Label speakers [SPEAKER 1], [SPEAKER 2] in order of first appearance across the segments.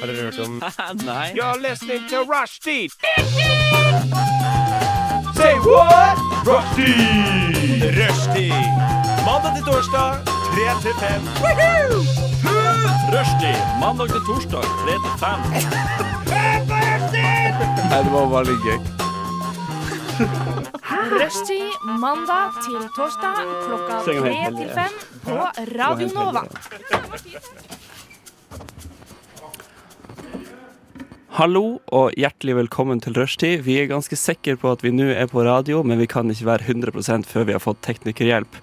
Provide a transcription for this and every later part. [SPEAKER 1] Har dere hørt om
[SPEAKER 2] Nei.
[SPEAKER 3] You're listening to Rushdie. Say what? Rushdie. Rushdie. Mandag til torsdag, 3 til 5.
[SPEAKER 2] Rushdie mandag til torsdag 3 til 5.
[SPEAKER 1] Nei, det var bare litt gøy.
[SPEAKER 4] Rushtid mandag til torsdag klokka
[SPEAKER 2] Sengen er
[SPEAKER 4] tre
[SPEAKER 2] helt
[SPEAKER 4] til
[SPEAKER 2] heldig,
[SPEAKER 4] fem på Radio Nova.
[SPEAKER 2] Hallo og hjertelig velkommen til Rushtid. Vi er ganske sikre på at vi nå er på radio, men vi kan ikke være 100 før vi har fått teknikerhjelp.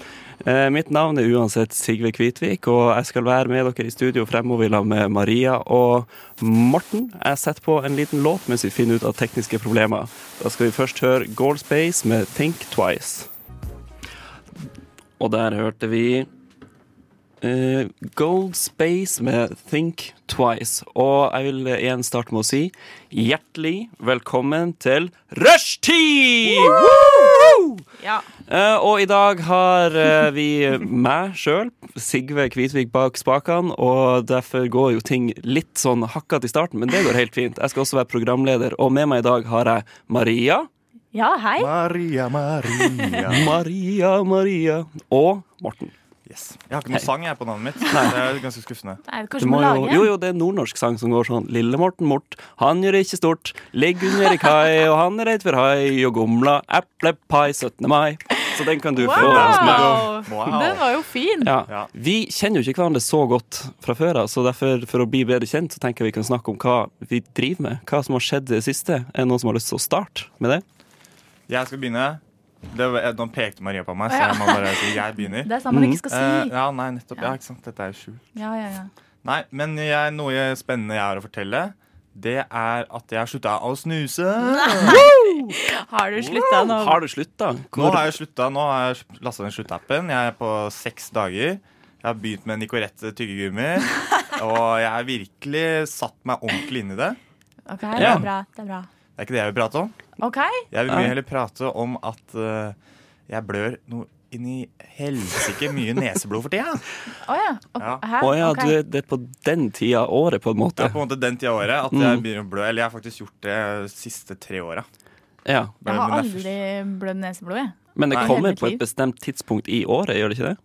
[SPEAKER 2] Eh, mitt navn er uansett Sigve Kvitvik, og jeg skal være med dere i studio fremover i lag med Maria og Morten. Jeg setter på en liten låt mens vi finner ut av tekniske problemer. Da skal vi først høre Goal Space med Think Twice. Og der hørte vi Eh, Gold Space med Think Twice. Og jeg vil eh, igjen starte med å si hjertelig velkommen til Rushtid! Woo!
[SPEAKER 4] Ja.
[SPEAKER 2] Eh, og i dag har eh, vi meg sjøl, Sigve Kvitvik, bak spakene. Og derfor går jo ting litt sånn hakkete i starten, men det går helt fint. Jeg skal også være programleder, og med meg i dag har jeg Maria.
[SPEAKER 4] ja, hei.
[SPEAKER 1] Maria, Maria.
[SPEAKER 2] Maria, Maria. Og Morten.
[SPEAKER 5] Yes. Jeg har ikke noen sang jeg på navnet mitt. Det er ganske skuffende.
[SPEAKER 4] Nei,
[SPEAKER 2] Du
[SPEAKER 4] kanskje
[SPEAKER 2] må
[SPEAKER 4] vi
[SPEAKER 2] jo,
[SPEAKER 4] lager
[SPEAKER 2] jo,
[SPEAKER 4] en?
[SPEAKER 2] jo, det er en nordnorsk sang som går sånn. Lille Morten Mort, han gjør ikke stort. Ligg under i kai, og han er redd for hai. Og gomla eplepai 17. mai. Så den kan du få. hos meg.
[SPEAKER 4] Wow!
[SPEAKER 5] Wow.
[SPEAKER 4] Den var jo fin.
[SPEAKER 2] Ja.
[SPEAKER 5] Ja.
[SPEAKER 2] Vi kjenner jo ikke hverandre så godt fra før av, så derfor, for å bli bedre kjent, så tenker jeg vi kan snakke om hva vi driver med. Hva som har skjedd i det siste. Er det noen som har lyst til å starte med det?
[SPEAKER 5] Jeg skal begynne. Det var, eh, nå pekte Maria på meg, så jeg må bare si jeg begynner.
[SPEAKER 4] Det er sånn
[SPEAKER 2] Mhm.
[SPEAKER 4] man ikke skal
[SPEAKER 5] Eh,
[SPEAKER 4] si.
[SPEAKER 5] ja, nei, nettopp. Ja, ikke sant. Dette er jo skjult.
[SPEAKER 4] Ja, ja, ja.
[SPEAKER 5] Nei, men jeg, noe spennende jeg har å fortelle, det er at jeg har slutta å snuse.
[SPEAKER 4] Har du slutta nå?
[SPEAKER 2] Har du slutta?
[SPEAKER 5] Nå
[SPEAKER 2] Hvor-
[SPEAKER 5] har jeg slutta. Nå har jeg lasta ned sluttappen. Jeg er på seks dager. Jeg har begynt med Nicorette tyggegummi. Og jeg har virkelig satt meg ordentlig inn i det.
[SPEAKER 4] OK, det
[SPEAKER 2] Ja.
[SPEAKER 4] er bra. Det er bra.
[SPEAKER 5] Det er ikke det jeg vil prate om.
[SPEAKER 4] OK?
[SPEAKER 5] Jeg vil
[SPEAKER 2] Ja.
[SPEAKER 5] mye heller prate om at eh, jeg blør noe inn i helsike mye neseblod for tida.
[SPEAKER 4] Å ja. Ok,
[SPEAKER 5] Ja.
[SPEAKER 4] Hæ?
[SPEAKER 2] Å ja,
[SPEAKER 4] Ok.
[SPEAKER 2] du, det er på den tida av året, på en
[SPEAKER 5] Det
[SPEAKER 2] måte.
[SPEAKER 5] er på en måte den tida av året at
[SPEAKER 2] Mm.
[SPEAKER 5] jeg begynner å blø. Eller jeg har faktisk gjort det de siste tre åra.
[SPEAKER 2] Ja.
[SPEAKER 4] Jeg har aldri blødd neseblod, jeg.
[SPEAKER 2] Men det
[SPEAKER 5] Nei.
[SPEAKER 2] kommer
[SPEAKER 4] Hele mitt
[SPEAKER 2] på et
[SPEAKER 4] liv.
[SPEAKER 2] bestemt tidspunkt i året, gjør det ikke det?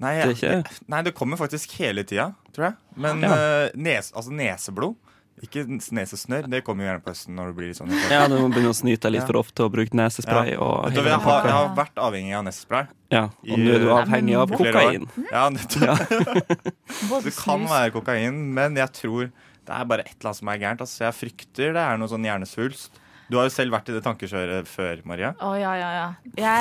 [SPEAKER 5] Nei,
[SPEAKER 2] Det er
[SPEAKER 5] jeg,
[SPEAKER 2] ikke-
[SPEAKER 5] nei, det kommer faktisk hele tida, tror jeg. Men
[SPEAKER 2] Ja.
[SPEAKER 5] eh, nes, altså neseblod, ikke nes- nesesnørr, det kommer jo gjerne på høsten når du blir litt sånn.
[SPEAKER 2] Ja, du må begynne å snyte deg litt
[SPEAKER 5] Ja.
[SPEAKER 2] for ofte og bruke nesespray og
[SPEAKER 5] Vet du, hva,
[SPEAKER 2] hele
[SPEAKER 5] jeg, har,
[SPEAKER 2] pakka.
[SPEAKER 5] jeg har vært avhengig av nesespray.
[SPEAKER 2] Ja, og nå er du
[SPEAKER 5] i-
[SPEAKER 2] avhengig av
[SPEAKER 5] i flere år.
[SPEAKER 2] kokain.
[SPEAKER 5] Ja, nettopp.
[SPEAKER 4] Både
[SPEAKER 5] Det kan
[SPEAKER 4] snus
[SPEAKER 5] være kokain, men jeg tror det er bare et eller annet som er gærent. Altså. Jeg frykter det er noe sånn hjernesvulst. Du har jo selv vært i det tankekjøret før, Maria.
[SPEAKER 4] Å ja, ja, ja.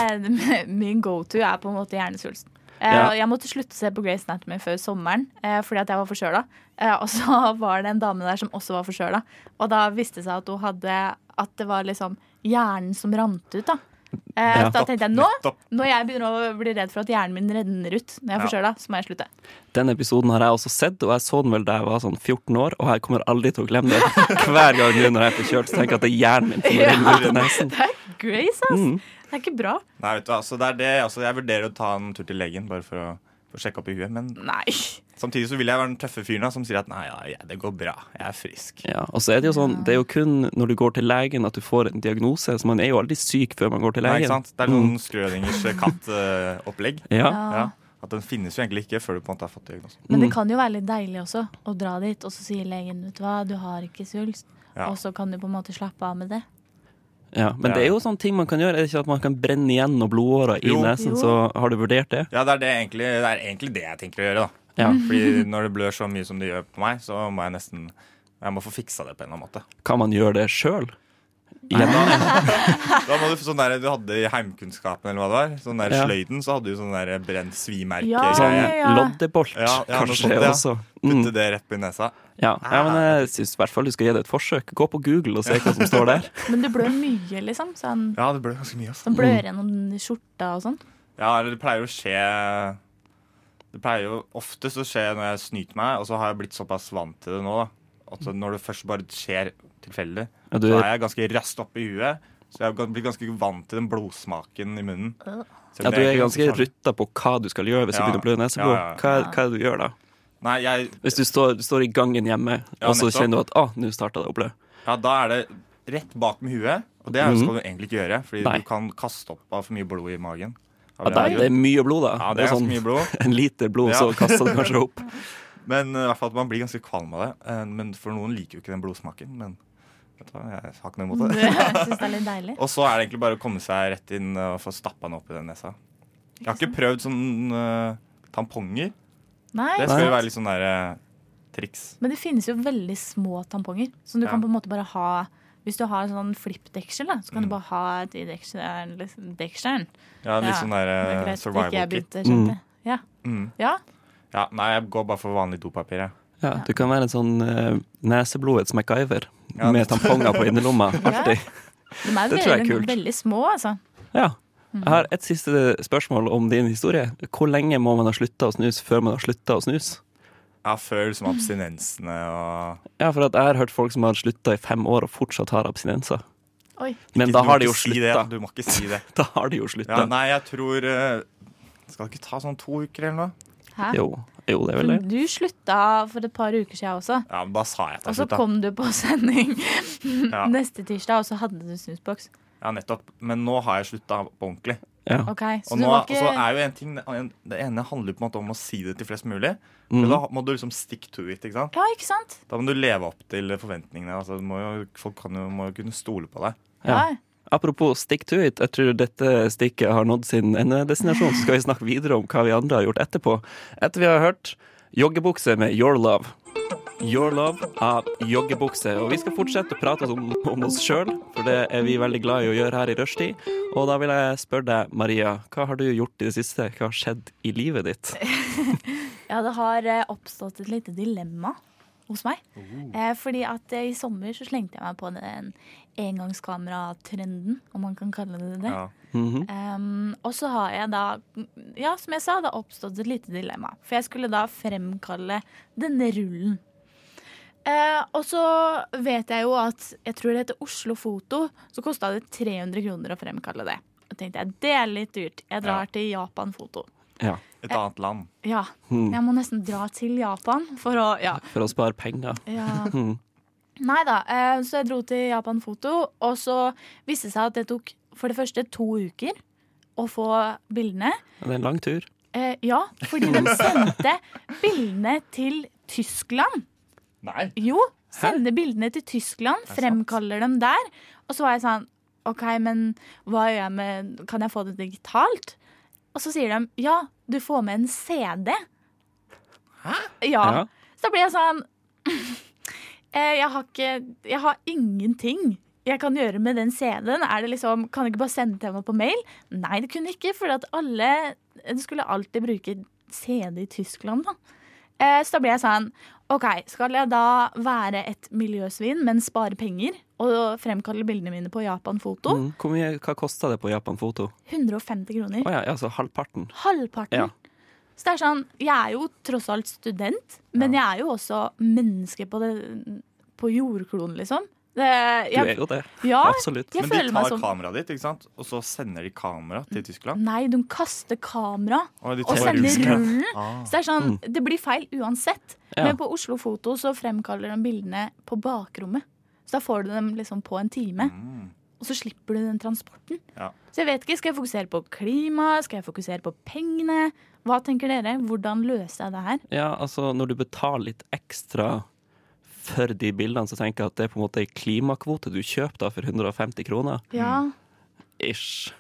[SPEAKER 4] Jeg, min go-to er på en måte hjernesvulst. Eh,
[SPEAKER 2] Ja.
[SPEAKER 4] Jeg måtte slutte å se på Grace Anatomy før sommeren eh, fordi at jeg var forkjøla. Eh, Og så var det en dame der som også var forkjøla, og da viste det seg at hun hadde At det var liksom hjernen som rant ut, da. Eh,
[SPEAKER 2] Ja.
[SPEAKER 4] Da tenkte jeg nå,
[SPEAKER 5] Nettopp.
[SPEAKER 4] når jeg begynner å bli redd for at hjernen min renner ut når jeg er
[SPEAKER 5] Ja.
[SPEAKER 4] forkjøla, så må jeg slutte.
[SPEAKER 2] Den episoden har jeg også sett, og jeg så den vel da jeg var sånn 14 år, og jeg kommer aldri til å glemme det. Hver gang nå når jeg er forkjølt, så tenker jeg at det er hjernen min som
[SPEAKER 4] Ja.
[SPEAKER 2] renner ut av nesen.
[SPEAKER 4] Det er Grace, ass! Det er ikke bra.
[SPEAKER 5] Nei, vet du, hva, altså, det er det. Altså, jeg vurderer å ta en tur til legen bare for å, for å sjekke opp i huet. Men
[SPEAKER 4] Nei.
[SPEAKER 5] samtidig så vil jeg være den tøffe fyren da, som sier at nei, ja, ja, det går bra. Jeg er frisk.
[SPEAKER 2] Ja, og så er det jo sånn, det er jo kun når du går til legen at du får en diagnose, så man er jo aldri syk før man går til
[SPEAKER 5] Nei,
[SPEAKER 2] legen.
[SPEAKER 5] ikke sant? Det er noen Skrødingers katt-opplegg.
[SPEAKER 2] Ja,
[SPEAKER 5] Ja. At den finnes jo egentlig ikke før du på en måte har fått diagnosen.
[SPEAKER 4] Men
[SPEAKER 2] Mm.
[SPEAKER 4] det kan jo være litt deilig også å dra dit, og så sier legen vet du hva, du har ikke svulst.
[SPEAKER 5] Ja.
[SPEAKER 4] Og så kan du på en måte slappe av med det.
[SPEAKER 2] ja. Men det er jo sånne ting man kan gjøre, er det ikke at man kan brenne igjen noen blodårer i
[SPEAKER 5] Jo.
[SPEAKER 2] nesen,
[SPEAKER 4] Jo.
[SPEAKER 2] så har du vurdert det?
[SPEAKER 5] Ja, det er, det, egentlig, det er egentlig det jeg tenker å gjøre, da.
[SPEAKER 2] Ja.
[SPEAKER 5] Fordi når det blør så mye som det gjør på meg, så må jeg nesten jeg må få fiksa det på en eller annen måte.
[SPEAKER 2] Kan man gjøre det sjøl?
[SPEAKER 5] Da må du, få sånn der, du hadde i heimkunnskapen eller hva det var, sånn der
[SPEAKER 2] Ja.
[SPEAKER 5] sløyden, så hadde du sånn der brent svimerke
[SPEAKER 4] Ja,
[SPEAKER 2] Sånn
[SPEAKER 4] ja, ja.
[SPEAKER 2] loddebolt,
[SPEAKER 5] Ja, ja, noe
[SPEAKER 2] Sånn kanskje
[SPEAKER 5] sånt, ja.
[SPEAKER 2] også. Mm.
[SPEAKER 5] Putte Ah. det rett på nesa.
[SPEAKER 2] Ja, ja men jeg syns i hvert fall du skal gi det et forsøk. Gå på Google og se hva som står der.
[SPEAKER 4] Men det blør mye, liksom. Sånn,
[SPEAKER 5] Ja, det blør ganske mye, altså.
[SPEAKER 4] sånn
[SPEAKER 2] Mm.
[SPEAKER 4] blør gjennom skjorta og sånn.
[SPEAKER 5] Ja, eller det pleier å skje Det pleier jo ofte så skje når jeg snyter meg, og så har jeg blitt såpass vant til det nå, da. At når det først bare skjer tilfeldig,
[SPEAKER 2] Ja, du,
[SPEAKER 5] så er jeg ganske raskt oppe i huet. Så jeg har blitt ganske vant til den blodsmaken i munnen.
[SPEAKER 2] ja, du er ganske
[SPEAKER 5] rutt sånn-
[SPEAKER 2] rutta på hva du skal gjøre hvis du
[SPEAKER 5] Ja.
[SPEAKER 2] begynner å blø
[SPEAKER 5] Ja,
[SPEAKER 2] neseblod.
[SPEAKER 5] ja, ja.
[SPEAKER 2] Hva, hva er det du gjør da?
[SPEAKER 5] Nei, jeg
[SPEAKER 2] Hvis du står, du står i gangen hjemme,
[SPEAKER 5] Ja,
[SPEAKER 2] og så
[SPEAKER 5] nettopp.
[SPEAKER 2] kjenner du at ah, nå starta det å blø.
[SPEAKER 5] Ja, da er det rett bak med huet, og det er- skal du egentlig ikke gjøre, fordi
[SPEAKER 2] Mhm. Nei.
[SPEAKER 5] du kan kaste opp av for mye blod i magen.
[SPEAKER 2] Ja, det, er, sånn. det er mye blod, da.
[SPEAKER 5] ja, det er ganske mye blod,
[SPEAKER 2] En liter blod, så
[SPEAKER 5] Ja.
[SPEAKER 2] kaster du kanskje opp.
[SPEAKER 5] men uh, i hvert fall at man blir ganske kvalm av det. Eh, Men for noen liker jo ikke den blodsmaken, men vet du hva, jeg har ikke noe imot det.
[SPEAKER 4] Jeg syns det er litt deilig.
[SPEAKER 5] Og så er det egentlig bare å komme seg rett inn uh, og få stappa den opp i den nesa. Jeg har ikke prøvd sånn uh, tamponger.
[SPEAKER 4] Nei,
[SPEAKER 5] Det skal jo være litt sånn der uh, triks.
[SPEAKER 4] Men det finnes jo veldig små tamponger som du
[SPEAKER 5] Ja.
[SPEAKER 4] kan på en måte bare ha Hvis du har en sånn flippdeksel, da, så
[SPEAKER 2] Mm.
[SPEAKER 4] kan du bare ha et i dekselen. liksom, dekselen.
[SPEAKER 5] Ja, litt
[SPEAKER 4] Ja,
[SPEAKER 5] sånn
[SPEAKER 2] Eh,
[SPEAKER 5] der
[SPEAKER 4] Det er
[SPEAKER 5] uh,
[SPEAKER 4] greit. Ikke
[SPEAKER 5] survival
[SPEAKER 4] jeg
[SPEAKER 5] kit.
[SPEAKER 4] begynte, skjønte jeg. Ja.
[SPEAKER 5] Mm.
[SPEAKER 4] ja.
[SPEAKER 5] Ja, nei, jeg går bare for vanlig dopapir, jeg.
[SPEAKER 2] Ja, du kan være en sånn eh, neseblodets MacGyver
[SPEAKER 5] Ja,
[SPEAKER 2] med
[SPEAKER 5] det-
[SPEAKER 2] tamponger på innerlomma. Artig.
[SPEAKER 4] De er
[SPEAKER 2] Det tror jeg er
[SPEAKER 4] veldig,
[SPEAKER 2] kult.
[SPEAKER 4] veldig små, altså.
[SPEAKER 2] Ja. Jeg har et siste spørsmål om din historie. Hvor lenge må man ha slutta å snuse før man har slutta å snuse?
[SPEAKER 5] Ja, Før liksom abstinensene og
[SPEAKER 2] Ja, for at jeg har hørt folk som har slutta i fem år og fortsatt har abstinenser.
[SPEAKER 4] Oi.
[SPEAKER 2] Men
[SPEAKER 5] Ikke-
[SPEAKER 2] da
[SPEAKER 5] du må
[SPEAKER 2] har de
[SPEAKER 5] ikke
[SPEAKER 2] jo
[SPEAKER 5] si det,
[SPEAKER 2] slutta.
[SPEAKER 5] Du må ikke si det.
[SPEAKER 2] Da har de jo
[SPEAKER 5] Ja,
[SPEAKER 2] slutta.
[SPEAKER 5] nei, jeg tror eh, Skal det ikke ta sånn to uker eller noe?
[SPEAKER 4] Hæ?
[SPEAKER 2] Jo, jo, det er vel det.
[SPEAKER 4] Du slutta for et par uker siden også.
[SPEAKER 5] Ja, men Da sa jeg
[SPEAKER 4] Og
[SPEAKER 5] til
[SPEAKER 4] så
[SPEAKER 5] slutt, da.
[SPEAKER 4] kom du på sending
[SPEAKER 5] Ja.
[SPEAKER 4] neste tirsdag, og så hadde du snusboks.
[SPEAKER 5] ja, nettopp. Men nå har jeg slutta på ordentlig.
[SPEAKER 2] Ja.
[SPEAKER 4] Ok, så
[SPEAKER 5] Og
[SPEAKER 4] du
[SPEAKER 5] nå,
[SPEAKER 4] var
[SPEAKER 5] og
[SPEAKER 4] ikke
[SPEAKER 5] så er jo en ting en- Det ene handler på en måte om å si det til flest mulig.
[SPEAKER 2] Mm.
[SPEAKER 5] For Da må du liksom stick to it. ikke sant?
[SPEAKER 4] Ja, ikke sant?
[SPEAKER 5] Da må du leve opp til forventningene. Altså, du må jo, folk kan jo, må jo kunne stole på deg.
[SPEAKER 4] Ja.
[SPEAKER 2] Ja. Apropos stick to it, jeg tror dette stikket har nådd sin endedestinasjon. Så skal vi snakke videre om hva vi andre har gjort etterpå. Etter vi har hørt joggebukse med Your Love. Your Love av joggebukse. Og vi skal fortsette å prate om, om oss sjøl, for det er vi veldig glad i å gjøre her i rushtid. Og da vil jeg spørre deg, Maria, hva har du gjort i det siste? Hva har skjedd i livet ditt?
[SPEAKER 4] ja, det har eh, oppstått et lite dilemma hos meg.
[SPEAKER 5] Oh.
[SPEAKER 4] Eh, fordi at eh, i sommer så slengte jeg meg på den engangskamerattrenden, om man kan kalle det det.
[SPEAKER 5] Ja.
[SPEAKER 4] Um, og så har jeg da, ja, som jeg sa, det har oppstått et lite dilemma. For jeg skulle da fremkalle denne rullen. Eh, og så vet jeg jo at jeg tror det heter Oslo Foto, så kosta det 300 kroner å fremkalle det. Og tenkte jeg, det er litt dyrt. Jeg drar
[SPEAKER 5] Ja.
[SPEAKER 4] til Japan Foto.
[SPEAKER 2] Ja,
[SPEAKER 5] Et annet land.
[SPEAKER 4] Ja. Jeg må nesten dra til Japan for å Ja.
[SPEAKER 2] For å spare penger.
[SPEAKER 4] Ja. Nei da, eh, så jeg dro til Japan Foto, og så viste det seg at det tok for det første to uker å få bildene.
[SPEAKER 2] Det er en lang tur.
[SPEAKER 4] Eh, ja, fordi de sendte bildene til Tyskland.
[SPEAKER 5] Nei.
[SPEAKER 4] Jo, sende bildene til Tyskland, fremkaller dem der. Og så var jeg sånn OK, men hva gjør jeg med Kan jeg få det digitalt? Og så sier de ja, du får med en CD. Hæ? Ja.
[SPEAKER 2] Ja.
[SPEAKER 4] Så da blir jeg sånn eh, Jeg har ikke Jeg har ingenting. Jeg kan gjøre med den CD-en. Er det liksom, kan jeg ikke bare sende til meg på mail? Nei, det kunne jeg ikke, for at alle en skulle alltid bruke CD i Tyskland, da. Eh, Så da ble jeg sånn OK, skal jeg da være et miljøsvin, men spare penger? Og fremkalle bildene mine på Japan Foto?
[SPEAKER 2] Mm. Hvor mye, hva kosta det på Japan Foto?
[SPEAKER 4] 150 kroner.
[SPEAKER 2] Å ja, ja, så halvparten.
[SPEAKER 4] Halvparten.
[SPEAKER 2] Ja.
[SPEAKER 4] Så det er sånn, jeg er jo tross alt student, men jeg er jo også menneske på, det, på jordkloden, liksom.
[SPEAKER 2] Du
[SPEAKER 4] Det,
[SPEAKER 2] er
[SPEAKER 4] jeg,
[SPEAKER 2] jo det.
[SPEAKER 4] ja,
[SPEAKER 2] Absolutt.
[SPEAKER 4] jeg
[SPEAKER 5] Men de
[SPEAKER 4] føler meg
[SPEAKER 5] tar
[SPEAKER 4] som
[SPEAKER 5] kameraet ditt, ikke sant? og så sender de kamera til Tyskland.
[SPEAKER 4] Nei, de kaster kamera
[SPEAKER 5] Og, de
[SPEAKER 4] og
[SPEAKER 5] tar
[SPEAKER 4] sender
[SPEAKER 5] rusen.
[SPEAKER 4] rullen.
[SPEAKER 5] Ah.
[SPEAKER 4] Så det er sånn, det blir feil uansett.
[SPEAKER 2] Mm. Ja.
[SPEAKER 4] Men på Oslo Foto så fremkaller de bildene på bakrommet. Så da får du dem liksom på en time.
[SPEAKER 2] Mm.
[SPEAKER 4] Og så slipper du den transporten.
[SPEAKER 5] Ja.
[SPEAKER 4] Så jeg vet ikke, skal jeg fokusere på klima? Skal jeg fokusere på pengene? Hva tenker dere? Hvordan løser jeg det her?
[SPEAKER 2] Ja, altså når du betaler litt ekstra for de bildene, så tenker jeg at det er på en måte ei klimakvote du kjøper da for 150 kroner.
[SPEAKER 4] Ja,
[SPEAKER 2] Ish.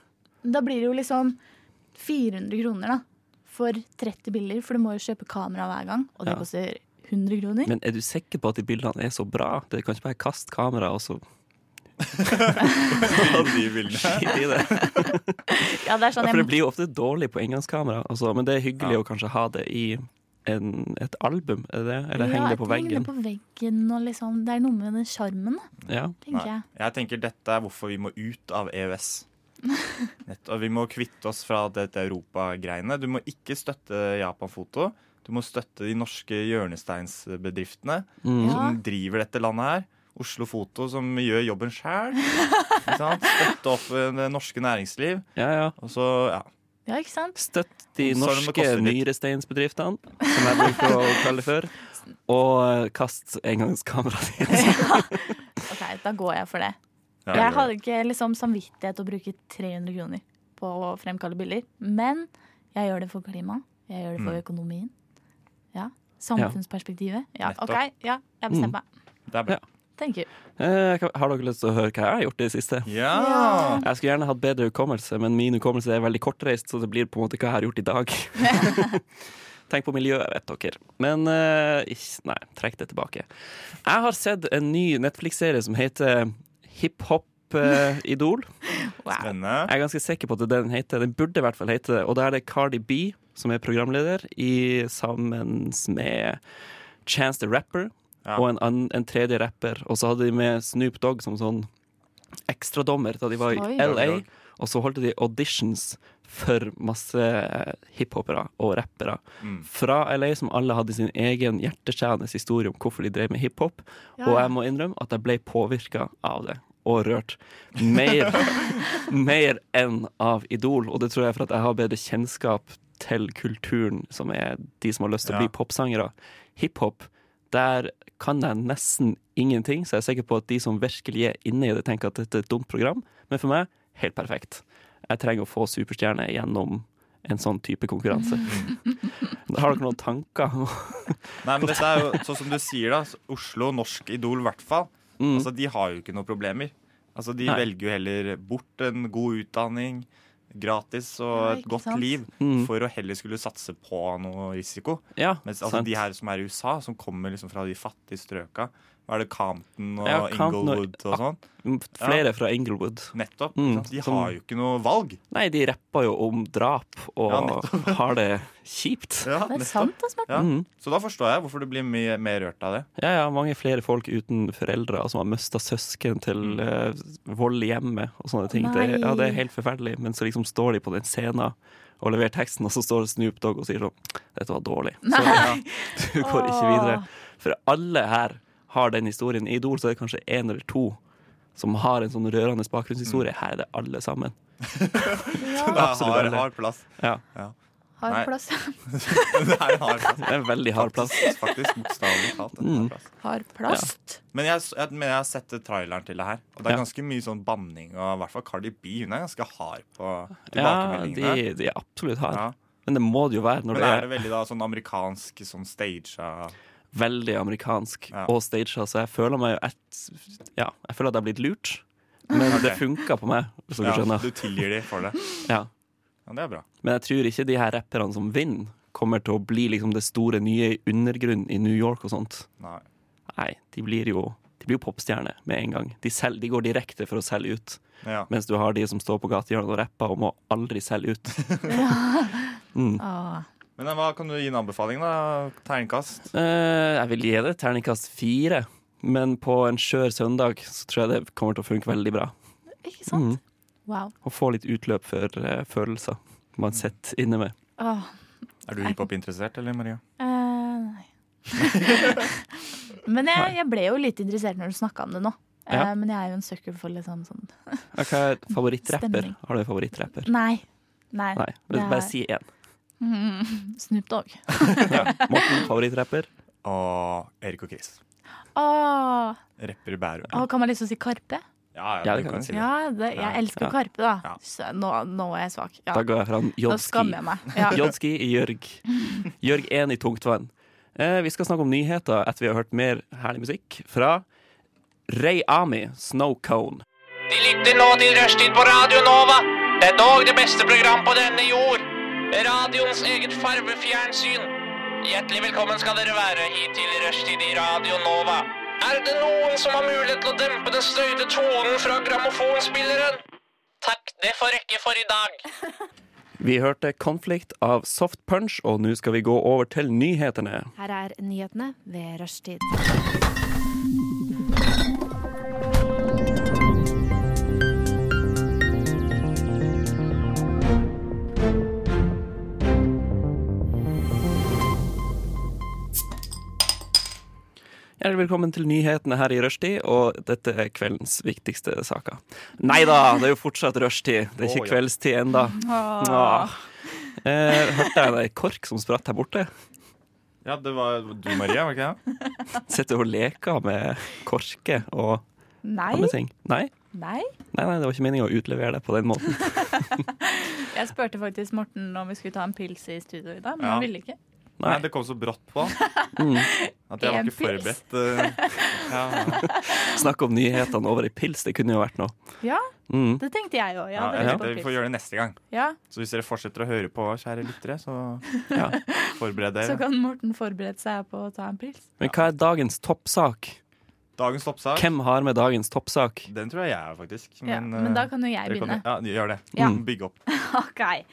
[SPEAKER 4] Mm. da blir det jo liksom 400 kroner da. For 30 bilder, for du må jo kjøpe kamera hver gang. Og det
[SPEAKER 2] Ja.
[SPEAKER 4] koster 100 kroner.
[SPEAKER 2] Men er du sikker på at de bildene er så bra? Det kan ikke bare kaste kameraet og så
[SPEAKER 5] Og de bildene.
[SPEAKER 2] skite i det.
[SPEAKER 4] Ja, det er
[SPEAKER 2] Ja,
[SPEAKER 4] sånn, jeg
[SPEAKER 2] for det blir jo ofte dårlig på engangskamera, altså, men det er hyggelig å kanskje ha det i en, et album, er det? Eller henge det på
[SPEAKER 4] Ja,
[SPEAKER 2] veggen.
[SPEAKER 4] henger det på veggen, og liksom, det er noe med den sjarmen, da,
[SPEAKER 2] Ja.
[SPEAKER 4] tenker
[SPEAKER 5] Nei.
[SPEAKER 4] jeg.
[SPEAKER 5] Jeg tenker dette er hvorfor vi må ut av EØS. Nett, og vi må kvitte oss fra dette europagreiene. Du må ikke støtte Japan Foto. Du må støtte de norske hjørnesteinsbedriftene
[SPEAKER 2] Mm.
[SPEAKER 4] Ja.
[SPEAKER 5] som driver dette landet her. Oslo Foto som gjør jobben sjæl. Støtte opp eh, det norske næringsliv.
[SPEAKER 2] ja, ja.
[SPEAKER 5] Og så, ja.
[SPEAKER 4] Ja, ikke sant?
[SPEAKER 2] Støtt de
[SPEAKER 4] Sånn
[SPEAKER 5] Så er det om det
[SPEAKER 2] norske
[SPEAKER 5] koster litt.
[SPEAKER 2] nyresteinsbedriftene, som jeg bruker å kalle det før. Og eh, kast engangskameraet ditt.
[SPEAKER 4] Ok, Da går jeg for det.
[SPEAKER 5] Ja,
[SPEAKER 4] Jeg hadde ikke liksom samvittighet til å bruke 300 kroner på å fremkalle bilder. Men jeg gjør det for klimaet. Jeg gjør det for økonomien. Ja. Samfunnsperspektivet. Ja,
[SPEAKER 5] Nettopp.
[SPEAKER 4] OK. Ja, jeg bestemmer meg.
[SPEAKER 5] Det er bra.
[SPEAKER 4] Thank you.
[SPEAKER 2] Eh, hva- Har dere lyst til å høre hva jeg har gjort i det siste?
[SPEAKER 5] Ja!
[SPEAKER 2] Jeg skulle gjerne hatt bedre hukommelse, men min hukommelse er veldig kortreist, så det blir på en måte hva jeg har gjort i dag. Tenk på miljøet, vet dere. Men eh, ikk- Nei, trekk det tilbake. Jeg har sett en ny Netflix-serie som heter eh, Hiphop-idol.
[SPEAKER 4] Wow.
[SPEAKER 5] Spennende.
[SPEAKER 2] Jeg er ganske sikker på at det er det den heter. Den burde i hvert fall hete det. Og da er det Cardi B som er programleder, i, sammen med Chance the Rapper
[SPEAKER 5] Ja.
[SPEAKER 2] og en, ann- en tredje rapper. Og så hadde de med Snoop Dogg som sånn ekstradommer da de var i
[SPEAKER 4] Oi.
[SPEAKER 2] LA. Og så holdt de auditions for masse eh, hiphopere og rappere fra LA, som alle hadde sin egen hjerteskjærende historie om hvorfor de drev med hiphop. Og jeg må innrømme at jeg ble påvirka av det, og rørt. Mer, mer enn av Idol, og det tror jeg er for at jeg har bedre kjennskap til kulturen, som er de som har lyst til å
[SPEAKER 5] Ja.
[SPEAKER 2] bli popsangere. Hiphop, der kan jeg nesten ingenting, så jeg er sikker på at de som virkelig er inne i det, tenker at dette er et dumt program, men for meg, helt perfekt. Jeg trenger å få superstjerne gjennom en sånn type konkurranse. Har dere noen tanker?
[SPEAKER 5] Nei, men dette er jo sånn som du sier, da. så Oslo, norsk Idol, i hvert fall.
[SPEAKER 2] Mm.
[SPEAKER 5] Altså, de har jo ikke noen problemer. Altså, De
[SPEAKER 2] Nei.
[SPEAKER 5] velger jo heller bort en god utdanning, gratis og
[SPEAKER 4] Ja,
[SPEAKER 5] et
[SPEAKER 4] ikke
[SPEAKER 5] godt
[SPEAKER 4] sant?
[SPEAKER 5] liv,
[SPEAKER 2] Mm.
[SPEAKER 5] for å heller skulle satse på noe risiko.
[SPEAKER 2] Ja,
[SPEAKER 5] Mens altså,
[SPEAKER 2] sant.
[SPEAKER 5] de her som er i USA, som kommer liksom fra de fattige strøka Hva er det, Compton og
[SPEAKER 2] Ja, Compton og-
[SPEAKER 5] Inglewood og sånn?
[SPEAKER 2] Mm, Flere fra Inglewood.
[SPEAKER 5] Nettopp.
[SPEAKER 2] Mm,
[SPEAKER 5] sant? De
[SPEAKER 2] som-
[SPEAKER 5] har jo ikke noe valg.
[SPEAKER 2] Nei, de rapper jo om drap og
[SPEAKER 5] Ja,
[SPEAKER 2] har det kjipt.
[SPEAKER 5] Ja,
[SPEAKER 4] Det er
[SPEAKER 5] nettopp.
[SPEAKER 4] sant, altså. Morten.
[SPEAKER 5] Ja.
[SPEAKER 2] Mm.
[SPEAKER 5] Så da forstår jeg hvorfor du blir mye mer rørt av det.
[SPEAKER 2] Ja, ja, mange flere folk uten foreldre og som har mista søsken
[SPEAKER 5] Mm.
[SPEAKER 2] til eh, vold i hjemmet og sånne ting. Det,
[SPEAKER 4] Nei.
[SPEAKER 2] ja, det er helt forferdelig, men så liksom står de på den scenen og leverer teksten, og så står Snoop Dogg og sier sånn Dette var dårlig. Så ja, du går ikke videre. For alle her har den historien. I Idol så er det kanskje én eller to som har en sånn rørende
[SPEAKER 5] Mm.
[SPEAKER 2] bakgrunnshistorie. Her er det alle sammen.
[SPEAKER 4] Ja,
[SPEAKER 5] Det
[SPEAKER 2] Absolutt
[SPEAKER 5] har
[SPEAKER 2] alle.
[SPEAKER 5] hard plass.
[SPEAKER 2] Ja,
[SPEAKER 4] har
[SPEAKER 5] Nei.
[SPEAKER 4] plass.
[SPEAKER 5] Det er en hard plass.
[SPEAKER 2] det er en veldig hard plass. Mm.
[SPEAKER 5] Faktisk, bokstavelig talt. En hard plass.
[SPEAKER 4] Har plass.
[SPEAKER 5] Men jeg, jeg, men jeg har sett traileren til det her, og det er
[SPEAKER 2] Ja.
[SPEAKER 5] ganske mye sånn banning. Og i hvert fall Cardi B hun er ganske hard på
[SPEAKER 2] Ja,
[SPEAKER 5] tilbakemeldingene.
[SPEAKER 2] de, de er absolutt harde.
[SPEAKER 5] Ja.
[SPEAKER 2] Men det må det jo være når
[SPEAKER 5] Men
[SPEAKER 2] det
[SPEAKER 5] er
[SPEAKER 2] er
[SPEAKER 5] det veldig da sånn amerikansk, sånn staged
[SPEAKER 2] veldig amerikansk
[SPEAKER 5] Ja.
[SPEAKER 2] og staged, så jeg føler meg jo et Ja, jeg føler at jeg har blitt lurt, men det funka på meg, hvis dere
[SPEAKER 5] ja,
[SPEAKER 2] skjønner.
[SPEAKER 5] Du tilgir de for det.
[SPEAKER 2] Ja.
[SPEAKER 5] Ja, det er bra.
[SPEAKER 2] Men jeg tror ikke de her rapperne som vinner, kommer til å bli liksom det store nye i undergrunnen i New York og sånt.
[SPEAKER 5] Nei.
[SPEAKER 2] Nei, de blir jo de blir jo popstjerner med en gang. De, sel- de går direkte for å selge ut.
[SPEAKER 5] Ja.
[SPEAKER 2] Mens du har de som står på gatehjørnet og rapper og må aldri selge ut.
[SPEAKER 4] Åh.
[SPEAKER 5] Men eh, hva kan du gi en anbefaling, da? Terningkast?
[SPEAKER 2] Eh, jeg vil gi det terningkast fire, men på en skjør søndag så tror jeg det kommer til å funke veldig bra.
[SPEAKER 4] Ikke sant? Wow.
[SPEAKER 2] og få litt utløp for eh, følelser man sitter inne med.
[SPEAKER 4] Åh.
[SPEAKER 5] Er du hiphop-interessert, eller, Maria?
[SPEAKER 4] Eh, nei. men jeg, jeg ble jo litt interessert når du snakka om det nå. Eh,
[SPEAKER 2] Ja.
[SPEAKER 4] Men jeg er jo en sucker for litt sånn, sånn
[SPEAKER 2] Ja, Hva er favorittrapper?
[SPEAKER 4] Stemning.
[SPEAKER 2] Har du en favorittrapper?
[SPEAKER 4] Nei. Nei.
[SPEAKER 2] Nei,
[SPEAKER 4] det er
[SPEAKER 2] bare si én.
[SPEAKER 4] Snoop Dogg.
[SPEAKER 2] Morten, favorittrapper?
[SPEAKER 5] Og Erik og Chris.
[SPEAKER 4] Åh,
[SPEAKER 5] Rapper i Bærum.
[SPEAKER 4] åh, kan man liksom si Karpe?
[SPEAKER 5] Ja,
[SPEAKER 2] Ja,
[SPEAKER 5] ja, du
[SPEAKER 2] det kan
[SPEAKER 5] kan
[SPEAKER 2] jeg
[SPEAKER 5] si det.
[SPEAKER 4] Ja, det, jeg elsker
[SPEAKER 2] Ja.
[SPEAKER 4] Karpe, da.
[SPEAKER 5] Ja.
[SPEAKER 4] Så Nå, nå er jeg svak. Ja.
[SPEAKER 2] Da går jeg fram
[SPEAKER 4] Nå
[SPEAKER 2] Jodski.
[SPEAKER 4] skammer jeg meg. Ja.
[SPEAKER 2] Jodski i Jørg. Jørg 1 i tungtvann. Eh, vi skal snakke om nyheter etter vi har hørt mer herlig musikk fra Ray Ami, Snow Cone.
[SPEAKER 6] De lytter nå til Rushtid på Radio Nova. Det er dog det beste program på denne jord. Radioens eget farvefjernsyn. Hjertelig velkommen skal dere være hit til Rushtid i Radio Nova. Er det noen som har mulighet til å dempe den støyte tonen fra grammofonspilleren? Takk, det får rekke for i dag.
[SPEAKER 2] Vi hørte Conflict av Soft Punch, og nå skal vi gå over til nyhetene.
[SPEAKER 7] Her er nyhetene ved rushtid.
[SPEAKER 2] Hjertelig velkommen til nyhetene her i rushtid, og dette er kveldens viktigste saker. Nei da, det er jo fortsatt rushtid. Det er
[SPEAKER 5] Å,
[SPEAKER 2] ikke
[SPEAKER 5] ja.
[SPEAKER 2] kveldstid ennå.
[SPEAKER 4] Åh.
[SPEAKER 2] Åh. Eh, hørte jeg det er kork som spratt her borte?
[SPEAKER 5] Ja, det var du, Maria, var ikke det?
[SPEAKER 2] Sitter og leker med korker og
[SPEAKER 4] Nei.
[SPEAKER 2] andre ting. Nei,
[SPEAKER 4] Nei.
[SPEAKER 2] nei, nei det var ikke meningen å utlevere det på den måten.
[SPEAKER 4] Jeg spurte faktisk Morten om vi skulle ta en pils i studio i dag, men
[SPEAKER 5] Ja.
[SPEAKER 4] han ville ikke.
[SPEAKER 5] Nei,
[SPEAKER 2] Nei.
[SPEAKER 5] det kom så brått på. At jeg var
[SPEAKER 4] Mm. En
[SPEAKER 5] ikke
[SPEAKER 4] pils.
[SPEAKER 5] forberedt. eh, Ja,
[SPEAKER 2] Snakk om nyhetene over i pils, det kunne jo vært noe.
[SPEAKER 4] Ja,
[SPEAKER 2] Mm.
[SPEAKER 4] det tenkte jeg òg.
[SPEAKER 5] ja,
[SPEAKER 4] Ja,
[SPEAKER 5] jeg
[SPEAKER 4] det
[SPEAKER 5] tenkte Vi får gjøre det neste gang.
[SPEAKER 4] ja,
[SPEAKER 5] Så hvis dere fortsetter å høre på, kjære lyttere, så
[SPEAKER 2] Ja.
[SPEAKER 5] forbered
[SPEAKER 4] så
[SPEAKER 5] dere.
[SPEAKER 4] kan Morten forberede seg på å ta en pils.
[SPEAKER 2] Men hva er dagens toppsak?
[SPEAKER 5] Dagens toppsak,
[SPEAKER 2] Hvem har med dagens toppsak?
[SPEAKER 5] den tror jeg jeg er, faktisk.
[SPEAKER 4] Ja,
[SPEAKER 5] Men,
[SPEAKER 4] men
[SPEAKER 5] eh,
[SPEAKER 4] da kan jo jeg
[SPEAKER 5] dere kan-
[SPEAKER 4] begynne.
[SPEAKER 5] Ja, gjør det. Mm.
[SPEAKER 4] Ja.
[SPEAKER 5] Bygg opp.
[SPEAKER 4] Ok.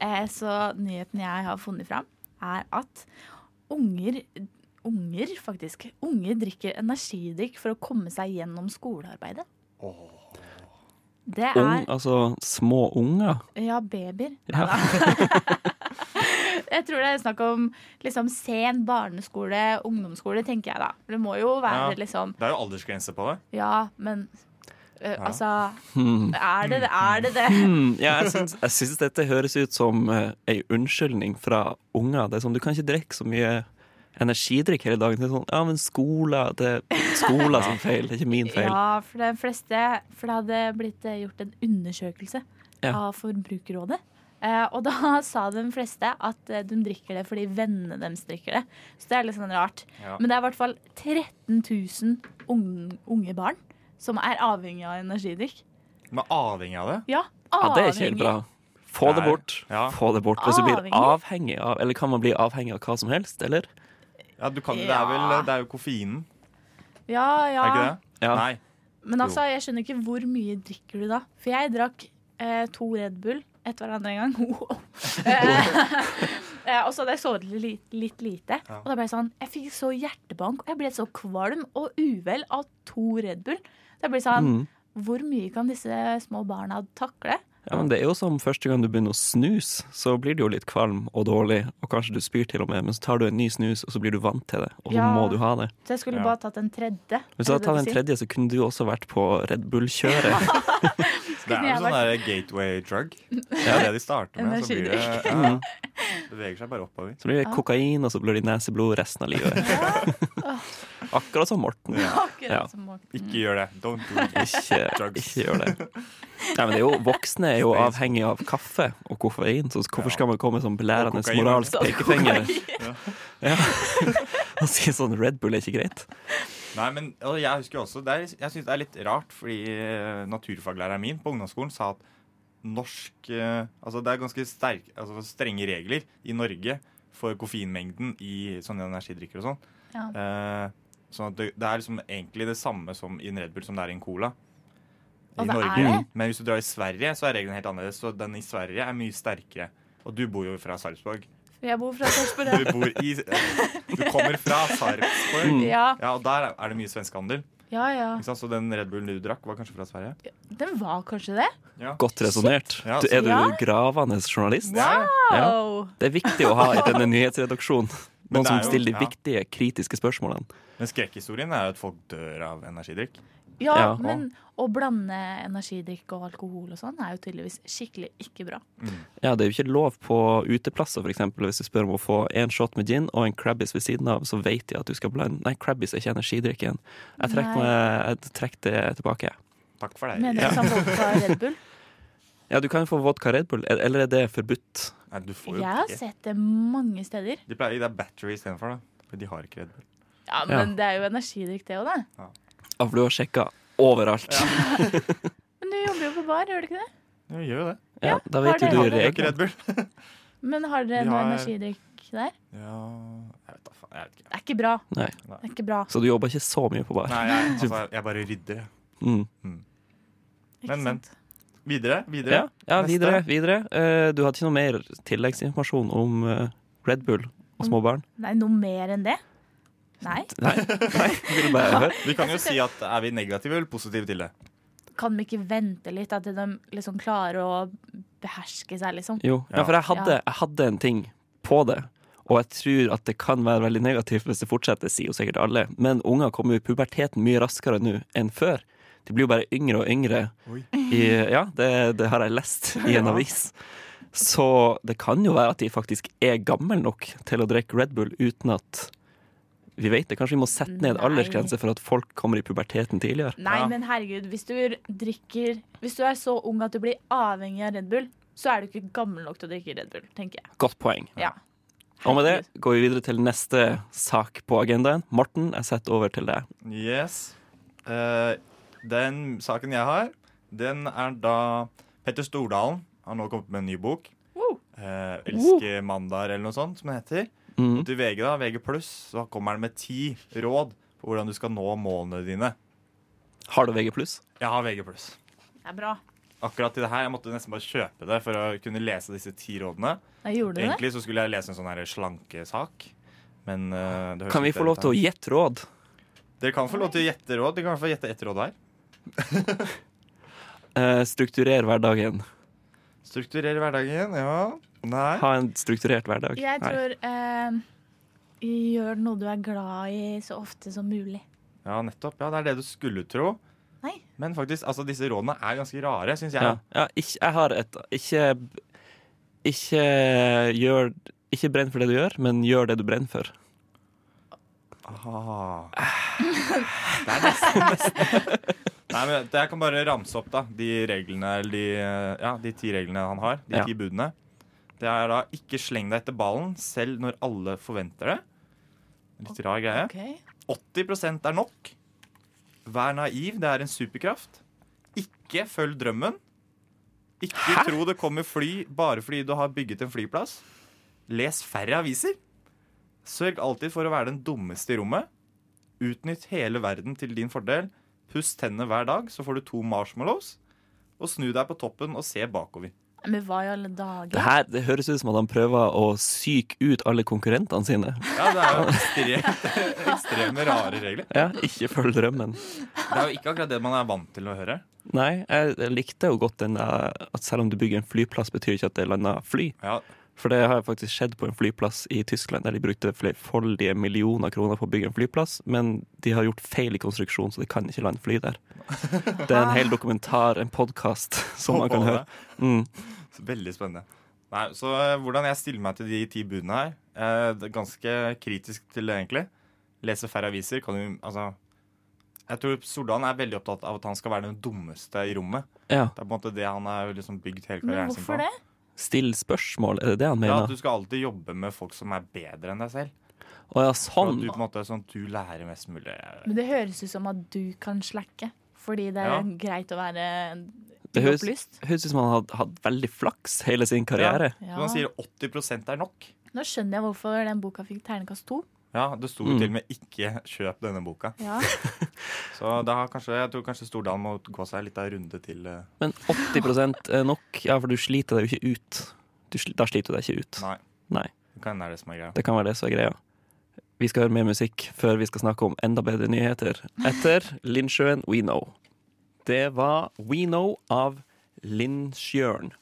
[SPEAKER 4] Eh, så nyheten jeg har funnet fram, er at unger Unger, faktisk. Unger drikker energidrikk for å komme seg gjennom skolearbeidet. Det er
[SPEAKER 2] Ung, altså små unger?
[SPEAKER 4] Ja, babyer.
[SPEAKER 2] Ja.
[SPEAKER 4] Jeg tror det er snakk om liksom, sen barneskole, ungdomsskole, tenker jeg da. Det må jo være
[SPEAKER 5] Ja.
[SPEAKER 4] liksom
[SPEAKER 5] Det er jo aldersgrense på det.
[SPEAKER 4] Ja, men eh,
[SPEAKER 5] Ja.
[SPEAKER 4] altså
[SPEAKER 2] Hmm.
[SPEAKER 4] Er det det? Er det det?
[SPEAKER 2] Mm, ja, jeg syns, jeg syns dette høres ut som eh, ei unnskyldning fra unger. Det er sånn, Du kan ikke drikke så mye energidrikk hele dagen. Det er sånn, ja, men skole, det er skolen sin feil, det er ikke min feil.
[SPEAKER 4] Ja, for de fleste For det hadde blitt eh, gjort en undersøkelse
[SPEAKER 2] Ja.
[SPEAKER 4] av Forbrukerrådet. Eh, og da sa de fleste at eh, de drikker det fordi vennene deres drikker det. Så det er litt sånn rart.
[SPEAKER 5] Ja.
[SPEAKER 4] Men det er i hvert fall 13 000 unge, unge barn som er avhengig av energidrikk.
[SPEAKER 5] Men avhengig av det.
[SPEAKER 4] Ja,
[SPEAKER 2] Ja, det er ikke helt
[SPEAKER 4] avhengig.
[SPEAKER 2] bra. Få det
[SPEAKER 5] Nei,
[SPEAKER 2] bort.
[SPEAKER 5] ja.
[SPEAKER 2] Få det bort. Hvis du blir
[SPEAKER 4] Avhengig?
[SPEAKER 2] avhengig av Eller kan man bli avhengig av hva som helst, eller?
[SPEAKER 5] Ja, du kan, det, er vel, det er jo koffeinen,
[SPEAKER 4] Ja, ja.
[SPEAKER 5] er ikke det?
[SPEAKER 2] Ja.
[SPEAKER 5] Nei.
[SPEAKER 4] Men altså, jeg skjønner ikke hvor mye drikker du da? For jeg drakk eh, to Red Bull etter hverandre en gang. Wow. eh, eh, og så hadde jeg sovet litt, litt lite. Og da ble jeg sånn Jeg fikk så hjertebank, og jeg ble så kvalm og uvel av to Red Bull. Så jeg ble sånn
[SPEAKER 2] Mm.
[SPEAKER 4] Hvor mye kan disse små barna takle?
[SPEAKER 2] Ja, men Det er jo som første gang du begynner å snuse, så blir du jo litt kvalm og dårlig, og kanskje du spyr til og med, men så tar du en ny snus, og så blir du vant til det, og så
[SPEAKER 4] Ja.
[SPEAKER 2] må du ha det.
[SPEAKER 4] Så jeg skulle
[SPEAKER 5] Ja.
[SPEAKER 4] bare tatt en tredje.
[SPEAKER 2] Hvis du hadde tatt
[SPEAKER 4] er det
[SPEAKER 2] en
[SPEAKER 4] du sier.
[SPEAKER 2] tredje, så kunne du også vært på Red Bull-kjøret.
[SPEAKER 5] Det er vel
[SPEAKER 4] jeg
[SPEAKER 5] sånn der gateway drug. Det er det de starter med. Så blir det ja, beveger seg bare oppover.
[SPEAKER 2] Så blir det kokain, og så blir det neseblod resten av livet. Akkurat som Morten.
[SPEAKER 4] Akkurat
[SPEAKER 2] Ja.
[SPEAKER 4] som Morten.
[SPEAKER 5] Ikke gjør det. Don't do it.
[SPEAKER 2] Ikke,
[SPEAKER 5] Drugs.
[SPEAKER 2] ikke gjør det. Nei, men det er jo, voksne er jo avhengig av kaffe og koffein, så hvorfor skal man komme med sånn belærende
[SPEAKER 5] Og kokain.
[SPEAKER 2] moralsk
[SPEAKER 4] Så
[SPEAKER 2] pekefinger
[SPEAKER 4] kokain.
[SPEAKER 2] og si sånn Red Bull er ikke greit?
[SPEAKER 5] Nei, men og jeg husker jo også det er, Jeg synes det er litt rart, fordi eh, naturfaglæreren min på ungdomsskolen sa at norsk eh, Altså det er ganske sterk, altså, strenge regler i Norge for koffeinmengden i sånne energidrikker og sånn. Eh, sånn at det, det er liksom egentlig det samme som i en Red Bull som det er i en Cola. I
[SPEAKER 4] Og det er
[SPEAKER 5] Norge. Mm.
[SPEAKER 4] det?
[SPEAKER 5] Men hvis du drar i Sverige, så er reglene helt annerledes. Så den i Sverige er mye sterkere. Og du bor jo fra Sarpsborg.
[SPEAKER 4] Jeg bor fra
[SPEAKER 5] Du
[SPEAKER 4] Sarpsborg.
[SPEAKER 5] bor i Du kommer fra Sarpsborg.
[SPEAKER 4] Ja,
[SPEAKER 5] Ja, og der er det mye svenskehandel.
[SPEAKER 4] ja, ja.
[SPEAKER 5] Ikke sant? Så den Red Bullen du drakk, var kanskje fra Sverige?
[SPEAKER 4] Den var kanskje det?
[SPEAKER 2] Godt resonnert.
[SPEAKER 5] Ja,
[SPEAKER 2] Du- Er du
[SPEAKER 4] Ja.
[SPEAKER 2] gravende journalist?
[SPEAKER 5] Ja.
[SPEAKER 2] Ja.
[SPEAKER 4] Oh.
[SPEAKER 2] Det er viktig å ha i denne nyhetsredaksjonen.
[SPEAKER 5] Men
[SPEAKER 2] Noen
[SPEAKER 5] det
[SPEAKER 2] som
[SPEAKER 5] er jo-
[SPEAKER 2] stiller de
[SPEAKER 5] ja.
[SPEAKER 2] viktige, kritiske spørsmålene.
[SPEAKER 5] Men skrekkhistorien er jo at folk dør av energidrikk.
[SPEAKER 4] Ja,
[SPEAKER 2] Ja.
[SPEAKER 4] men å blande energidrikk og alkohol og sånn er jo tydeligvis skikkelig ikke bra.
[SPEAKER 5] Mm.
[SPEAKER 2] Ja, Det er jo ikke lov på uteplasser, f.eks. Hvis du spør om å få en shot med gin og en Crabbis ved siden av, så vet de at du skal blande Nei, Crabbis er ikke energidrikken. Jeg trekker, meg, jeg trekker det tilbake.
[SPEAKER 5] Takk for deg.
[SPEAKER 4] Mener du som folk fra Red Bull?
[SPEAKER 2] Ja, du kan jo få vodka Red Bull, el- eller er det forbudt?
[SPEAKER 5] Nei, du får jo
[SPEAKER 4] Jeg har
[SPEAKER 5] ikke.
[SPEAKER 4] sett det mange steder.
[SPEAKER 5] De pleier å gi deg battery istedenfor, da. For de har ikke Red Bull.
[SPEAKER 4] Ja, men det er jo energidrikk det òg, da.
[SPEAKER 2] Avlu har sjekka overalt. Ja,
[SPEAKER 4] Men du jobber jo på bar, gjør du ikke det?
[SPEAKER 5] Ja, gjør jo det.
[SPEAKER 2] Da
[SPEAKER 4] Har
[SPEAKER 2] vet
[SPEAKER 4] det-
[SPEAKER 2] jo
[SPEAKER 4] har
[SPEAKER 2] du
[SPEAKER 4] det-
[SPEAKER 5] De har ikke
[SPEAKER 2] reglene.
[SPEAKER 5] Red Bull.
[SPEAKER 4] Men har dere
[SPEAKER 5] Vi
[SPEAKER 4] noe
[SPEAKER 5] har-
[SPEAKER 4] energidrikk der?
[SPEAKER 5] Ja Jeg vet da faen. Jeg vet ikke.
[SPEAKER 4] Det er ikke bra.
[SPEAKER 2] Nei.
[SPEAKER 4] Det er ikke bra.
[SPEAKER 2] Så du jobber ikke så mye på bar?
[SPEAKER 5] Nei, jeg, altså, jeg bare rydder, jeg.
[SPEAKER 2] Mm.
[SPEAKER 4] Ikke
[SPEAKER 5] Men, men.
[SPEAKER 4] sant?
[SPEAKER 5] Videre? videre.
[SPEAKER 2] Ja, ja
[SPEAKER 5] Neste.
[SPEAKER 2] videre. videre. Eh, Du hadde ikke noe mer tilleggsinformasjon om eh, Red Bull og små barn?
[SPEAKER 4] Nei, noe mer enn det? Nei?
[SPEAKER 2] Nei? Nei. Vil du bare høre?
[SPEAKER 5] Vi kan jo si at er vi negative eller positive til det?
[SPEAKER 4] Kan vi ikke vente litt? At de liksom klarer å beherske seg, liksom?
[SPEAKER 2] Jo, ja,
[SPEAKER 5] Ja.
[SPEAKER 2] for jeg hadde, jeg hadde en ting på det. Og jeg tror at det kan være veldig negativt hvis det fortsetter, sier jo sikkert alle. Men unger kommer jo i puberteten mye raskere nå enn før. De blir jo bare yngre og yngre.
[SPEAKER 5] Oi.
[SPEAKER 2] I, ja, det, det har jeg lest i en avis. Så det kan jo være at de faktisk er gamle nok til å drikke Red Bull uten at vi vet det. Kanskje vi må sette ned
[SPEAKER 4] Nei.
[SPEAKER 2] aldersgrense for at folk kommer i puberteten tidligere.
[SPEAKER 4] Nei,
[SPEAKER 5] Ja.
[SPEAKER 4] men herregud, hvis du drikker Hvis du er så ung at du blir avhengig av Red Bull, så er du ikke gammel nok til å drikke Red Bull, tenker jeg.
[SPEAKER 2] Godt poeng.
[SPEAKER 4] Ja.
[SPEAKER 2] Og med det går vi videre til neste sak på agendaen. Morten, jeg setter over til deg.
[SPEAKER 5] Yes. Eh, den saken jeg har, den er da Petter Stordalen har nå kommet med en ny bok.
[SPEAKER 4] Wow.
[SPEAKER 5] Eh, 'Elske mandager' eller noe sånt, som den heter.
[SPEAKER 2] Mm.
[SPEAKER 5] Og til VG, da, VG så kommer den med ti råd på hvordan du skal nå målene dine.
[SPEAKER 2] Har du VG+.
[SPEAKER 5] Jeg har VG
[SPEAKER 4] Det er bra.
[SPEAKER 5] Akkurat til det her, Jeg måtte nesten bare kjøpe det for å kunne lese disse ti rådene.
[SPEAKER 4] Da gjorde du det.
[SPEAKER 5] Egentlig så skulle jeg lese en sånn her slankesak. Men eh, det høres
[SPEAKER 2] Ah. Kan vi
[SPEAKER 5] ikke
[SPEAKER 2] få
[SPEAKER 5] ut
[SPEAKER 2] lov til å gjette råd?
[SPEAKER 5] Dere kan få lov til å gjette råd. Dere kan få gjette ett råd her.
[SPEAKER 2] Eh, Strukturer hverdagen.
[SPEAKER 5] Strukturer hverdagen, ja. Nei.
[SPEAKER 2] Ha en strukturert hverdag.
[SPEAKER 4] Jeg
[SPEAKER 2] Nei.
[SPEAKER 4] tror eh, Gjør noe du er glad i så ofte som mulig.
[SPEAKER 5] Ja, nettopp. Ja, det er det du skulle tro.
[SPEAKER 4] Nei.
[SPEAKER 5] Men faktisk, altså, disse rådene er ganske rare, syns jeg.
[SPEAKER 2] Ja, ja ikke, jeg har et Ikke, ikke gjør Ikke brenn for det du gjør, men gjør det du brenner for.
[SPEAKER 5] Ah. Det er nesten, nesten. Nei, men jeg kan bare ramse opp da de reglene eller de, eh, ja, de ti reglene han har. De
[SPEAKER 2] Ja.
[SPEAKER 5] ti budene. Det er da ikke sleng deg etter ballen selv når alle forventer det. Litt rar greie.
[SPEAKER 4] Ok.
[SPEAKER 5] 80 er nok. Vær naiv, det er en superkraft. Ikke følg drømmen. Ikke tro det kommer fly bare fordi du har bygget en flyplass. Les færre aviser. Sørg alltid for å være den dummeste i rommet. Utnytt hele verden til din fordel. Puss tennene hver dag, så får du to marshmallows. Og snu deg på toppen og se bakover.
[SPEAKER 4] Men hva i alle
[SPEAKER 2] Det
[SPEAKER 4] dager?
[SPEAKER 2] her det høres ut som at han prøver å syke ut alle konkurrentene sine.
[SPEAKER 5] Ja, Det er jo ekstremt, ekstreme rare regler.
[SPEAKER 2] Ja, ikke følg drømmen.
[SPEAKER 5] Det er jo ikke akkurat det man er vant til å høre.
[SPEAKER 2] Nei, jeg likte jo godt den der at selv om du bygger en flyplass, betyr ikke at det lander fly.
[SPEAKER 5] Ja,
[SPEAKER 2] For det har faktisk skjedd på en flyplass i Tyskland, der de brukte flerfoldige millioner kroner på å bygge en flyplass, men de har gjort feil i konstruksjon, så det kan ikke lande fly der. Det er en hel dokumentar, en podkast, som man kan høre. Mm.
[SPEAKER 5] Så Veldig spennende. Nei, så eh, hvordan jeg stiller meg til de ti budene her eh, det er Ganske kritisk til det, egentlig. Lese færre aviser kan jo Altså Jeg tror Stordalen er veldig opptatt av at han skal være den dummeste i rommet.
[SPEAKER 2] Ja.
[SPEAKER 5] Det er på en måte det han har liksom bygd hele
[SPEAKER 4] Men
[SPEAKER 5] karrieren sin på.
[SPEAKER 4] hvorfor det?
[SPEAKER 2] Still spørsmål, er det det han
[SPEAKER 5] Ja, at
[SPEAKER 2] mener?
[SPEAKER 5] du skal alltid jobbe med folk som er bedre enn deg selv.
[SPEAKER 2] Å ja,
[SPEAKER 5] Og at
[SPEAKER 2] sånn.
[SPEAKER 5] du på en måte sånn at du lærer mest mulig.
[SPEAKER 4] Men det høres ut som at du kan slacke. Fordi det er
[SPEAKER 5] Ja.
[SPEAKER 4] greit å være
[SPEAKER 2] Det høres,
[SPEAKER 4] opplyst.
[SPEAKER 2] høres ut som han hadde hatt veldig flaks hele sin karriere.
[SPEAKER 5] Så han sier 80 er nok.
[SPEAKER 4] Nå skjønner jeg hvorfor den boka fikk terningkast to.
[SPEAKER 5] Ja, Det sto jo
[SPEAKER 2] Mm.
[SPEAKER 5] til og med 'ikke kjøp denne boka'.
[SPEAKER 4] Ja.
[SPEAKER 5] Så da har kanskje, jeg tror kanskje Stordalen må gå seg litt av runde til. eh,
[SPEAKER 2] Men 80 er nok, ja, for du sliter deg jo ikke ut. Du, sli- da sliter du deg ikke ut.
[SPEAKER 5] Nei.
[SPEAKER 2] Nei.
[SPEAKER 5] Det kan være det som er greia.
[SPEAKER 2] Det kan være det som er greia. Vi skal høre mer musikk før vi skal snakke om enda bedre nyheter. Etter Lindsjøen We Know. Det var We Know av Lindsjøen.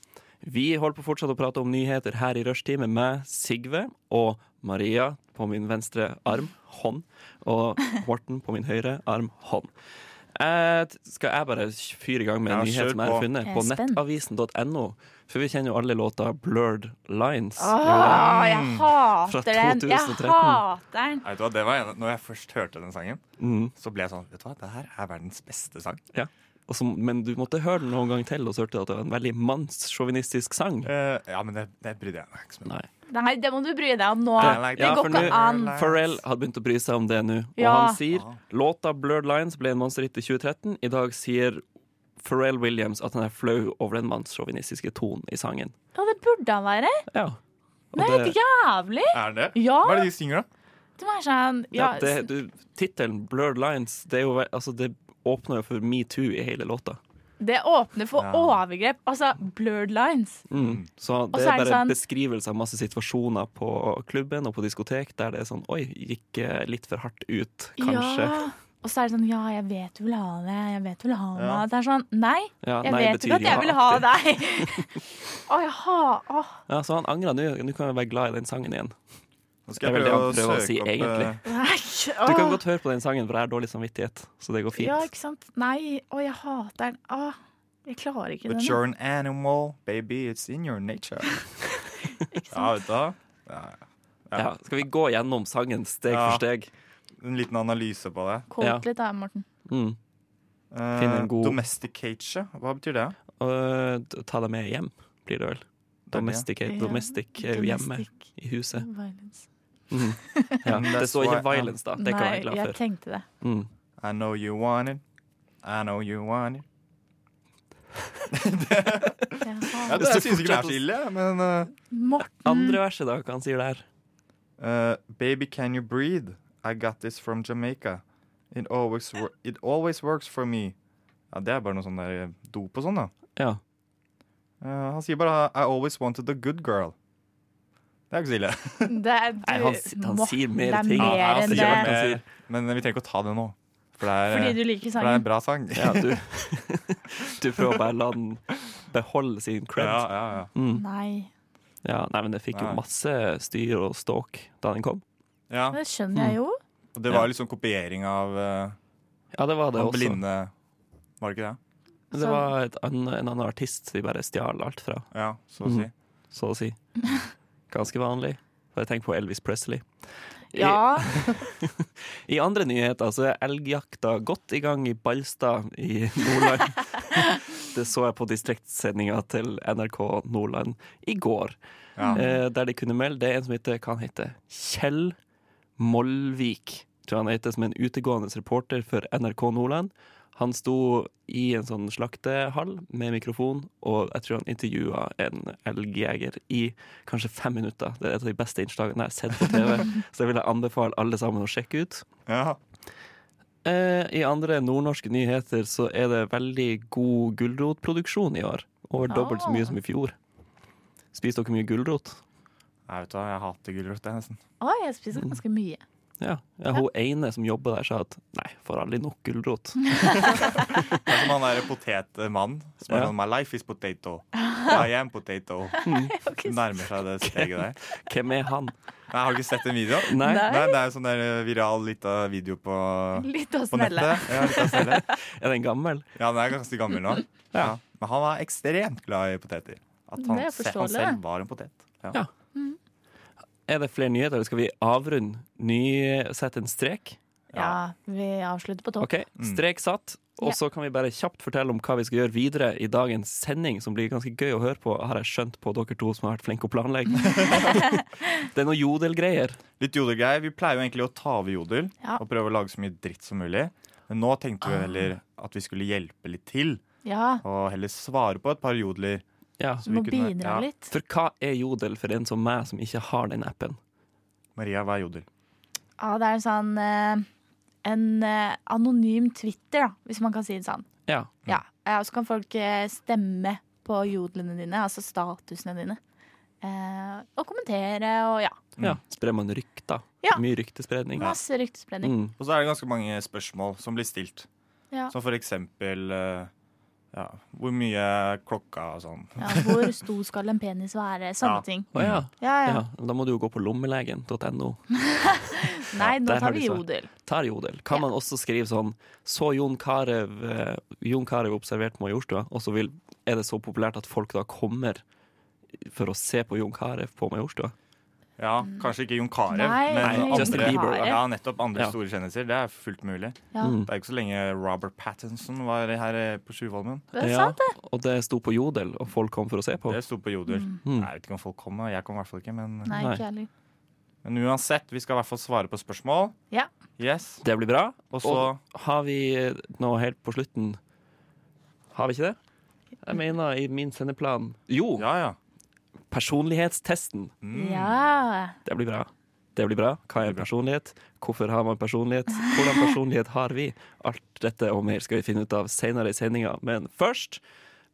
[SPEAKER 2] Vi holder på fortsatt å prate om nyheter her i rushtid med meg, Sigve, og Maria på min venstre arm, hånd, og Morten på min høyre arm, hånd. Eh, skal jeg bare fyre i gang med en
[SPEAKER 5] Ja,
[SPEAKER 2] nyhet
[SPEAKER 5] kjør
[SPEAKER 2] som jeg
[SPEAKER 5] på.
[SPEAKER 2] har funnet
[SPEAKER 4] Jeg er
[SPEAKER 2] på
[SPEAKER 4] spent.
[SPEAKER 2] nettavisen.no? For vi kjenner jo alle låta Blurred Lines.
[SPEAKER 4] Åh, jeg hater
[SPEAKER 2] Mm. Fra
[SPEAKER 4] den! Jeg
[SPEAKER 2] 2013.
[SPEAKER 4] hater den!
[SPEAKER 5] Nei, Vet du hva, det var en, når jeg først hørte den sangen,
[SPEAKER 2] Mm.
[SPEAKER 5] så ble jeg sånn Vet du hva, det her er verdens beste sang.
[SPEAKER 2] Og så- men du måtte høre den noen gang til, og så hørte du at det var en veldig mannssjåvinistisk sang.
[SPEAKER 5] Eh, ja, men det, det brydde jeg meg ikke så mye om.
[SPEAKER 2] Nei.
[SPEAKER 4] Nei, det må du bry deg om nå.
[SPEAKER 5] I like
[SPEAKER 2] Ja,
[SPEAKER 4] det
[SPEAKER 5] that.
[SPEAKER 4] går
[SPEAKER 2] for
[SPEAKER 4] ikke
[SPEAKER 2] nå-
[SPEAKER 4] an.
[SPEAKER 2] Pharrell har begynt å bry seg om det nå, og
[SPEAKER 4] Ja.
[SPEAKER 2] han sier låta 'Blurred Lines' ble en monsterhit i 2013. I dag sier Pharrell Williams at han er flau over den mannssjåvinistiske tonen i sangen.
[SPEAKER 4] Ja, det burde han være.
[SPEAKER 2] Ja. Og
[SPEAKER 4] Det er
[SPEAKER 2] det-
[SPEAKER 4] helt jævlig.
[SPEAKER 5] Er det det?
[SPEAKER 4] Ja.
[SPEAKER 5] Hva er det de synger, da?
[SPEAKER 4] Det var sånn ja,
[SPEAKER 2] ja, det- du- Tittelen 'Blurred Lines' det, er jo, ve- altså, det åpner jo for metoo i hele låta.
[SPEAKER 4] Det åpner for overgrep. Altså blurred lines.
[SPEAKER 2] Mm. Så det
[SPEAKER 4] så
[SPEAKER 2] er
[SPEAKER 4] er
[SPEAKER 2] bare
[SPEAKER 4] det sånn-
[SPEAKER 2] beskrivelse av masse situasjoner på klubben og på diskotek der det er sånn Oi, gikk eh, litt for hardt ut, kanskje.
[SPEAKER 4] Ja. Og så er det sånn Ja, jeg vet du vil ha det. Jeg vet du vil ha meg.
[SPEAKER 5] Ja.
[SPEAKER 4] Det er sånn Nei,
[SPEAKER 2] Ja,
[SPEAKER 4] jeg
[SPEAKER 2] nei,
[SPEAKER 4] vet
[SPEAKER 2] betyr
[SPEAKER 4] ikke at jeg vil ha
[SPEAKER 2] ja-aktig.
[SPEAKER 4] deg. Å, jeg har Åh,
[SPEAKER 2] Ja, så han angrer nå. Nå kan jeg være glad i den sangen igjen.
[SPEAKER 5] Nå
[SPEAKER 2] Det er vel det han prøver å si,
[SPEAKER 5] eh,
[SPEAKER 2] egentlig.
[SPEAKER 4] nei.
[SPEAKER 2] Du kan
[SPEAKER 4] åh.
[SPEAKER 2] godt høre på den sangen, for jeg har dårlig samvittighet. Så det går fint.
[SPEAKER 4] Ja, ikke sant? Nei, å, jeg hater den. Å, Jeg klarer ikke
[SPEAKER 5] But
[SPEAKER 4] den.
[SPEAKER 5] you're an animal, baby. It's in your nature. ja, vet du hva? Ja, ja.
[SPEAKER 2] Ja, skal vi gå gjennom sangen steg
[SPEAKER 5] Ja.
[SPEAKER 2] for steg?
[SPEAKER 5] En liten analyse på det.
[SPEAKER 4] Kåt
[SPEAKER 2] Ja.
[SPEAKER 4] litt, da, Morten.
[SPEAKER 2] Mm.
[SPEAKER 5] Eh,
[SPEAKER 2] Finn en god-
[SPEAKER 5] Domesticate, hva betyr det?
[SPEAKER 2] Og d- ta deg med hjem, blir det vel. Domestic, eh,
[SPEAKER 4] Ja.
[SPEAKER 2] domestic er jo hjemme
[SPEAKER 4] Domestic
[SPEAKER 2] i huset.
[SPEAKER 4] violence.
[SPEAKER 2] Mm. Ja.
[SPEAKER 5] And
[SPEAKER 2] Det
[SPEAKER 5] that's
[SPEAKER 2] står ikke
[SPEAKER 5] why I'm-
[SPEAKER 2] violence, da. Det kan jeg
[SPEAKER 4] Nei,
[SPEAKER 2] være glad
[SPEAKER 4] jeg
[SPEAKER 2] for.
[SPEAKER 4] tenkte det.
[SPEAKER 2] Mm.
[SPEAKER 5] I know you want it. I know you want it. Ja,
[SPEAKER 4] Jaha.
[SPEAKER 5] det, jeg syns ikke det er så ille, men
[SPEAKER 4] Morten.
[SPEAKER 2] Andre verset, da, hva han sier der.
[SPEAKER 5] eh, eh, Baby, can you breathe? I got this from Jamaica. It always, wor- it always works for me. Ja, Det er bare noe sånn der eh, dop og sånn, da.
[SPEAKER 2] Ja.
[SPEAKER 5] Eh, han sier bare I always wanted a good girl. Det er ikke så ille.
[SPEAKER 4] Det er, du,
[SPEAKER 2] Nei, han, s- han
[SPEAKER 4] Morten,
[SPEAKER 2] sier
[SPEAKER 4] det
[SPEAKER 2] mer
[SPEAKER 4] er
[SPEAKER 2] ting.
[SPEAKER 4] mer
[SPEAKER 5] Ja, han
[SPEAKER 4] enn
[SPEAKER 5] sier
[SPEAKER 4] det.
[SPEAKER 5] mer. Men vi trenger ikke å ta det nå. For det er,
[SPEAKER 4] Fordi du
[SPEAKER 5] eh,
[SPEAKER 4] liker
[SPEAKER 5] for det er en
[SPEAKER 4] sangen.
[SPEAKER 5] bra sang.
[SPEAKER 2] Ja, du, du prøver bare å la den beholde sin cred.
[SPEAKER 5] ja,
[SPEAKER 2] Ja.
[SPEAKER 5] ja, ja.
[SPEAKER 2] Mm.
[SPEAKER 4] Nei.
[SPEAKER 2] ja, Nei, men det fikk jo
[SPEAKER 5] Nei.
[SPEAKER 2] masse styr og ståk da den kom.
[SPEAKER 5] Ja,
[SPEAKER 4] Det skjønner
[SPEAKER 5] Mm.
[SPEAKER 4] jeg jo.
[SPEAKER 5] og det var jo liksom kopiering av eh,
[SPEAKER 2] Ja, det var det
[SPEAKER 5] han
[SPEAKER 2] også.
[SPEAKER 5] blinde Var det ikke det?
[SPEAKER 2] Det var et ann- en annen artist de bare stjal alt fra,
[SPEAKER 5] Ja, så
[SPEAKER 4] Mm.
[SPEAKER 5] å si.
[SPEAKER 2] Mhm. så å si. Ganske vanlig. Bare tenk på Elvis Presley.
[SPEAKER 4] Ja.
[SPEAKER 2] I andre nyheter så er elgjakta godt i gang i Balstad i Nordland. Det så jeg på distriktssendinga til NRK Nordland i går.
[SPEAKER 5] Ja.
[SPEAKER 2] Eh, der de kunne melde det er en som heter hva han heter, Kjell Molvik. Tror han heter som en utegående reporter for NRK Nordland. Han sto i en sånn slaktehall med mikrofon, og jeg tror han intervjua en elgjeger i kanskje fem minutter. Det er et av de beste innslagene jeg har sett på TV, så det vil jeg anbefale alle sammen å sjekke ut.
[SPEAKER 5] Ja.
[SPEAKER 2] Eh, I andre nordnorske nyheter så er det veldig god gulrotproduksjon i år. Over dobbelt så mye som i fjor. Spiser dere mye gulrot?
[SPEAKER 5] Nei, vet du hva, jeg hater gulrot, jeg, nesten.
[SPEAKER 4] Å, jeg spiser ganske mye.
[SPEAKER 2] Ja. ja hun ene som jobber der, sa at nei, får aldri nok gulrot.
[SPEAKER 5] Det er som han derre potetmannen som er
[SPEAKER 2] Ja.
[SPEAKER 5] sånn My life is potato. I am potato.
[SPEAKER 4] Ok,
[SPEAKER 5] Nærmer seg det steget der.
[SPEAKER 2] Hvem er han?
[SPEAKER 5] Nei, har du ikke sett den videoen?
[SPEAKER 2] Nei.
[SPEAKER 4] Nei.
[SPEAKER 5] Nei, det er jo sånn der viral lita video på,
[SPEAKER 4] Litt av
[SPEAKER 5] på
[SPEAKER 4] snelle.
[SPEAKER 5] nettet. Ja, litt av snelle.
[SPEAKER 2] Er den gammel?
[SPEAKER 5] ja, den er ganske gammel nå. Ja. Men han var ekstremt glad i poteter. At han,
[SPEAKER 4] Det er
[SPEAKER 5] se-
[SPEAKER 4] forståelig,
[SPEAKER 5] han selv
[SPEAKER 4] det.
[SPEAKER 5] var en potet. Ja.
[SPEAKER 2] Ja. Er det flere nyheter, eller skal vi avrunde? Ny Sette en strek?
[SPEAKER 4] Ja, vi avslutter på topp.
[SPEAKER 2] OK, strek satt. Og
[SPEAKER 4] Ja.
[SPEAKER 2] så kan vi bare kjapt fortelle om hva vi skal gjøre videre i dagens sending, som blir ganske gøy å høre på, har jeg skjønt på dere to som har vært flinke å planlegge. det er noe jodelgreier.
[SPEAKER 5] Litt jodelgreier. Vi pleier jo egentlig å ta over jodel
[SPEAKER 4] Ja. Ah.
[SPEAKER 5] og prøve å lage så mye dritt som mulig. Men nå tenkte vi heller at vi skulle hjelpe litt til,
[SPEAKER 4] Ja,
[SPEAKER 5] og heller svare på et par jodler.
[SPEAKER 2] Ja.
[SPEAKER 4] du må
[SPEAKER 5] vi kunne-
[SPEAKER 4] bidra
[SPEAKER 5] ja.
[SPEAKER 4] litt.
[SPEAKER 2] For hva er jodel for en som meg, som ikke har den appen?
[SPEAKER 5] Maria, hva er jodel?
[SPEAKER 4] Ja, det er sånn eh, en eh, anonym Twitter, da, hvis man kan si det sånn.
[SPEAKER 2] Ja.
[SPEAKER 5] Mm.
[SPEAKER 4] Ja, eh, og så kan folk eh, stemme på jodlene dine, altså statusene dine. Eh, og kommentere og ja.
[SPEAKER 2] ja. Sprer man rykter?
[SPEAKER 4] Ja.
[SPEAKER 2] Mye ryktespredning?
[SPEAKER 4] Masse ryktespredning.
[SPEAKER 2] Mm.
[SPEAKER 5] Og så er det ganske mange spørsmål som blir stilt.
[SPEAKER 4] Ja.
[SPEAKER 5] Som for eksempel eh, ja, hvor mye klokka og sånn.
[SPEAKER 4] Ja, hvor stor skal en penis være? Sånne
[SPEAKER 5] Ja.
[SPEAKER 4] ting.
[SPEAKER 2] Å ja.
[SPEAKER 4] Ja, ja.
[SPEAKER 2] ja. Da må du jo gå på lommelegen.no.
[SPEAKER 4] Nei, nå
[SPEAKER 2] der har
[SPEAKER 4] tar
[SPEAKER 2] de
[SPEAKER 4] vi
[SPEAKER 2] svar.
[SPEAKER 4] jodel.
[SPEAKER 2] Tar jodel. Kan man også skrive sånn Så Jon Carew eh, Jon Carew observert Majorstua, og så vil, er det så populært at folk da kommer for å se på Jon Carew på Majorstua?
[SPEAKER 5] Ja, kanskje ikke Jon Carew,
[SPEAKER 4] Mm. Nei,
[SPEAKER 5] men
[SPEAKER 2] Nei,
[SPEAKER 5] andre,
[SPEAKER 2] Justin Bieber, ja.
[SPEAKER 5] ja, nettopp andre
[SPEAKER 2] Ja.
[SPEAKER 5] store kjendiser. Det er fullt mulig.
[SPEAKER 4] Ja.
[SPEAKER 2] Mm.
[SPEAKER 5] Det er ikke så lenge Robert Pattinson var her eh, på Sjuvholmen.
[SPEAKER 4] Det er sant, det.
[SPEAKER 2] og det sto på jodel, og folk kom for å se på.
[SPEAKER 5] Det sto på Jodel.
[SPEAKER 2] Mm.
[SPEAKER 5] Nei, Jeg vet ikke om folk kom, og jeg kom i hvert fall ikke. Men,
[SPEAKER 4] Nei,
[SPEAKER 2] Nei.
[SPEAKER 4] ikke jeg heller.
[SPEAKER 5] men uansett, vi skal i hvert fall svare på spørsmål.
[SPEAKER 4] Ja.
[SPEAKER 5] Yes.
[SPEAKER 2] Det blir bra.
[SPEAKER 5] Og så
[SPEAKER 2] Og har vi noe helt på slutten Har vi ikke det? Jeg
[SPEAKER 4] Mm.
[SPEAKER 2] mener, i min sendeplan Jo,
[SPEAKER 5] Ja, ja.
[SPEAKER 2] personlighetstesten.
[SPEAKER 5] Mm.
[SPEAKER 4] Ja.
[SPEAKER 2] Det blir bra. Det blir bra. Hva er personlighet? Hvorfor har man personlighet? Hvordan personlighet har vi? Alt dette og mer skal vi finne ut av senere i sendinga, men først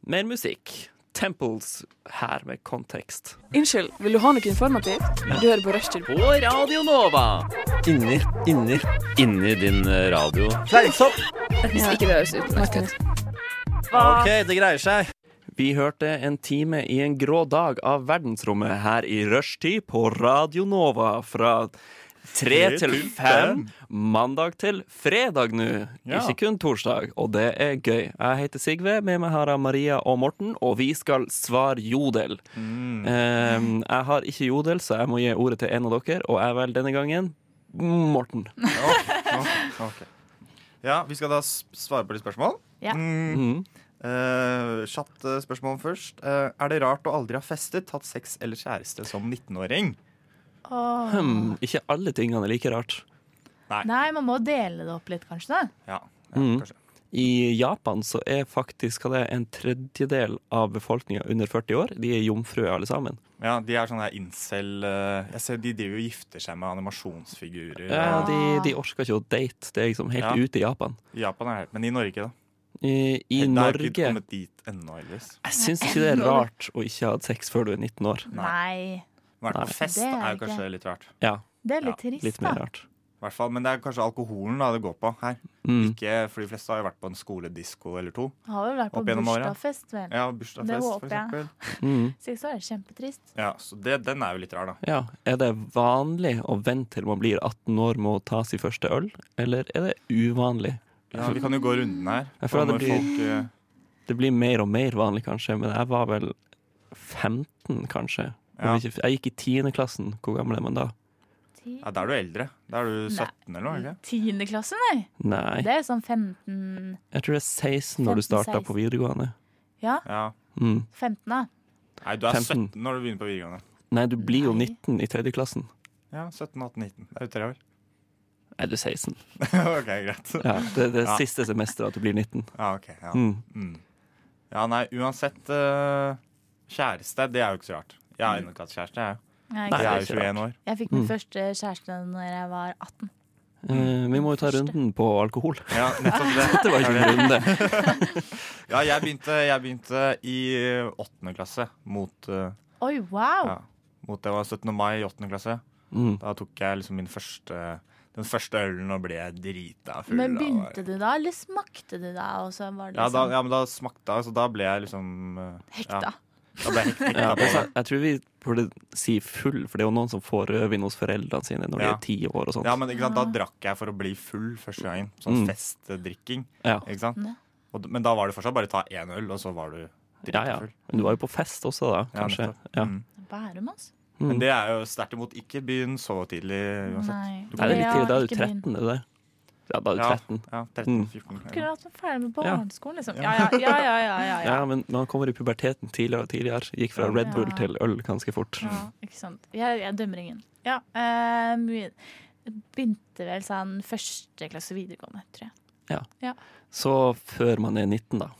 [SPEAKER 2] mer musikk. Temples her med kontekst.
[SPEAKER 8] Unnskyld, vil du ha noe informativt? Du hører på Rushtid.
[SPEAKER 9] På Radio Nova. Inni, inni, inni din eh, radio. Fleinsopp!
[SPEAKER 8] Hvis ikke det høres ut. Martin.
[SPEAKER 9] OK, det greier seg.
[SPEAKER 2] Vi hørte En time i en grå dag av verdensrommet her i rushtid på Radio Nova fra Tre til fem mandag til fredag nå. Ikke kun torsdag, og det er gøy. Jeg heter Sigve, med meg har jeg Maria og Morten, og vi skal svare jodel. Eh, jeg har ikke jodel, så jeg må gi ordet til en av dere, og jeg velger denne gangen Morten.
[SPEAKER 5] Ja, Vi skal da s- svare på litt spørsmål.
[SPEAKER 4] Ja.
[SPEAKER 5] Mm.
[SPEAKER 2] Mm.
[SPEAKER 5] Eh, Chat-spørsmål først. Eh, er det rart å aldri ha festet, hatt sex eller kjæreste som 19-åring?
[SPEAKER 4] Åh.
[SPEAKER 2] Hmm, ikke alle tingene er like rart.
[SPEAKER 4] Nei, man må dele det opp litt, kanskje. da.
[SPEAKER 5] Ja, ja
[SPEAKER 2] Mm.
[SPEAKER 5] kanskje.
[SPEAKER 2] I Japan så er faktisk hva det er, en tredjedel av befolkninga under 40 år. De er jomfruer alle sammen.
[SPEAKER 5] Ja, De er sånn der incel eh, Jeg ser De driver og gifter seg med animasjonsfigurer.
[SPEAKER 2] Ja, de, de orker ikke å date. Det er liksom helt
[SPEAKER 5] Ja.
[SPEAKER 2] ute i Japan.
[SPEAKER 5] I Japan er det, men i Norge, da?
[SPEAKER 2] I, i
[SPEAKER 5] Det er
[SPEAKER 2] Norge
[SPEAKER 5] ikke kommet dit ennå, Elvis.
[SPEAKER 2] Jeg syns ikke det er rart å ikke ha hatt sex før du er 19 år.
[SPEAKER 4] Nei.
[SPEAKER 5] I hvert
[SPEAKER 2] Nei.
[SPEAKER 5] fall fest
[SPEAKER 4] Det er
[SPEAKER 5] er jo
[SPEAKER 4] ikke-
[SPEAKER 5] kanskje litt rart.
[SPEAKER 2] Ja,
[SPEAKER 4] Det er litt
[SPEAKER 2] litt
[SPEAKER 4] trist,
[SPEAKER 2] mer
[SPEAKER 4] da.
[SPEAKER 2] rart.
[SPEAKER 5] I hvert fall, Men det er kanskje alkoholen da det går på her.
[SPEAKER 2] Mm.
[SPEAKER 5] Ikke, for de fleste har jo vært på en skoledisko eller to.
[SPEAKER 4] Har vel vært på
[SPEAKER 5] Opp gjennom åra.
[SPEAKER 4] bursdagsfest, vel.
[SPEAKER 5] Ja,
[SPEAKER 4] Det
[SPEAKER 5] bursdagsfest,
[SPEAKER 4] håper
[SPEAKER 5] for
[SPEAKER 4] jeg.
[SPEAKER 5] eksempel.
[SPEAKER 2] Mm.
[SPEAKER 4] Så ikke så er det kjempetrist.
[SPEAKER 5] Ja, så det, den er jo litt rar, da.
[SPEAKER 2] Ja. Er det vanlig å vente til man blir 18 år med å ta sin første øl, eller er det uvanlig?
[SPEAKER 5] Ja, vi kan jo gå runden her.
[SPEAKER 2] Jeg føler
[SPEAKER 5] på når
[SPEAKER 2] det blir-
[SPEAKER 5] folk, eh,
[SPEAKER 2] Det blir mer og mer vanlig, kanskje, men jeg var vel 15, kanskje. Om
[SPEAKER 5] Ja.
[SPEAKER 2] ikke- Jeg gikk i 10. klassen. Hvor gammel er man da?
[SPEAKER 4] Ti-
[SPEAKER 5] ja, Da er du eldre. Da er du 17 eller noe. ikke?
[SPEAKER 4] Tiende klasse, nei.
[SPEAKER 2] Nei,
[SPEAKER 4] Det er sånn 15
[SPEAKER 2] jeg tror det er 16 når du
[SPEAKER 4] 15,
[SPEAKER 2] starta på videregående. Mm.
[SPEAKER 4] Ja,
[SPEAKER 5] Ja.
[SPEAKER 4] 15, da.
[SPEAKER 5] Nei, du er
[SPEAKER 2] 15.
[SPEAKER 5] 17 når du begynner på videregående.
[SPEAKER 2] Nei, du blir jo
[SPEAKER 4] Nei.
[SPEAKER 2] 19 i tredje klassen.
[SPEAKER 5] Ja, 17, 18, 19. Det er jo tre år.
[SPEAKER 2] Er du 16?
[SPEAKER 5] ok, greit.
[SPEAKER 2] Ja, det er det
[SPEAKER 5] Ja.
[SPEAKER 2] siste semesteret at du blir 19.
[SPEAKER 5] Ja, ok. Ja,
[SPEAKER 2] Mm.
[SPEAKER 5] mm. ja nei, uansett eh, Kjæreste, det er jo ikke så rart. Jeg har ennå ikke hatt kjæreste, jeg.
[SPEAKER 4] Nei,
[SPEAKER 2] Nei,
[SPEAKER 4] ikke
[SPEAKER 5] Jeg
[SPEAKER 4] sant.
[SPEAKER 5] er jo
[SPEAKER 2] Mm. det er ikke
[SPEAKER 5] 21 år.
[SPEAKER 4] Jeg fikk min første kjæreste når jeg var 18.
[SPEAKER 2] Eh, vi må jo ta runden på alkohol.
[SPEAKER 5] Ja, nettopp det.
[SPEAKER 2] Det var ikke en runde.
[SPEAKER 5] Ja, jeg begynte, jeg begynte i åttende klasse mot, eh,
[SPEAKER 4] Oi, wow!
[SPEAKER 5] ja, mot Det var 17. mai i åttende klasse.
[SPEAKER 2] Mm.
[SPEAKER 5] Da tok jeg liksom min første den første ølen og ble drita full.
[SPEAKER 4] Men
[SPEAKER 5] da var-
[SPEAKER 4] begynte du da, eller smakte du da? Og så var det
[SPEAKER 5] ja, da,
[SPEAKER 4] liksom
[SPEAKER 5] ja, men da smakte jeg, så da ble jeg liksom eh,
[SPEAKER 4] hekta.
[SPEAKER 5] Ja, da ble jeg hek- hekta på
[SPEAKER 2] Ja,
[SPEAKER 5] det.
[SPEAKER 2] altså, jeg tror vi burde si full, for det er jo noen som får rødvin hos foreldrene sine når de
[SPEAKER 5] Ja.
[SPEAKER 2] er ti år og sånt.
[SPEAKER 5] Ja, men ikke sant, da drakk jeg for å bli full første gangen. Sånn
[SPEAKER 2] Mm.
[SPEAKER 5] festdrikking.
[SPEAKER 2] Ja.
[SPEAKER 5] Ikke sant?
[SPEAKER 4] Ja.
[SPEAKER 5] Og, d- men da var det fortsatt bare ta én øl, og så var du
[SPEAKER 2] Ja, ja.
[SPEAKER 5] dritafull.
[SPEAKER 2] Men du var jo på fest også, da,
[SPEAKER 5] Ja,
[SPEAKER 2] kanskje.
[SPEAKER 5] nettopp.
[SPEAKER 2] Ja. Mm.
[SPEAKER 5] Mm.
[SPEAKER 4] Bærum, altså.
[SPEAKER 5] Men det er jo sterkt imot ikke begynn så tidlig uansett.
[SPEAKER 4] Nei.
[SPEAKER 5] Du
[SPEAKER 2] Nei, det er litt tidlig. Da er du
[SPEAKER 4] ikke begynn.
[SPEAKER 2] 13, er du det? Ja, da er du
[SPEAKER 5] Ja,
[SPEAKER 2] 13.
[SPEAKER 5] ja,
[SPEAKER 2] Mm.
[SPEAKER 5] 13-14.
[SPEAKER 4] Kunne hatt meg ferdig med
[SPEAKER 2] Ja.
[SPEAKER 4] barneskolen, liksom. Ja, ja, ja, ja. ja, ja, ja.
[SPEAKER 2] Ja, men man kommer i puberteten tidligere og tidligere. Gikk fra
[SPEAKER 5] Ja.
[SPEAKER 2] Red Bull
[SPEAKER 4] Ja.
[SPEAKER 2] til øl ganske fort.
[SPEAKER 4] ja ikke sant. Jeg, jeg dømmer ingen. Ja, eh, mye- begynte vel sånn første klasse videregående, tror jeg.
[SPEAKER 2] Så før man er 19, da.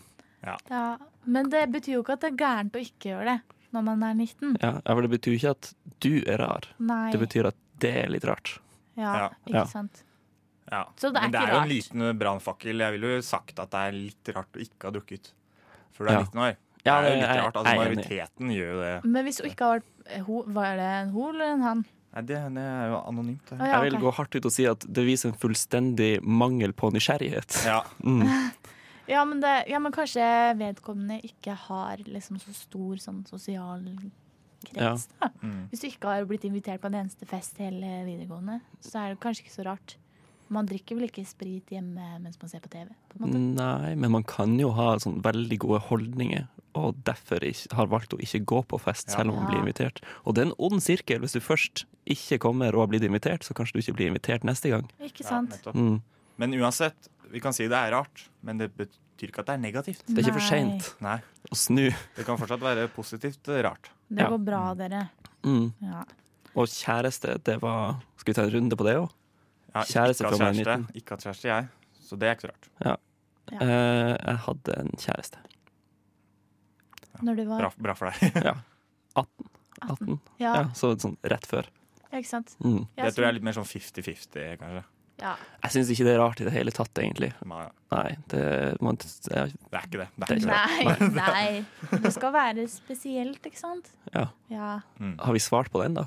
[SPEAKER 4] Ja. Men det betyr jo ikke at det er gærent å ikke gjøre det når man er 19.
[SPEAKER 2] Ja, ja, for det betyr jo ikke at du er rar.
[SPEAKER 4] Nei.
[SPEAKER 2] Det betyr at det er litt rart.
[SPEAKER 4] ja,
[SPEAKER 5] Ja.
[SPEAKER 4] ikke
[SPEAKER 2] Ja.
[SPEAKER 4] sant.
[SPEAKER 5] Ja.
[SPEAKER 4] Så det er
[SPEAKER 5] Men det
[SPEAKER 4] ikke
[SPEAKER 5] er jo en
[SPEAKER 4] rart.
[SPEAKER 5] liten brannfakkel. Jeg ville jo sagt at det er litt rart å ikke ha drukket før du er
[SPEAKER 2] Ja.
[SPEAKER 5] 19 år. Det
[SPEAKER 2] Ja,
[SPEAKER 5] er jo
[SPEAKER 2] det-
[SPEAKER 5] litt
[SPEAKER 2] jeg-
[SPEAKER 5] rart. Altså,
[SPEAKER 2] jeg er enig.
[SPEAKER 5] majoriteten gjør jo det.
[SPEAKER 4] Men hvis hun ikke har vært eh, ho, Var det en ho eller en han?
[SPEAKER 5] Nei, det, det er jo anonymt.
[SPEAKER 4] Å,
[SPEAKER 5] Det.
[SPEAKER 4] ja,
[SPEAKER 2] Jeg vil
[SPEAKER 4] ok.
[SPEAKER 2] gå hardt ut og si at det viser en fullstendig mangel på nysgjerrighet.
[SPEAKER 5] Ja.
[SPEAKER 4] Ja, men, det, ja, men kanskje vedkommende ikke har liksom så stor sånn sosial krets, da.
[SPEAKER 5] Mm.
[SPEAKER 4] Hvis du ikke har blitt invitert på en eneste fest hele videregående, så er det kanskje ikke så rart. Man drikker vel ikke sprit hjemme mens man ser på TV, på en måte.
[SPEAKER 2] Nei, men man kan jo ha sånn veldig gode holdninger, og derfor ikk- har valgt å ikke gå på fest, selv om man
[SPEAKER 4] Ja.
[SPEAKER 2] blir invitert. Og det er en ond sirkel. Hvis du først ikke kommer og har blitt invitert, så kanskje du ikke blir invitert neste gang.
[SPEAKER 4] Ikke
[SPEAKER 5] Ja,
[SPEAKER 4] sant?
[SPEAKER 5] nettopp.
[SPEAKER 2] Mm.
[SPEAKER 5] men uansett, vi kan si det er rart, men det betyr ikke at det er negativt.
[SPEAKER 2] Det er ikke for
[SPEAKER 4] Nei.
[SPEAKER 2] seint
[SPEAKER 5] Nei,
[SPEAKER 2] å snu.
[SPEAKER 5] Det kan fortsatt være positivt eh, rart.
[SPEAKER 4] Det
[SPEAKER 2] Ja.
[SPEAKER 4] går bra, dere.
[SPEAKER 2] Mm.
[SPEAKER 4] Ja.
[SPEAKER 2] Og kjæreste, det var Skal vi ta en runde på det òg?
[SPEAKER 5] Ja, ikke
[SPEAKER 2] Kjæreste
[SPEAKER 5] hatt
[SPEAKER 2] fra meg er
[SPEAKER 5] kjæreste.
[SPEAKER 2] 19.
[SPEAKER 5] Ikke hatt kjæreste, jeg. Så det er ikke så rart.
[SPEAKER 4] Ja.
[SPEAKER 2] Eh, jeg hadde en kjæreste.
[SPEAKER 4] Når du var
[SPEAKER 5] Bra, bra for deg.
[SPEAKER 2] 18.
[SPEAKER 4] Ja,
[SPEAKER 2] Ja, så sånn rett før.
[SPEAKER 4] ikke sant?
[SPEAKER 2] Mm.
[SPEAKER 4] Ja,
[SPEAKER 5] Det tror jeg er litt mer sånn 50-50, kanskje.
[SPEAKER 4] ja.
[SPEAKER 2] Jeg syns ikke det er rart i det hele tatt, egentlig.
[SPEAKER 5] Nei,
[SPEAKER 2] Nei, det, man, ja,
[SPEAKER 5] det er ikke det. det,
[SPEAKER 2] Det
[SPEAKER 5] er
[SPEAKER 2] er
[SPEAKER 5] ikke det.
[SPEAKER 4] Nei, nei. Det skal være spesielt, ikke sant?
[SPEAKER 2] ja.
[SPEAKER 4] Ja.
[SPEAKER 2] Har vi svart på den, da?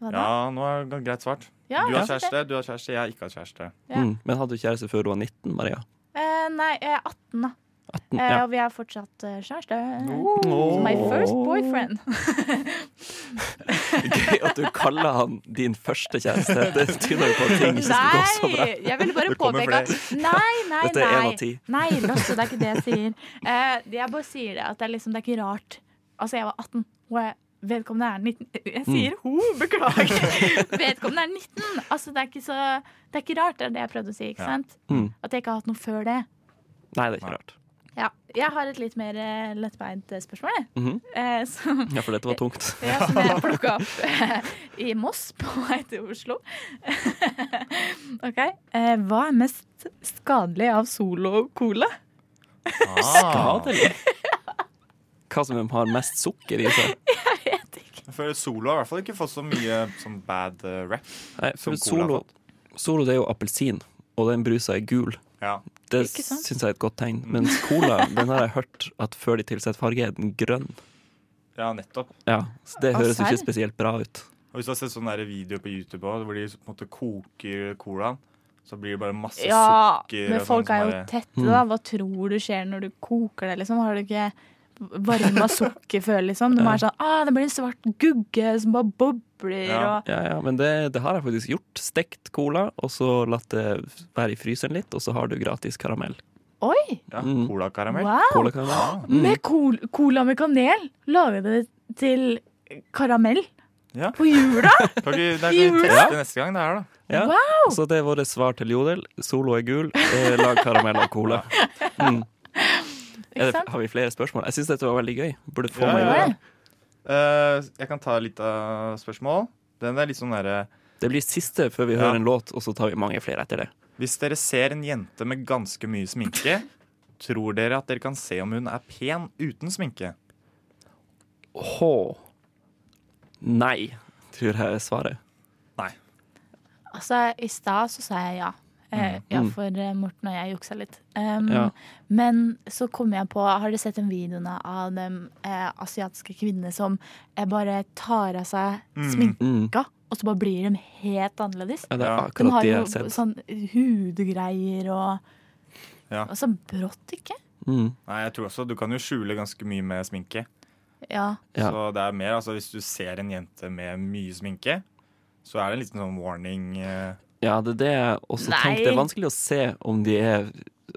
[SPEAKER 4] Hva da?
[SPEAKER 5] Ja, nå er det greit svart.
[SPEAKER 4] sånn, Ja,
[SPEAKER 5] Du har
[SPEAKER 4] kanskje det.
[SPEAKER 5] kjæreste, du har kjæreste, jeg har ikke hatt kjæreste.
[SPEAKER 4] Ja.
[SPEAKER 2] Mm. Men hadde du kjæreste før du var 19, Maria?
[SPEAKER 4] Eh, nei, jeg er 18, da.
[SPEAKER 2] 18,
[SPEAKER 4] Eh,
[SPEAKER 2] ja.
[SPEAKER 4] Og vi er fortsatt eh, kjæreste.
[SPEAKER 2] Oh.
[SPEAKER 4] My first boyfriend.
[SPEAKER 2] Gøy at du kaller han din første kjæreste. Det tyder jo på at ting ikke skulle gå så bra.
[SPEAKER 4] Nei, jeg ville bare
[SPEAKER 5] Det kommer
[SPEAKER 4] påpeke at Nei, nei,
[SPEAKER 2] Dette er en av
[SPEAKER 4] nei.
[SPEAKER 2] ti.
[SPEAKER 4] Nei, Lasse, det er ikke det jeg sier. Eh, det jeg bare sier det at det er liksom, det er ikke rart. Altså, jeg var 18, og jeg, vedkommende er 19.
[SPEAKER 2] Mm.
[SPEAKER 4] Jeg sier ho, beklager. Vedkommende er 19. Altså, det er ikke så Det er ikke rart, det er det jeg prøvde å si, ikke
[SPEAKER 5] Ja.
[SPEAKER 4] sant?
[SPEAKER 2] Mm.
[SPEAKER 4] At jeg ikke har hatt noe før det.
[SPEAKER 2] Nei, det er ikke rart.
[SPEAKER 4] Ja. Jeg har et litt mer eh, lettbeint eh, spørsmål, jeg.
[SPEAKER 2] Mhm.
[SPEAKER 4] Eh, som
[SPEAKER 2] Ja, for dette var tungt.
[SPEAKER 4] ja, som jeg plukka opp eh, i Moss på vei til Oslo. ok. Eh, hva er mest skadelig av Solo Cola?
[SPEAKER 5] Ah,
[SPEAKER 2] Skadelig. Hva som har mest sukker i seg.
[SPEAKER 5] Ah, jeg føler Solo har i hvert fall ikke fått så mye sånn bad eh, rap.
[SPEAKER 2] Nei, for
[SPEAKER 5] Som cola
[SPEAKER 2] solo, solo det er jo appelsin, og den brusa er gul.
[SPEAKER 5] Ja. Mm.
[SPEAKER 2] Det
[SPEAKER 4] Ikke sant?
[SPEAKER 2] syns jeg er et godt tegn. Mens cola den har jeg hørt at før de tilsetter farge, er den grønn.
[SPEAKER 5] ja, nettopp.
[SPEAKER 2] Ja, så Det
[SPEAKER 4] Å,
[SPEAKER 2] høres jo
[SPEAKER 4] serr?
[SPEAKER 2] ikke spesielt bra ut.
[SPEAKER 5] Og hvis du har sett sånne der videoer på YouTube også, hvor de på en måte koker colaen, så blir det bare masse
[SPEAKER 4] Ja,
[SPEAKER 5] sukker.
[SPEAKER 4] men
[SPEAKER 5] og
[SPEAKER 4] folk
[SPEAKER 5] sånn
[SPEAKER 4] er
[SPEAKER 5] som
[SPEAKER 4] jo
[SPEAKER 5] bare-
[SPEAKER 4] tette, da. Hva tror du skjer når du koker det, liksom? Har du ikke varma sukker før, liksom? De er sånn ah, det blir en svart gugge som bare bobler
[SPEAKER 5] Ja.
[SPEAKER 4] og
[SPEAKER 2] Ja, ja, Men det, det har jeg faktisk gjort. Stekt cola, og så latt det være i fryseren litt, og så har du gratis karamell.
[SPEAKER 4] Oi!
[SPEAKER 5] Ja, Mm.
[SPEAKER 2] Mm.
[SPEAKER 5] Colakaramell.
[SPEAKER 4] Wow!
[SPEAKER 2] Colakaramell.
[SPEAKER 4] Med col cola med kanel lager det til karamell
[SPEAKER 5] Ja.
[SPEAKER 4] på jula!
[SPEAKER 5] Kan ikke- det er
[SPEAKER 4] I
[SPEAKER 5] ikke
[SPEAKER 4] jula?
[SPEAKER 5] teste neste gang det er, da.
[SPEAKER 2] Ja.
[SPEAKER 4] Wow!
[SPEAKER 2] Så det er vårt svar til Jodel. Solo er gul, eh, lag karamell av cola. Mm. Er det,
[SPEAKER 4] sant?
[SPEAKER 2] har vi flere spørsmål? Jeg syns dette var veldig gøy. Burde få
[SPEAKER 5] Ja,
[SPEAKER 2] meg
[SPEAKER 5] ja.
[SPEAKER 2] med.
[SPEAKER 5] Eh, jeg kan ta litt av spørsmål. Den er litt sånn derre
[SPEAKER 2] Det blir siste før vi
[SPEAKER 5] Ja.
[SPEAKER 2] hører en låt, og så tar vi mange flere etter det.
[SPEAKER 5] Hvis dere ser en jente med ganske mye sminke, tror dere at dere kan se om hun er pen uten sminke?
[SPEAKER 2] Hå. Nei, tror jeg er svaret.
[SPEAKER 4] Altså, I stad så sa jeg ja. Eh, ja, for eh, Morten og jeg juksa litt.
[SPEAKER 2] Mm.
[SPEAKER 4] Um,
[SPEAKER 2] Ja.
[SPEAKER 4] Men så kom jeg på Har dere sett den videoen av de eh, asiatiske kvinnene som eh, bare tar av seg
[SPEAKER 5] Mm.
[SPEAKER 4] sminka, og så bare blir de helt annerledes?
[SPEAKER 2] Ja, det er
[SPEAKER 5] Ja.
[SPEAKER 4] De
[SPEAKER 2] Mm. akkurat
[SPEAKER 4] har
[SPEAKER 2] det jeg
[SPEAKER 4] jo
[SPEAKER 2] har sett.
[SPEAKER 4] sånn hudgreier og
[SPEAKER 5] Ja.
[SPEAKER 4] Og så brått, ikke?
[SPEAKER 2] Mm.
[SPEAKER 5] Nei, jeg tror også Du kan jo skjule ganske mye med sminke.
[SPEAKER 4] Ja.
[SPEAKER 2] Ja.
[SPEAKER 5] Så det er mer altså hvis du ser en jente med mye sminke, så er det en liten sånn warning. eh,
[SPEAKER 2] Ja, det er det jeg også
[SPEAKER 4] Nei.
[SPEAKER 2] tenkte. Det er vanskelig å se om de er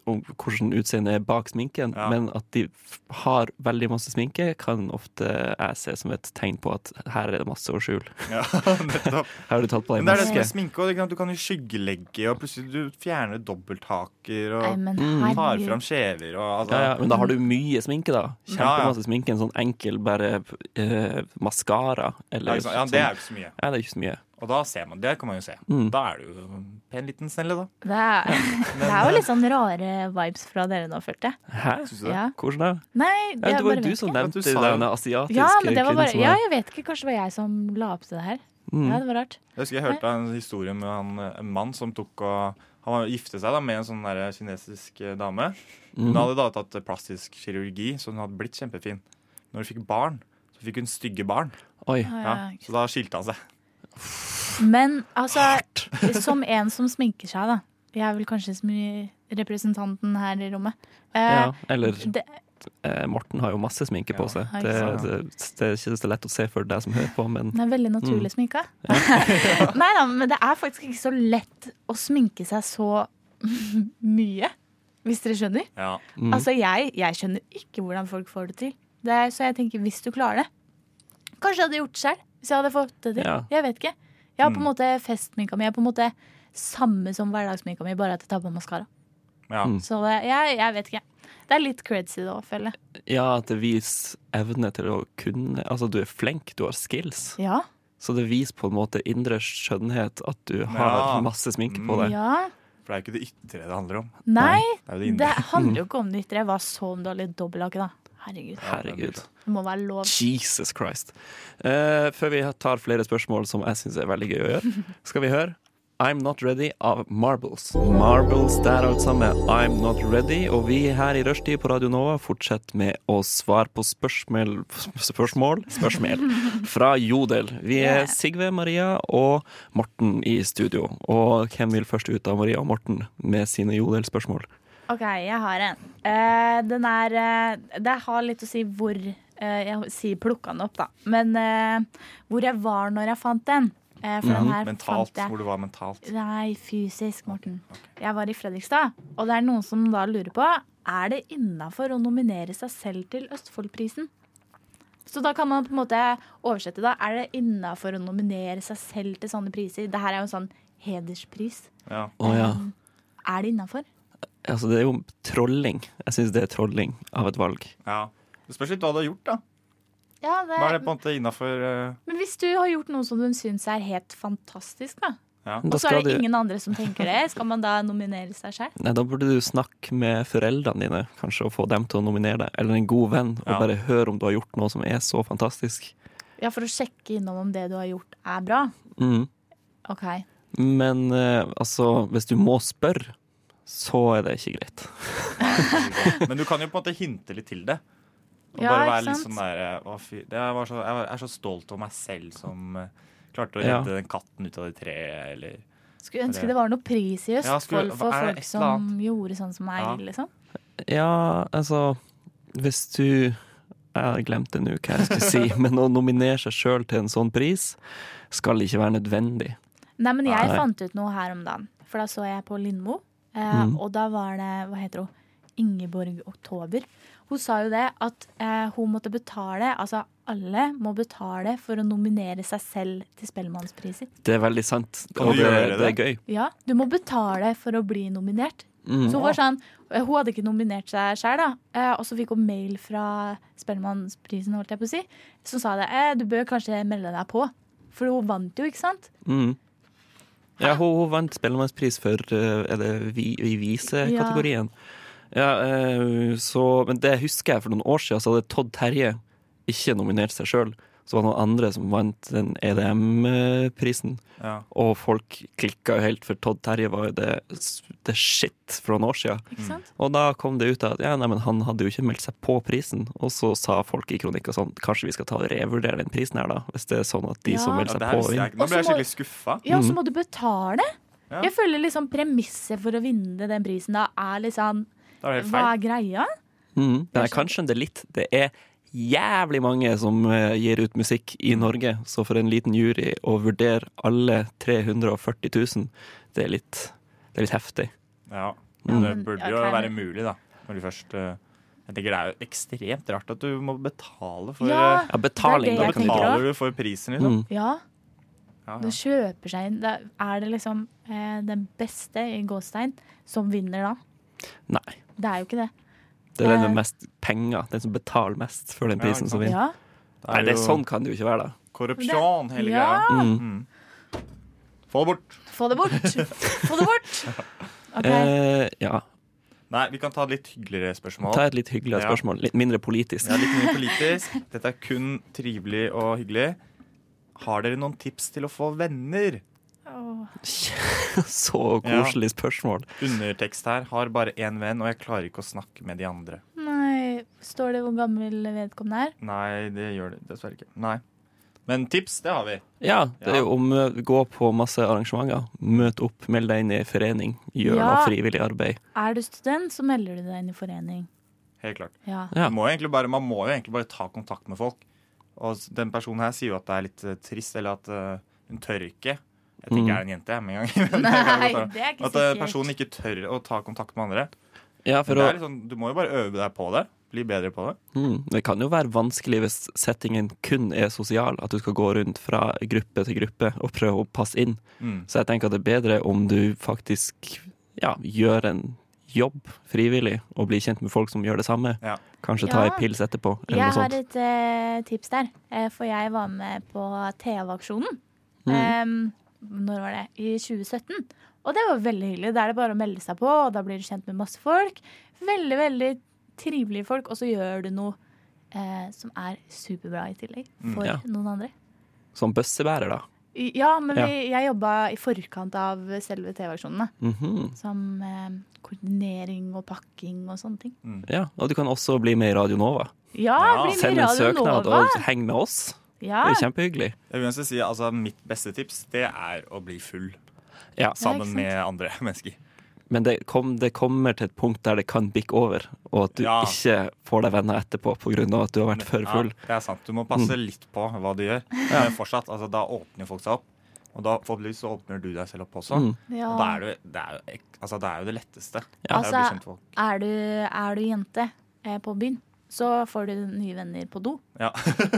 [SPEAKER 2] om hvordan utseendet er bak sminken,
[SPEAKER 5] Ja.
[SPEAKER 2] men at de f- har veldig masse sminke, kan ofte jeg se som et tegn på at her er det masse å skjule.
[SPEAKER 5] Ja, nettopp.
[SPEAKER 2] Her har du tatt på
[SPEAKER 5] Men
[SPEAKER 2] deg
[SPEAKER 5] det er det som
[SPEAKER 2] maske.
[SPEAKER 5] er sminke også, ikke sant? Du kan jo skyggelegge, og plutselig du fjerner dobbelthaker
[SPEAKER 4] Nei,
[SPEAKER 5] og
[SPEAKER 4] men
[SPEAKER 2] Mm.
[SPEAKER 5] tar fram
[SPEAKER 4] herregud.
[SPEAKER 5] skjever og altså.
[SPEAKER 2] Ja, ja, men da har du mye sminke, da. Kjempemasse sminke. En sånn enkel bare eh, maskara
[SPEAKER 5] Ja,
[SPEAKER 2] eller
[SPEAKER 5] ikke sant? ja, det er jo ikke så mye.
[SPEAKER 2] sånn. Ja, det er ikke så mye.
[SPEAKER 5] Og da ser man, det kan man jo se.
[SPEAKER 2] Mm.
[SPEAKER 5] Da er du jo en pen liten snelle, da.
[SPEAKER 4] Det er, det
[SPEAKER 5] eh,
[SPEAKER 4] er jo litt sånn rare vibes fra dere nå, følte jeg.
[SPEAKER 2] Hæ?
[SPEAKER 5] Syns du det?
[SPEAKER 4] Ja.
[SPEAKER 2] Hvordan da?
[SPEAKER 4] Nei,
[SPEAKER 2] Ja,
[SPEAKER 4] jeg
[SPEAKER 2] det var
[SPEAKER 4] bare
[SPEAKER 2] jo du
[SPEAKER 4] vet
[SPEAKER 2] som
[SPEAKER 4] ikke.
[SPEAKER 5] ikke.
[SPEAKER 2] nevnte
[SPEAKER 5] Du sa jo-
[SPEAKER 2] denne asiatiske
[SPEAKER 4] Ja, men det var bare,
[SPEAKER 2] kvinnen som Mm.
[SPEAKER 4] ja,
[SPEAKER 2] var
[SPEAKER 4] jeg vet ikke. Kanskje det var jeg som la opp til det her. Ja, det var rart.
[SPEAKER 5] Jeg husker jeg hørte en historie med han, en mann som tok og Han var gifte seg da med en sånn der kinesisk eh, dame.
[SPEAKER 2] Mhm.
[SPEAKER 5] Hun hadde da tatt plastisk kirurgi, så hun hadde blitt kjempefin. Når hun fikk barn, så fikk hun stygge barn.
[SPEAKER 2] Oi.
[SPEAKER 5] Ja, så da skilte han seg.
[SPEAKER 4] Men altså, som en som sminker seg, da. Jeg er vel kanskje så mye representanten her i rommet. Eh,
[SPEAKER 2] Ja, eller
[SPEAKER 4] det,
[SPEAKER 2] eh, Morten har jo masse sminke på seg.
[SPEAKER 4] Ja,
[SPEAKER 2] Det,
[SPEAKER 4] ikke
[SPEAKER 2] det, det er ikke så lett å se for deg som hører på, men
[SPEAKER 4] den er veldig naturlig
[SPEAKER 2] Mm.
[SPEAKER 4] sminka. Nei da, men det er faktisk ikke så lett å sminke seg så mye, hvis dere skjønner.
[SPEAKER 5] Ja.
[SPEAKER 2] Mm.
[SPEAKER 4] Altså, jeg, jeg skjønner ikke hvordan folk får det til. Det er, så jeg tenker, hvis du klarer det Kanskje jeg hadde gjort det selv, hvis jeg hadde fått det til.
[SPEAKER 2] Ja.
[SPEAKER 4] Jeg vet ikke. Jeg har på en måte festsminka mi. Jeg er på en måte samme som hverdagssminka mi, bare at jeg tar på maskara.
[SPEAKER 5] ja.
[SPEAKER 2] Mm.
[SPEAKER 4] Så det, jeg, jeg vet ikke. Det er litt creds i det òg, føler jeg.
[SPEAKER 2] ja, at det viser evne til å kunne Altså, du er flink, du har skills.
[SPEAKER 4] Ja.
[SPEAKER 2] Så det viser på en måte indre skjønnhet at du
[SPEAKER 5] Ja.
[SPEAKER 2] har masse sminke på deg.
[SPEAKER 4] Mm, ja.
[SPEAKER 5] For det er jo ikke det ytre det handler om.
[SPEAKER 4] Nei,
[SPEAKER 5] Det er jo det
[SPEAKER 4] det
[SPEAKER 5] indre.
[SPEAKER 4] handler jo ikke om det ytre. Hva så om du har litt sånn dobbelthake, da? Herregud.
[SPEAKER 2] Herregud.
[SPEAKER 4] Det må være lov.
[SPEAKER 2] Jesus Christ. Eh, før vi tar flere spørsmål som jeg syns er veldig gøy å gjøre, skal vi høre I'm Not Ready av Marbles. Marbles der altså med I'm Not Ready, og vi her i Rushtid på Radio Nova fortsetter med å svare på spørsmål Spørsmål? Spørsmål fra Jodel. Vi er
[SPEAKER 4] Yeah.
[SPEAKER 2] Sigve, Maria og Morten i studio. Og hvem vil først ut av Maria og Morten med sine Jodel-spørsmål?
[SPEAKER 4] OK, jeg har en. Eh, den er eh, Det har litt å si hvor eh, Jeg sier plukka den opp, da. Men eh, hvor jeg var når jeg fant den. Eh, for den her
[SPEAKER 5] Mhm. Mentalt.
[SPEAKER 4] fant
[SPEAKER 5] Hvor du var mentalt.
[SPEAKER 4] jeg Nei, fysisk, Morten. Jeg var i Fredrikstad, og det er noen som da lurer på Er det innafor å nominere seg selv til Østfoldprisen. Så da kan man på en måte oversette, da. Er det innafor å nominere seg selv til sånne priser? Det her er jo en sånn hederspris. Eh,
[SPEAKER 5] Ja.
[SPEAKER 2] Å ja.
[SPEAKER 4] Er det innafor?
[SPEAKER 2] Altså, det er jo trolling. Jeg syns det er trolling av et valg.
[SPEAKER 5] ja. Det spørs litt hva du har gjort, da.
[SPEAKER 4] Ja, det,
[SPEAKER 5] Hva er det på en måte innafor
[SPEAKER 4] Men hvis du har gjort noe som du syns er helt fantastisk, da.
[SPEAKER 5] Ja.
[SPEAKER 2] Da
[SPEAKER 4] Og så er
[SPEAKER 2] skal
[SPEAKER 4] det
[SPEAKER 2] du-
[SPEAKER 4] ingen andre som tenker det. Skal man da nominere seg selv?
[SPEAKER 2] Nei, da burde du snakke med foreldrene dine, kanskje, og få dem til å nominere deg. Eller en god venn, og
[SPEAKER 5] Ja.
[SPEAKER 2] bare høre om du har gjort noe som er så fantastisk.
[SPEAKER 4] Ja, for å sjekke innom om det du har gjort, er bra.
[SPEAKER 2] Mm.
[SPEAKER 4] OK.
[SPEAKER 2] Men eh, altså, hvis du må spørre, så er det ikke greit.
[SPEAKER 5] eh, Men du kan jo på en måte hinte litt til det. Og
[SPEAKER 4] Ja,
[SPEAKER 5] bare
[SPEAKER 4] ikke
[SPEAKER 5] være litt
[SPEAKER 4] sant?
[SPEAKER 5] sånn der eh, å, fy, det var så, Jeg er så stolt av meg selv som eh, klarte å
[SPEAKER 2] Ja.
[SPEAKER 5] redde den katten ut av det treet, eller
[SPEAKER 4] Skulle ønske det var noe pris i
[SPEAKER 5] Ja,
[SPEAKER 4] Østfold
[SPEAKER 5] skulle-
[SPEAKER 4] for
[SPEAKER 5] er det
[SPEAKER 4] folk
[SPEAKER 5] et eller
[SPEAKER 4] som gjorde sånn som meg,
[SPEAKER 5] Ja.
[SPEAKER 4] liksom.
[SPEAKER 2] Ja, altså, hvis du Jeg har glemt det nå, hva jeg skulle si, men å nominere seg sjøl til en sånn pris skal ikke være nødvendig.
[SPEAKER 4] Nei, men jeg
[SPEAKER 2] Nei.
[SPEAKER 4] fant ut noe her om dagen. For da så jeg på Lindmo, eh,
[SPEAKER 5] Mm.
[SPEAKER 4] og da var det Hva heter hun? Ingeborg Oktober. Hun sa jo det at eh, hun måtte betale Altså alle må betale for å nominere seg selv til Spellemannspriser.
[SPEAKER 2] Det er veldig sant,
[SPEAKER 5] Kan
[SPEAKER 2] og
[SPEAKER 5] du
[SPEAKER 2] det,
[SPEAKER 5] gjøre
[SPEAKER 2] det er
[SPEAKER 5] det?
[SPEAKER 2] gøy.
[SPEAKER 4] Ja, du må betale for å bli nominert.
[SPEAKER 2] Mm.
[SPEAKER 4] Så hun var sånn Hun hadde ikke nominert seg sjøl, da. Eh, og så fikk hun mail fra Spellemannsprisen, holdt jeg på å si, som sa det. Eh, du bør kanskje melde deg på. For hun vant jo, ikke sant?
[SPEAKER 2] Mm. Ja, hun, hun vant Spellemannspris for eh, Er det vi, i visekategorien? Ja, eh, så Men det husker jeg for noen år siden, så hadde Todd Terje ikke nominert seg sjøl. Så var det noen andre som vant den EDM-prisen,
[SPEAKER 5] Ja.
[SPEAKER 2] og folk klikka jo helt, for Todd Terje var jo det, det shit for noen år siden.
[SPEAKER 4] Ikke sant?
[SPEAKER 2] Og da kom det ut at ja, nei, men han hadde jo ikke meldt seg på prisen. Og så sa folk i kronikken sånn, kanskje vi skal ta og revurdere den prisen her, da. Hvis det er sånn at de
[SPEAKER 4] Ja.
[SPEAKER 2] som
[SPEAKER 5] Ja, det
[SPEAKER 2] melder seg
[SPEAKER 5] her
[SPEAKER 2] på,
[SPEAKER 5] visste
[SPEAKER 2] vinner.
[SPEAKER 5] jeg ikke. Nå ble jeg
[SPEAKER 4] Også må-
[SPEAKER 5] skikkelig skuffa.
[SPEAKER 4] Ja, og så må du betale.
[SPEAKER 5] Ja.
[SPEAKER 4] Jeg føler liksom premisset for å vinne den prisen da er liksom
[SPEAKER 5] Da er det helt
[SPEAKER 4] Hva
[SPEAKER 5] feil.
[SPEAKER 4] er greia?
[SPEAKER 2] Mm. Men jeg kan skjønne det litt. Det er jævlig mange som eh, gir ut musikk i Norge, så for en liten jury å vurdere alle 340 000, det er litt, det er litt heftig.
[SPEAKER 5] Ja.
[SPEAKER 4] Ja,
[SPEAKER 5] Men
[SPEAKER 2] Mm.
[SPEAKER 5] det
[SPEAKER 4] men-
[SPEAKER 5] burde
[SPEAKER 4] ja,
[SPEAKER 5] jo
[SPEAKER 4] ok,
[SPEAKER 5] være
[SPEAKER 4] men-
[SPEAKER 5] mulig, da. Når du først eh, Jeg tenker det er jo ekstremt rart at du må betale for
[SPEAKER 4] Ja,
[SPEAKER 5] eh,
[SPEAKER 2] Ja, betaling,
[SPEAKER 4] Det
[SPEAKER 5] Da
[SPEAKER 4] er det jeg
[SPEAKER 2] da. Kan du,
[SPEAKER 4] tenker
[SPEAKER 5] betaler du for prisen, liksom.
[SPEAKER 2] mm.
[SPEAKER 4] Ja,
[SPEAKER 5] Ja,
[SPEAKER 4] det
[SPEAKER 5] ja.
[SPEAKER 4] kjøper seg inn. Da er det liksom eh, den beste i gåstein som vinner da?
[SPEAKER 2] Nei.
[SPEAKER 4] Det er jo ikke det.
[SPEAKER 2] Det er den
[SPEAKER 4] Eh.
[SPEAKER 2] med mest penger, den som betaler mest for den
[SPEAKER 5] Ja,
[SPEAKER 2] prisen
[SPEAKER 5] ikke
[SPEAKER 2] som
[SPEAKER 5] sant.
[SPEAKER 2] vinner.
[SPEAKER 4] Ja,
[SPEAKER 5] Da
[SPEAKER 2] Nei, det er
[SPEAKER 5] jo
[SPEAKER 2] sånn kan det jo ikke være, da.
[SPEAKER 5] Korrupsjon, hele
[SPEAKER 4] Ja.
[SPEAKER 5] greia.
[SPEAKER 2] Mm.
[SPEAKER 5] Få det bort.
[SPEAKER 4] Få det bort! Få det bort! Ok,
[SPEAKER 2] Eh, ja.
[SPEAKER 5] Nei, vi kan ta et litt hyggeligere spørsmål.
[SPEAKER 2] Ta et litt hyggeligere
[SPEAKER 5] Ja.
[SPEAKER 2] spørsmål. Litt mindre politisk.
[SPEAKER 5] Ja, litt mye politisk. Dette er kun trivelig og hyggelig. Har dere noen tips til å få venner?
[SPEAKER 2] Så koselig spørsmål.
[SPEAKER 5] Undertekst her. Har bare én venn, og jeg klarer ikke å snakke med de andre.
[SPEAKER 4] Nei, står det hvor gammel vedkommende er?
[SPEAKER 5] Nei, det gjør det dessverre ikke. Nei. Men tips, det har vi.
[SPEAKER 2] Ja, det er jo om eh, gå på masse arrangementer. Møt opp, meld deg inn i forening. Gjør
[SPEAKER 4] Ja.
[SPEAKER 2] noe frivillig arbeid.
[SPEAKER 4] Er du student, så melder du deg inn i forening.
[SPEAKER 5] Helt klart.
[SPEAKER 4] Ja.
[SPEAKER 2] Ja.
[SPEAKER 5] Du må jo egentlig bare, man må jo egentlig bare ta kontakt med folk. Og s- den personen her sier jo at det er litt eh, trist, eller at eh, hun tør ikke. Jeg tenker
[SPEAKER 2] Mm.
[SPEAKER 5] jeg er en jente, jeg, med en gang. Men det kan
[SPEAKER 4] Nei,
[SPEAKER 5] jeg godt
[SPEAKER 4] det er
[SPEAKER 5] ta.
[SPEAKER 4] ikke
[SPEAKER 5] At eh, personen
[SPEAKER 4] sikkert.
[SPEAKER 5] ikke tør å ta kontakt med andre.
[SPEAKER 2] Ja,
[SPEAKER 5] Men
[SPEAKER 2] for
[SPEAKER 5] det
[SPEAKER 2] å,
[SPEAKER 5] er litt sånn, du må jo bare øve deg på det. Bli bedre på det.
[SPEAKER 2] mm, det kan jo være vanskelig hvis settingen kun er sosial, at du skal gå rundt fra gruppe til gruppe og prøve å passe inn.
[SPEAKER 5] Mm.
[SPEAKER 2] Så jeg tenker at det er bedre om du faktisk ja, gjør en jobb frivillig og blir kjent med folk som gjør det samme.
[SPEAKER 5] Ja.
[SPEAKER 2] Kanskje ta
[SPEAKER 4] Ja.
[SPEAKER 2] ei pils etterpå, eller
[SPEAKER 4] Jeg
[SPEAKER 2] noe sånt.
[SPEAKER 4] har et eh, tips der, eh, for jeg var med på TV-aksjonen. Em, når var det? I 2017. Og det var veldig hyggelig. Da er det bare å melde seg på, og da blir du kjent med masse folk. Veldig, veldig trivelige folk, og så gjør du noe eh, som er superbra i tillegg for
[SPEAKER 2] ja.
[SPEAKER 4] noen andre.
[SPEAKER 2] Som bøssebærer, da.
[SPEAKER 4] I- Ja, men vi, jeg jobba i forkant av selve TV-aksjonen, da.
[SPEAKER 2] Mhm.
[SPEAKER 4] Som eh, koordinering og pakking og sånne ting.
[SPEAKER 5] Mm.
[SPEAKER 2] Ja, og du kan også bli med i Radio Nova.
[SPEAKER 4] Ja,
[SPEAKER 5] Ja,
[SPEAKER 4] bli med
[SPEAKER 2] Send
[SPEAKER 4] i
[SPEAKER 2] en
[SPEAKER 4] Radio
[SPEAKER 2] søknad
[SPEAKER 4] Nova! Ah.
[SPEAKER 2] og heng med oss.
[SPEAKER 4] Ja.
[SPEAKER 2] Det er jo kjempehyggelig.
[SPEAKER 5] Jeg vil uansett si altså, Mitt beste tips det er å bli full
[SPEAKER 2] Ja.
[SPEAKER 5] sammen
[SPEAKER 4] sant?
[SPEAKER 5] med andre mennesker.
[SPEAKER 2] Men det, kom, det kommer til et punkt der det kan bikke over, og at du
[SPEAKER 5] Ja.
[SPEAKER 2] ikke får deg venner etterpå pga. at du har vært for full. Mm.
[SPEAKER 5] Ja, det er sant. Du må passe litt på hva du gjør. Men fortsatt, altså, da åpner folk seg opp. Og da forhåpentligvis så åpner du deg selv opp også.
[SPEAKER 2] Mm.
[SPEAKER 4] Ja.
[SPEAKER 5] Og da er det, jo- det, er jo, ek- altså, det er jo det letteste. Det
[SPEAKER 4] Ja.
[SPEAKER 5] er å bli
[SPEAKER 4] Altså-
[SPEAKER 5] kjent med folk.
[SPEAKER 4] Er du, er du jente eh, på byen, så får du nye venner på do.
[SPEAKER 5] Ja.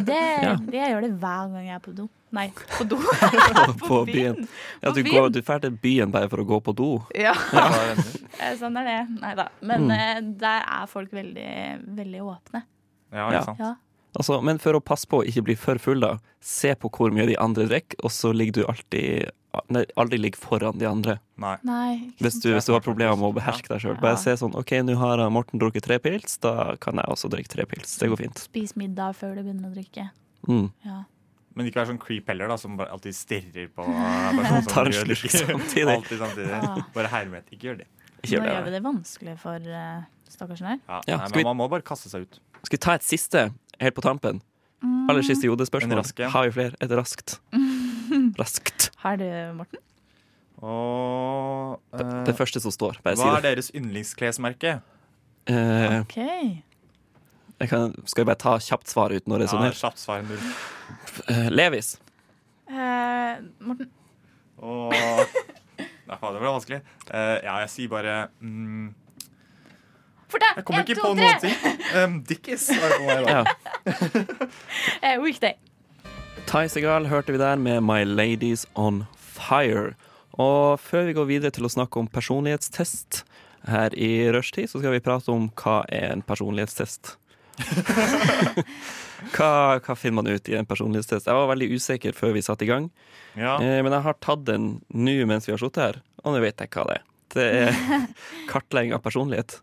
[SPEAKER 4] Det,
[SPEAKER 2] Ja.
[SPEAKER 4] det jeg gjør det hver gang jeg er på do. Nei, på do.
[SPEAKER 2] på byen. Ja,
[SPEAKER 4] På
[SPEAKER 2] du
[SPEAKER 4] byen.
[SPEAKER 2] går- du drar til byen bare for å gå på do.
[SPEAKER 4] Ja,
[SPEAKER 5] Ja.
[SPEAKER 4] eh, sånn er det. Nei da. Men
[SPEAKER 2] Mm.
[SPEAKER 4] eh, der er folk veldig, veldig åpne.
[SPEAKER 5] Ja,
[SPEAKER 2] Ja.
[SPEAKER 5] ikke sant?
[SPEAKER 4] Ja.
[SPEAKER 2] Altså, men for å passe på å ikke bli for full, da, se på hvor mye de andre drikker, og så ligger du alltid Nei, aldri ligg foran de andre.
[SPEAKER 5] Nei.
[SPEAKER 4] Nei, ikke
[SPEAKER 2] Hvis
[SPEAKER 4] sant.
[SPEAKER 2] du, hvis du har problemer med å beherske deg sjøl.
[SPEAKER 4] Ja.
[SPEAKER 2] Bare se sånn OK, nå har Morten drukket tre pils, da kan jeg også drikke tre pils. Det går fint.
[SPEAKER 4] Spis middag før du begynner å drikke.
[SPEAKER 2] Mm.
[SPEAKER 4] Ja.
[SPEAKER 5] Men ikke være sånn creep heller, da, som bare alltid stirrer på personen. som
[SPEAKER 2] Tar en
[SPEAKER 5] gjør det.
[SPEAKER 2] slurk samtidig.
[SPEAKER 5] Alltid samtidig. Bare hermet. Ikke gjør det.
[SPEAKER 2] Ikke
[SPEAKER 4] Nå
[SPEAKER 2] gjør
[SPEAKER 4] gjør vi
[SPEAKER 2] det.
[SPEAKER 4] det vanskelig for eh, stakkarsen her.
[SPEAKER 5] Ja.
[SPEAKER 2] Ja,
[SPEAKER 5] Nei,
[SPEAKER 2] skal vi-
[SPEAKER 5] men man må bare kaste seg ut.
[SPEAKER 2] Skal vi ta et siste, helt på tampen? Aller siste
[SPEAKER 5] En
[SPEAKER 2] jodespørsmål.
[SPEAKER 5] rask, ja.
[SPEAKER 2] Har vi flere? Et raskt. Raskt.
[SPEAKER 4] Har du, Morten?
[SPEAKER 5] Og eh,
[SPEAKER 2] Det første som står. Bare si
[SPEAKER 5] Hva er
[SPEAKER 2] det.
[SPEAKER 5] deres yndlingsklesmerke?
[SPEAKER 2] Eh,
[SPEAKER 4] OK.
[SPEAKER 2] jeg kan, skal jeg bare ta kjapt svar uten å
[SPEAKER 5] Ja,
[SPEAKER 2] resonnere?
[SPEAKER 5] Kjapt svar null.
[SPEAKER 2] Eh, Levis.
[SPEAKER 4] Eh, Morten?
[SPEAKER 5] Og Nei, faen, det ble vanskelig. Eh, ja, jeg sier bare mm,
[SPEAKER 4] Fort, da!
[SPEAKER 5] Jeg kommer
[SPEAKER 4] En,
[SPEAKER 5] ikke
[SPEAKER 4] to,
[SPEAKER 5] på
[SPEAKER 4] tre!
[SPEAKER 5] noen ting. Um, Dickies var det på meg, da.
[SPEAKER 2] Ja.
[SPEAKER 4] Eh, weekday.
[SPEAKER 2] Ty Segal hørte vi der med My Ladies On Fire. Og før vi går videre til å snakke om personlighetstest her i rushtid, så skal vi prate om hva er en personlighetstest. hva, hva finner man ut i en personlighetstest? Jeg var veldig usikker før vi satte i gang,
[SPEAKER 5] Ja.
[SPEAKER 2] eh, men jeg har tatt den nå mens vi har sittet her, og nå vet jeg hva det er. Det er kartlegging av personlighet.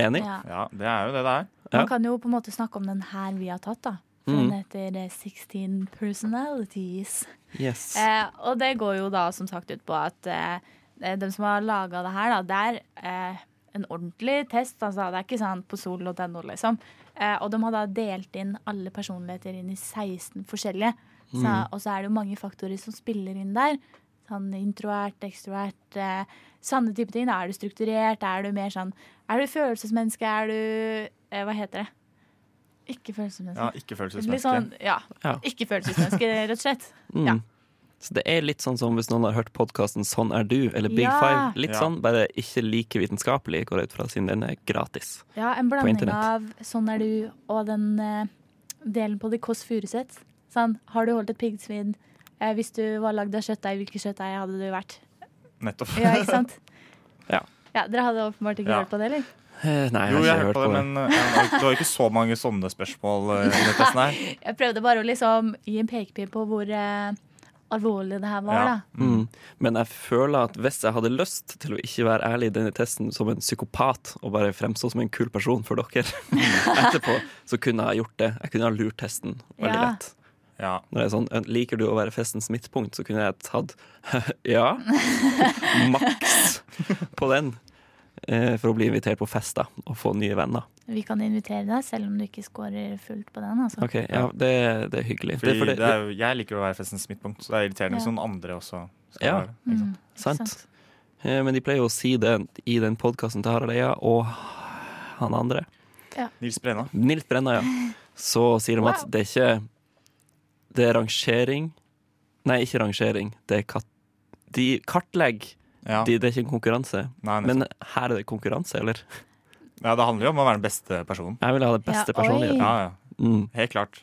[SPEAKER 2] Enig?
[SPEAKER 4] Ja.
[SPEAKER 5] ja, det er jo det det er.
[SPEAKER 2] Ja.
[SPEAKER 4] Man kan jo på en måte snakke om den her vi har tatt, da. For
[SPEAKER 2] Mm.
[SPEAKER 4] Den heter eh, 16 Personalities.
[SPEAKER 2] Yes.
[SPEAKER 4] Eh, og det går jo da som sagt ut på at eh, de som har laga det her, da, det er eh, en ordentlig test. Altså, det er ikke sånn på sol.no, liksom. Eh, og de har da delt inn alle personligheter inn i 16 forskjellige. Så,
[SPEAKER 5] Mm.
[SPEAKER 4] Og så er det jo mange faktorer som spiller inn der. Sånn introvert, ekstrovert, eh, sanne type ting. Da. Er du strukturert? Er du mer sånn Er du følelsesmenneske? Er du eh, Hva heter det? Ikke følelsesmenneske.
[SPEAKER 5] Ja, ikke
[SPEAKER 4] Litt
[SPEAKER 5] følelsesmenneske.
[SPEAKER 4] sånn, ja.
[SPEAKER 2] Ja.
[SPEAKER 4] Ikke følelsesmenneske, rett og slett.
[SPEAKER 2] Mm.
[SPEAKER 4] Ja.
[SPEAKER 2] Så det er litt sånn som hvis noen har hørt podkasten 'Sånn er du' eller 'Big
[SPEAKER 4] Ja.
[SPEAKER 2] Five'. Litt
[SPEAKER 5] Ja.
[SPEAKER 2] sånn, bare ikke like vitenskapelig, går jeg ut fra, siden den er gratis.
[SPEAKER 4] Ja, en blanding
[SPEAKER 2] internett.
[SPEAKER 4] av 'Sånn er du' og den eh, delen på The Kåss Furuseth. Sånn, har du holdt et piggsvin? Eh, hvis du var lagd av kjøttdeig, hvilket kjøttdeig hadde du vært?
[SPEAKER 5] Nettopp.
[SPEAKER 4] Ja, ikke sant?
[SPEAKER 2] Ja.
[SPEAKER 4] ja Dere hadde åpenbart ikke
[SPEAKER 5] Ja.
[SPEAKER 4] hørt på det, eller?
[SPEAKER 2] Eh, Nei,
[SPEAKER 5] Jo, jeg har hørt
[SPEAKER 2] ikke
[SPEAKER 5] på det, men eh, ja, det var ikke så mange sånne spørsmål. eh, i denne testen her.
[SPEAKER 4] Jeg prøvde bare å liksom gi en pekepinn på hvor eh, alvorlig det her var,
[SPEAKER 5] Ja.
[SPEAKER 4] da.
[SPEAKER 2] Mm. Men jeg føler at hvis jeg hadde lyst til å ikke være ærlig i denne testen som en psykopat, og bare fremstå som en kul person for dere etterpå, så kunne jeg gjort det. Jeg kunne ha lurt testen veldig
[SPEAKER 4] Ja.
[SPEAKER 2] lett.
[SPEAKER 5] Ja.
[SPEAKER 2] Når det er sånn, Liker du å være festens midtpunkt, så kunne jeg tatt ja, maks på den. eh, For å bli invitert på fest da, og få nye venner.
[SPEAKER 4] Vi kan invitere deg, selv om du ikke scorer fullt på den. Altså.
[SPEAKER 2] Ok, ja, Det, det er
[SPEAKER 5] Fordi
[SPEAKER 2] hyggelig. det, er fordi-
[SPEAKER 5] det er jo, jeg liker å være festens midtpunkt, så det er irriterende hvis
[SPEAKER 4] Ja. Mm.
[SPEAKER 5] noen andre også skal
[SPEAKER 2] Ja.
[SPEAKER 5] være det. Ikke sant?
[SPEAKER 2] sant. Eh, Men de pleier jo å si det i den podkasten til Harald Eia og han andre.
[SPEAKER 5] Nils Brenna.
[SPEAKER 2] Nils Brenna, ja. Så sier de at det er ikke Det er rangering Nei, ikke rangering. Det er kat... De kartlegger.
[SPEAKER 5] Ja.
[SPEAKER 2] De, det er ikke en konkurranse.
[SPEAKER 5] Nei, nettopp.
[SPEAKER 2] Men her er det konkurranse, eller?
[SPEAKER 5] ja, det handler jo om å være den beste personen.
[SPEAKER 2] Jeg vil ha det beste
[SPEAKER 4] Ja, oi.
[SPEAKER 2] personligheten.
[SPEAKER 5] Ja, ja.
[SPEAKER 2] Mm.
[SPEAKER 5] Helt klart.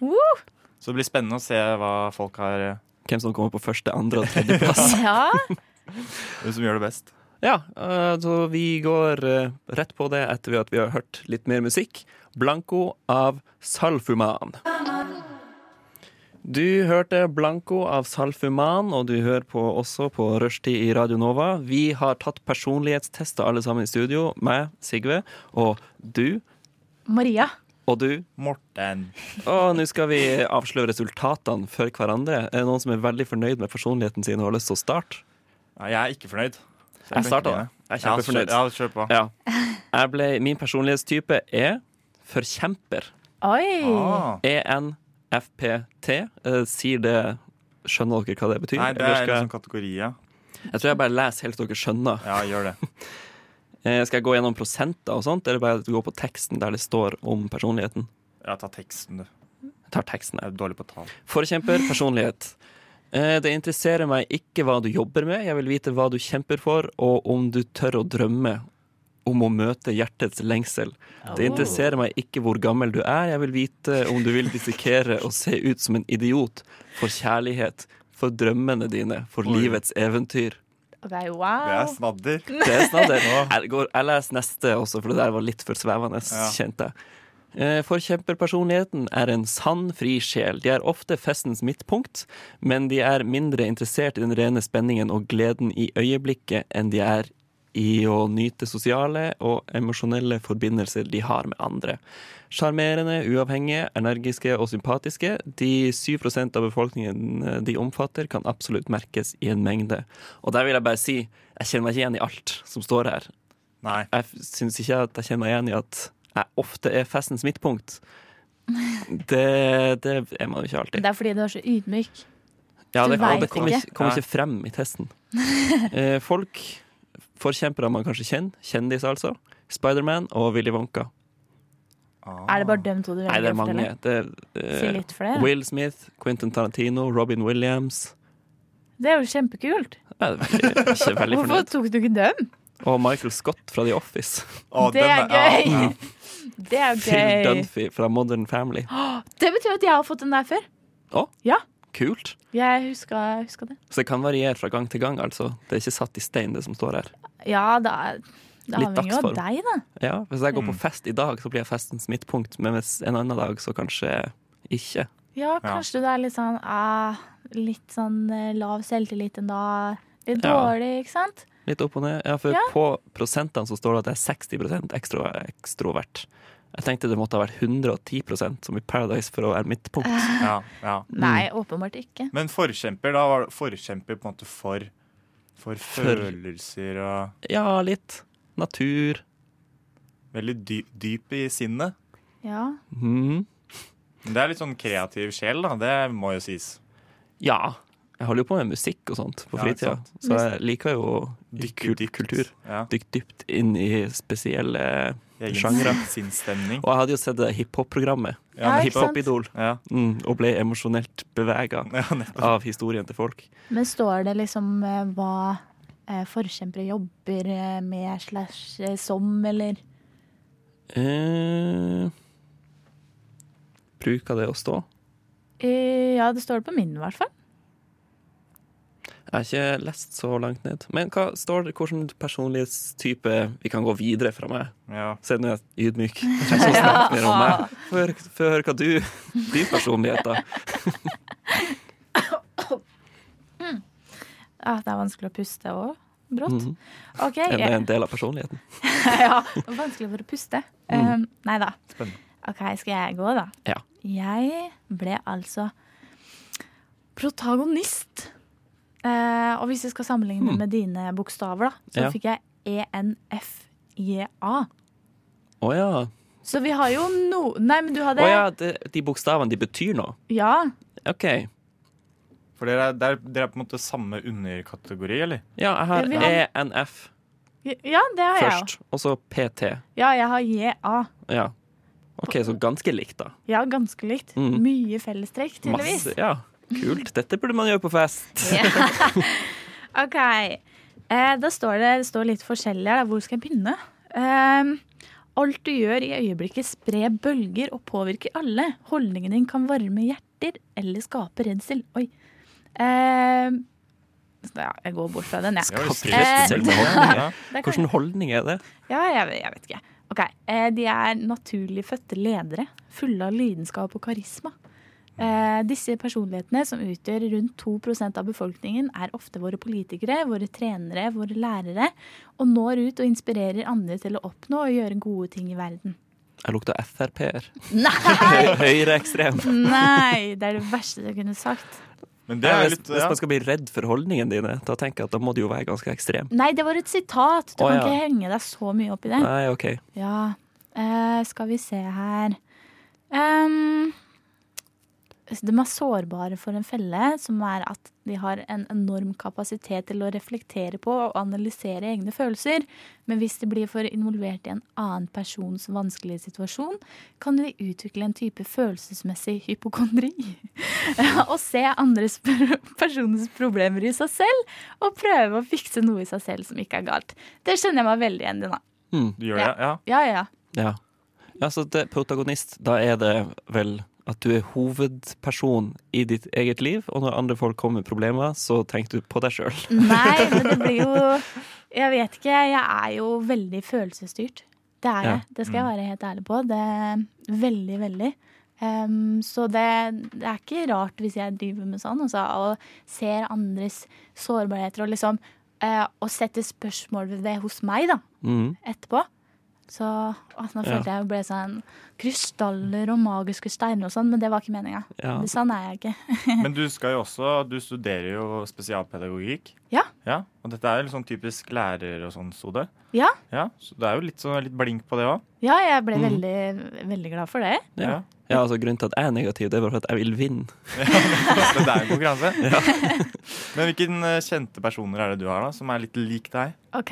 [SPEAKER 5] Så det blir spennende å se hva folk har eh,
[SPEAKER 2] Hvem som kommer på første, andre og tredjeplass.
[SPEAKER 4] Ja,
[SPEAKER 5] Hvem som gjør det best.
[SPEAKER 2] Ja, eh, så vi går eh, rett på det etter at vi har hørt litt mer musikk. Blanco av Salfuman. Du hørte Blanco av Salfuman, og du hører på også på Rushtid i Radio Nova. Vi har tatt personlighetstester alle sammen i studio, meg, Sigve, og du,
[SPEAKER 4] Maria.
[SPEAKER 2] og du.
[SPEAKER 5] Morten.
[SPEAKER 2] Og nå skal vi avsløre resultatene for hverandre. Er det noen som er veldig fornøyd med personligheten sin og har lyst til å starte?
[SPEAKER 5] Ja, jeg er ikke fornøyd. Så
[SPEAKER 2] Jeg
[SPEAKER 5] kan ikke
[SPEAKER 2] starter, da.
[SPEAKER 5] begynne.
[SPEAKER 2] Jeg er kjempefornøyd.
[SPEAKER 5] Ja, kjør, ja, kjør på.
[SPEAKER 2] Ja. Jeg ble, min personlighetstype er forkjemper. E
[SPEAKER 4] Oi!
[SPEAKER 5] Ah.
[SPEAKER 2] ENFPT. Eh, Sier det Skjønner dere hva det betyr?
[SPEAKER 5] Nei, det
[SPEAKER 2] Eller
[SPEAKER 5] er
[SPEAKER 2] skal
[SPEAKER 5] en
[SPEAKER 2] jeg,
[SPEAKER 5] sånn kategori, ja.
[SPEAKER 2] jeg tror jeg bare leser helt til dere skjønner.
[SPEAKER 5] Ja, gjør det.
[SPEAKER 2] Eh, Skal jeg gå gjennom prosenter og sånt, eller bare gå på teksten der det står om personligheten?
[SPEAKER 5] Ja, ta teksten, du.
[SPEAKER 2] Jeg tar teksten her.
[SPEAKER 5] Jeg er dårlig på tall.
[SPEAKER 2] Forkjemper, personlighet. Eh, Det interesserer meg ikke hva du jobber med, jeg vil vite hva du kjemper for, og om du tør å drømme om å møte hjertets lengsel. Det interesserer meg ikke hvor gammel du er, jeg vil vite om du vil dissekere og se ut som en idiot for kjærlighet, for drømmene dine, for livets eventyr.
[SPEAKER 4] Ok,
[SPEAKER 5] Det er
[SPEAKER 4] wow.
[SPEAKER 5] snadder.
[SPEAKER 2] Det er snadder. Jeg, går, jeg leser neste også, for det der var litt for svevende, kjente jeg. Eh, Forkjemperpersonligheten er en sann, fri sjel. De er ofte festens midtpunkt, men de er mindre interessert i den rene spenningen og gleden i øyeblikket enn de er i å nyte sosiale og emosjonelle forbindelser de har med andre. Sjarmerende, uavhengige, energiske og sympatiske. De 7 av befolkningen eh, de omfatter, kan absolutt merkes i en mengde. Og der vil jeg bare si jeg kjenner meg ikke igjen i alt som står her.
[SPEAKER 5] Nei.
[SPEAKER 2] Jeg syns ikke at jeg kjenner meg igjen i at jeg ofte er festens midtpunkt. Det, det er man jo ikke alltid.
[SPEAKER 4] Det er fordi du er så ydmyk.
[SPEAKER 2] Ja,
[SPEAKER 4] Du
[SPEAKER 2] det, og
[SPEAKER 4] vet
[SPEAKER 2] det kom
[SPEAKER 4] ikke.
[SPEAKER 2] ikke, kom ikke frem i testen. Eh, folk, forkjempere man kanskje kjenner, kjendis altså, Spiderman og Willy Wonka.
[SPEAKER 5] Ah.
[SPEAKER 4] Er det bare dem to du
[SPEAKER 2] Nei,
[SPEAKER 4] velger
[SPEAKER 2] det er
[SPEAKER 4] å
[SPEAKER 2] mange.
[SPEAKER 4] fortelle?
[SPEAKER 2] Det,
[SPEAKER 4] Si
[SPEAKER 2] er, eh,
[SPEAKER 4] litt flere.
[SPEAKER 2] Will Smith, Quentin Tarantino, Robin Williams.
[SPEAKER 4] Det er jo kjempekult.
[SPEAKER 2] Jeg er veldig, ikke veldig
[SPEAKER 4] Hvorfor
[SPEAKER 2] fornøyd.
[SPEAKER 4] tok du ikke dem?
[SPEAKER 2] Og Michael Scott fra The Office.
[SPEAKER 5] Å,
[SPEAKER 4] Det er
[SPEAKER 5] den ah. ja,
[SPEAKER 4] gøy!
[SPEAKER 5] ja.
[SPEAKER 4] Det er jo
[SPEAKER 2] Phil
[SPEAKER 4] gøy.
[SPEAKER 2] Dunphy fra Modern Family.
[SPEAKER 4] Det betyr at jeg har fått den der før.
[SPEAKER 2] Kult.
[SPEAKER 4] Jeg huska, jeg huska det.
[SPEAKER 2] Så det kan variere fra gang til gang, altså. Det er ikke satt i stein, det som står her.
[SPEAKER 4] Ja, det er det
[SPEAKER 2] Litt
[SPEAKER 4] avhenger jo av
[SPEAKER 2] dagsform.
[SPEAKER 4] deg, da.
[SPEAKER 2] Ja, Hvis jeg går på
[SPEAKER 5] Mm.
[SPEAKER 2] fest i dag, så blir jeg festens midtpunkt, men hvis en annen dag, så kanskje ikke.
[SPEAKER 4] Ja, kanskje du er litt sånn ah, Litt sånn eh, lav selvtillit en dag. Litt
[SPEAKER 2] Ja.
[SPEAKER 4] dårlig, ikke sant?
[SPEAKER 2] Litt opp og ned. Ja, for på prosentene så står det at jeg er 60 ekstro, ekstrovert. Jeg tenkte det måtte ha vært 110 som i Paradise for å være midtpunkt.
[SPEAKER 5] ja, ja.
[SPEAKER 2] Mm.
[SPEAKER 4] Nei, åpenbart ikke.
[SPEAKER 5] Men forkjemper, da var det forkjemper på en måte for For følelser og
[SPEAKER 2] Ja, litt. Natur.
[SPEAKER 5] Veldig dyp, dyp i sinnet.
[SPEAKER 4] Ja.
[SPEAKER 2] Mhm.
[SPEAKER 5] Men det er litt sånn kreativ sjel, da. Det må jo sies.
[SPEAKER 2] Ja. Jeg holder jo på med musikk og sånt på
[SPEAKER 5] Ja, ikke
[SPEAKER 2] fritida, så jeg liker jo
[SPEAKER 5] Dykke
[SPEAKER 2] kul- kultur.
[SPEAKER 5] Ja.
[SPEAKER 2] Dykke dypt inn i spesielle
[SPEAKER 5] Egen
[SPEAKER 2] Sjangre.
[SPEAKER 5] sinnsstemning.
[SPEAKER 2] Og jeg hadde jo sett det hiphop-programmet.
[SPEAKER 4] Ja, ikke sant?
[SPEAKER 2] Hiphop-idol.
[SPEAKER 5] Ja.
[SPEAKER 2] Mm, og ble emosjonelt bevega
[SPEAKER 5] Ja, nettopp.
[SPEAKER 2] av historien til folk.
[SPEAKER 4] Men står det liksom eh, hva eh, forkjempere jobber eh, med slash eh, som, eller
[SPEAKER 2] Eh, bruker det å stå?
[SPEAKER 4] Eh, Ja, det står det på min, i hvert fall.
[SPEAKER 2] Jeg har ikke lest så langt ned. Men hva står det, hvilken personlighetstype vi kan gå videre fra meg?
[SPEAKER 5] ja.
[SPEAKER 2] Se, nå er jeg ydmyk. Jeg trenger ikke å snakke mer om meg. Få høre- Få høre hva du Din personlighet, da.
[SPEAKER 4] Ja, det er vanskelig å puste òg. Brått.
[SPEAKER 2] Mhm.
[SPEAKER 4] OK.
[SPEAKER 2] Er det
[SPEAKER 4] jeg-
[SPEAKER 2] en del av personligheten?
[SPEAKER 4] ja, det var vanskelig for å puste. Um, nei da.
[SPEAKER 5] Spennende.
[SPEAKER 4] OK, skal jeg gå, da?
[SPEAKER 2] Mm. Ja.
[SPEAKER 4] Jeg ble altså protagonist. Eh, og hvis jeg skal sammenligne
[SPEAKER 2] Mm.
[SPEAKER 4] med dine bokstaver, da, så
[SPEAKER 2] Ja.
[SPEAKER 4] fikk jeg E ENFJA.
[SPEAKER 2] Å ja.
[SPEAKER 4] Så vi har jo no... Nei, men du hadde
[SPEAKER 2] Å ja det, de bokstavene, de betyr noe?
[SPEAKER 4] ja.
[SPEAKER 2] OK.
[SPEAKER 5] For dere er, dere, dere er på en måte samme underkategori, eller?
[SPEAKER 2] Ja, jeg har
[SPEAKER 4] Ja, vi har-
[SPEAKER 2] ENF
[SPEAKER 4] Ja, det har jeg òg.
[SPEAKER 2] først, og så PT.
[SPEAKER 4] Ja, jeg har JA.
[SPEAKER 2] Ja. OK, så ganske likt, da.
[SPEAKER 4] Ja, ganske likt.
[SPEAKER 2] Mm.
[SPEAKER 4] Mye fellestrekk, tydeligvis.
[SPEAKER 2] Masse, ja. Kult. Dette burde man gjøre på fest.
[SPEAKER 4] OK. Eh, da står det, det står litt forskjellig her. da. Hvor skal jeg begynne? Ehm, alt du gjør i øyeblikket, spre bølger og påvirke alle. Holdningen din kan varme hjerter eller skape redsel. Oi. Ehm, så ja, jeg går bort fra den, jeg.
[SPEAKER 5] Ja,
[SPEAKER 2] Kapris,
[SPEAKER 4] Eh,
[SPEAKER 2] selv
[SPEAKER 5] Ja,
[SPEAKER 2] med hånd.
[SPEAKER 5] ja.
[SPEAKER 4] Der kan jeg-
[SPEAKER 2] Hvilken holdning er det?
[SPEAKER 4] Ja, jeg, vet- jeg vet ikke. Ok, eh, De er naturlig fødte ledere, fulle av lidenskap og karisma. Eh, disse personlighetene, som utgjør rundt 2 av befolkningen, er ofte våre politikere, våre trenere, våre lærere, og når ut og inspirerer andre til å oppnå og gjøre gode ting i verden.
[SPEAKER 2] Jeg lukter Frp-er.
[SPEAKER 4] Nei!
[SPEAKER 2] Høyreekstrem.
[SPEAKER 4] Nei! Det er det verste du kunne sagt.
[SPEAKER 5] Men det
[SPEAKER 2] Ja,
[SPEAKER 5] er
[SPEAKER 2] Hvis,
[SPEAKER 5] litt
[SPEAKER 2] hvis
[SPEAKER 5] ja.
[SPEAKER 2] man skal bli redd for holdningene dine, da tenker jeg at da må du jo være ganske ekstrem.
[SPEAKER 4] Nei, det var et sitat. Du
[SPEAKER 2] Å,
[SPEAKER 4] kan
[SPEAKER 2] ja.
[SPEAKER 4] ikke henge deg så mye opp i det.
[SPEAKER 2] Nei, OK.
[SPEAKER 4] Ja, eh, skal vi se her Ehm, De er sårbare for en felle, som er at de har en enorm kapasitet til å reflektere på og analysere egne følelser. Men hvis de blir for involvert i en annen persons vanskelige situasjon, kan de utvikle en type følelsesmessig hypokondri. og se andres per- personers problemer i seg selv, og prøve å fikse noe i seg selv som ikke er galt. Det kjenner jeg meg veldig igjen i, da.
[SPEAKER 5] Du gjør det? Ja.
[SPEAKER 4] Ja, ja, ja.
[SPEAKER 2] Hmm, Ja. ja, så det, protagonist, da er det vel at du er hovedperson i ditt eget liv, og når andre folk kommer med problemer, så tenker du på deg sjøl.
[SPEAKER 4] Nei, men det blir jo Jeg vet ikke. Jeg er jo veldig følelsesstyrt. Det er
[SPEAKER 2] Ja. Mm.
[SPEAKER 4] jeg. Det skal jeg være helt ærlig på. Det er Veldig, veldig. Ehm, så det, det er ikke rart hvis jeg driver med sånn altså, og ser andres sårbarheter og liksom eh, Og setter spørsmål ved det hos meg, da,
[SPEAKER 2] Mm.
[SPEAKER 4] etterpå. Så å, nå
[SPEAKER 2] Ja.
[SPEAKER 4] følte jeg jeg ble sånn Krystaller og magiske steiner og sånn, men det var ikke meninga.
[SPEAKER 2] Ja.
[SPEAKER 4] Sånn er jeg ikke.
[SPEAKER 5] Men du skal jo også Du studerer jo spesialpedagogikk.
[SPEAKER 4] Ja.
[SPEAKER 5] ja. Og dette er jo litt sånn typisk lærer og sånn, Sode.
[SPEAKER 4] Ja,
[SPEAKER 5] Ja, så det er jo litt, sånn, litt blink på det òg.
[SPEAKER 4] ja jeg
[SPEAKER 2] Mm.
[SPEAKER 4] ble veldig, veldig glad for det.
[SPEAKER 2] Ja. ja, altså Grunnen til at jeg er negativ, det er bare for at jeg vil vinne.
[SPEAKER 5] Men det er jo konkurranse. Men hvilken eh, kjente personer er det du har, da, som er litt lik deg?
[SPEAKER 4] Ok,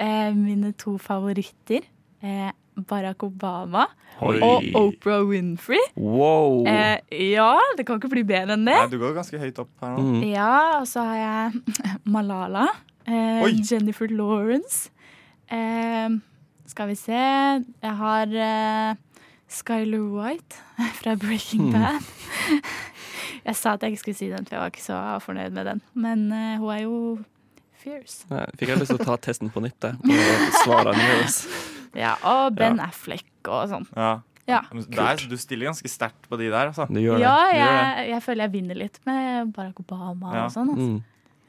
[SPEAKER 4] eh, mine to favoritter eh, Barack Obama og Oprah Winfrey.
[SPEAKER 2] Wow!
[SPEAKER 4] Eh, ja, det kan ikke bli bedre enn det.
[SPEAKER 5] Nei, du går ganske høyt opp her nå.
[SPEAKER 2] Mm.
[SPEAKER 4] Ja, og så har jeg Malala, eh,
[SPEAKER 5] Oi.
[SPEAKER 4] Jennifer Lawrence. Eh, skal vi se Jeg har eh, Skyler White fra Breaking Bad. Jeg sa at jeg ikke skulle si den, for jeg var ikke så fornøyd med den. Men eh, hun er jo fierce.
[SPEAKER 2] Nei, fikk jeg lyst til å ta testen på nytt, jeg. Og svare annerledes.
[SPEAKER 4] Ja, og Ben Affleck og sånn.
[SPEAKER 5] Ja.
[SPEAKER 4] Ja.
[SPEAKER 5] Men Der, du stiller ganske sterkt på de der, altså.
[SPEAKER 2] Det gjør det.
[SPEAKER 4] Ja,
[SPEAKER 5] Det gjør
[SPEAKER 4] jeg, jeg føler jeg vinner litt med Barack Obama
[SPEAKER 5] Ja.
[SPEAKER 4] og sånn. Altså.
[SPEAKER 2] Mm.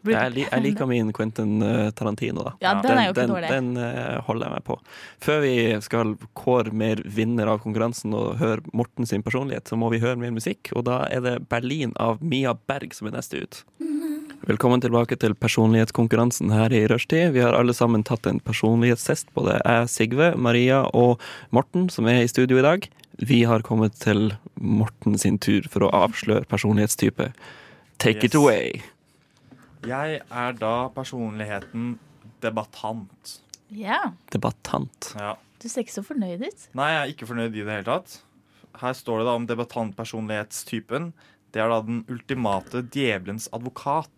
[SPEAKER 2] Jeg, li jeg liker min Quentin eh, Tarantino, da.
[SPEAKER 4] Ja, den er jo ikke
[SPEAKER 2] den,
[SPEAKER 4] dårlig.
[SPEAKER 2] den eh, holder jeg meg på. Før vi skal kåre mer vinner av konkurransen og høre Morten sin personlighet, så må vi høre mer musikk, og da er det Berlin av Mia Berg som er neste ut. Velkommen tilbake til personlighetskonkurransen her i Rushtid. Vi har alle sammen tatt en personlighetstest, både jeg, Sigve, Maria og Morten, som er i studio i dag. Vi har kommet til Morten sin tur for å avsløre personlighetstype. Take
[SPEAKER 5] Yes.
[SPEAKER 2] it away.
[SPEAKER 5] Jeg er da personligheten debattant.
[SPEAKER 4] Ja,
[SPEAKER 2] Debattant.
[SPEAKER 5] Ja.
[SPEAKER 4] Du ser ikke så fornøyd ut.
[SPEAKER 5] Nei, jeg er ikke fornøyd i det hele tatt. Her står det da om debattantpersonlighetstypen. Det er da den ultimate djevelens advokat.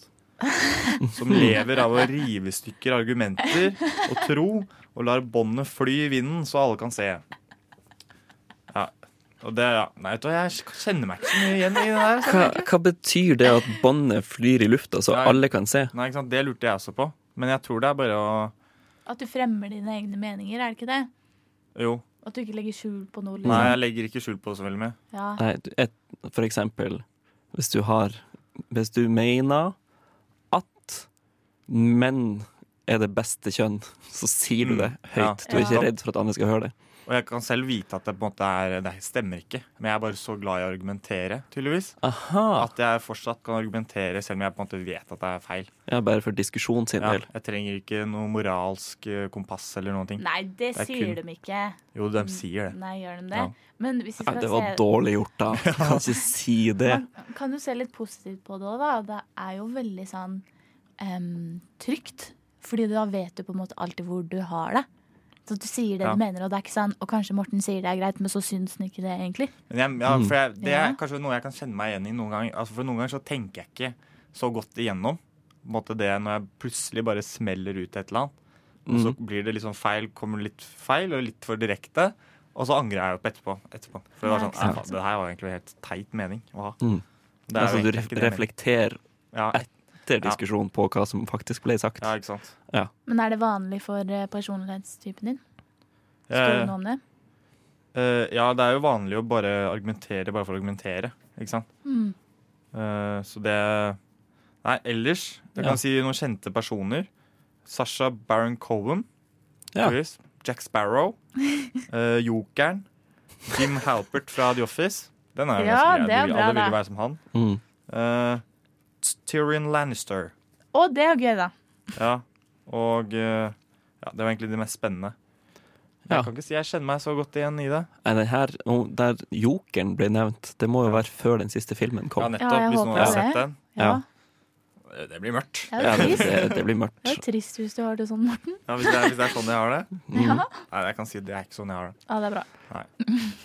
[SPEAKER 5] Som lever av å rive i stykker argumenter og tro, og lar båndet fly i vinden så alle kan se. Ja. Og det, ja. Nei, vet du, hva, jeg kjenner meg ikke så mye igjen i det der. altså.
[SPEAKER 2] Hva, hva betyr det at båndet flyr i lufta så
[SPEAKER 5] Nei.
[SPEAKER 2] alle kan se?
[SPEAKER 5] Nei, ikke sant? Det lurte jeg også på. Men jeg tror det er bare å
[SPEAKER 4] At du fremmer dine egne meninger, er det ikke det?
[SPEAKER 5] Jo.
[SPEAKER 4] At du ikke legger skjul på noe.
[SPEAKER 5] Nei,
[SPEAKER 4] Liksom.
[SPEAKER 5] jeg legger ikke skjul på det så veldig mye.
[SPEAKER 4] Ja.
[SPEAKER 2] Nei, du- et, for eksempel hvis du har Hvis du mener at menn er det beste kjønn, så sier du det
[SPEAKER 5] Mm, ja.
[SPEAKER 2] høyt. Du er
[SPEAKER 4] Ja.
[SPEAKER 2] ikke redd for at andre skal høre det.
[SPEAKER 5] Og jeg kan selv vite at det på en måte er, det stemmer ikke. Men jeg er bare så glad i å argumentere, tydeligvis.
[SPEAKER 2] Aha!
[SPEAKER 5] At jeg fortsatt kan argumentere selv om jeg på en måte vet at det er feil.
[SPEAKER 2] Ja, bare for diskusjon sin
[SPEAKER 5] Ja,
[SPEAKER 2] del.
[SPEAKER 5] jeg trenger ikke noe moralsk eh, kompass eller noen ting.
[SPEAKER 4] Nei, det
[SPEAKER 5] Det er kun-
[SPEAKER 4] sier de ikke.
[SPEAKER 5] Jo, de sier det.
[SPEAKER 4] Nei, gjør de det?
[SPEAKER 5] Ja.
[SPEAKER 4] Men hvis vi
[SPEAKER 2] Ja,
[SPEAKER 4] skal
[SPEAKER 2] det var
[SPEAKER 4] se
[SPEAKER 2] dårlig gjort, da. Du Kan ikke si det.
[SPEAKER 4] Kan du se litt positivt på det òg, da? Det er jo veldig sånn em, trygt. Fordi da vet du på en måte alltid hvor du har det. Så du sier det
[SPEAKER 5] Ja.
[SPEAKER 4] du mener, og det er ikke sånn Og kanskje Morten sier det er greit, men så syns han ikke det, egentlig.
[SPEAKER 5] Men jeg, ja, for jeg, det er
[SPEAKER 4] Ja.
[SPEAKER 5] kanskje noe jeg kan kjenne meg igjen i noen ganger. Altså, for noen ganger så tenker jeg ikke så godt igjennom på en måte det når jeg plutselig bare smeller ut et eller annet. Og så blir det litt sånn feil, kommer litt feil og litt for direkte. Og så angrer jeg jo på etterpå. etterpå. For det var
[SPEAKER 4] Ja,
[SPEAKER 5] sånn,
[SPEAKER 4] ikke sant.
[SPEAKER 5] "Nei, faen, det her var egentlig helt teit mening å ha.
[SPEAKER 2] Mm.
[SPEAKER 5] Det er jo
[SPEAKER 2] Altså, du
[SPEAKER 5] egentlig
[SPEAKER 2] ref-
[SPEAKER 5] ikke det jeg mener.
[SPEAKER 2] reflekterer
[SPEAKER 5] Ja,
[SPEAKER 2] etter diskusjonen på hva som faktisk ble sagt.
[SPEAKER 5] ja, ikke sant.
[SPEAKER 4] Men er det vanlig for eh, personlighetstypen din? Står
[SPEAKER 5] Eh,
[SPEAKER 4] det noe om det?
[SPEAKER 5] eh, ja, det er jo vanlig å bare argumentere bare for å argumentere, ikke sant.
[SPEAKER 4] Mm.
[SPEAKER 5] Eh, så det Nei, ellers Jeg
[SPEAKER 2] Ja.
[SPEAKER 5] kan si noen kjente personer. Sasha Baron Cohen.
[SPEAKER 2] Ja.
[SPEAKER 5] Chris, Jack Sparrow. eh, Jokeren. Jim Halpert fra The Office. Den er jo
[SPEAKER 4] Ja,
[SPEAKER 5] ganske grei.
[SPEAKER 4] det er
[SPEAKER 5] Du-
[SPEAKER 4] bra,
[SPEAKER 5] Alle vil
[SPEAKER 4] det.
[SPEAKER 5] jo være som han.
[SPEAKER 2] Mm.
[SPEAKER 5] Eh, Tyrion Lannister.
[SPEAKER 4] Å, det er jo gøy, da.
[SPEAKER 5] Ja. Og eh, ja, det var egentlig det mest spennende.
[SPEAKER 2] Ja.
[SPEAKER 5] Jeg kan ikke si jeg kjenner meg så godt igjen i det.
[SPEAKER 2] Nei, den her, og der jokeren ble nevnt, det må jo være før den siste filmen
[SPEAKER 5] Ja,
[SPEAKER 2] kom.
[SPEAKER 5] nettopp,
[SPEAKER 4] Ja, jeg
[SPEAKER 5] hvis
[SPEAKER 4] håper
[SPEAKER 5] noen har
[SPEAKER 4] det.
[SPEAKER 5] sett den.
[SPEAKER 4] Ja.
[SPEAKER 2] Ja.
[SPEAKER 5] Det blir mørkt.
[SPEAKER 4] Det
[SPEAKER 2] Ja,
[SPEAKER 4] er jo
[SPEAKER 2] det,
[SPEAKER 4] trist.
[SPEAKER 2] det, det blir
[SPEAKER 4] Det er jo
[SPEAKER 2] mørkt.
[SPEAKER 4] trist hvis du har det sånn, Morten.
[SPEAKER 5] Ja, hvis, det er, hvis det er sånn jeg har det.
[SPEAKER 2] Mm.
[SPEAKER 4] Ja.
[SPEAKER 5] Nei, jeg kan si det er ikke sånn jeg har det.
[SPEAKER 4] ja, det er bra.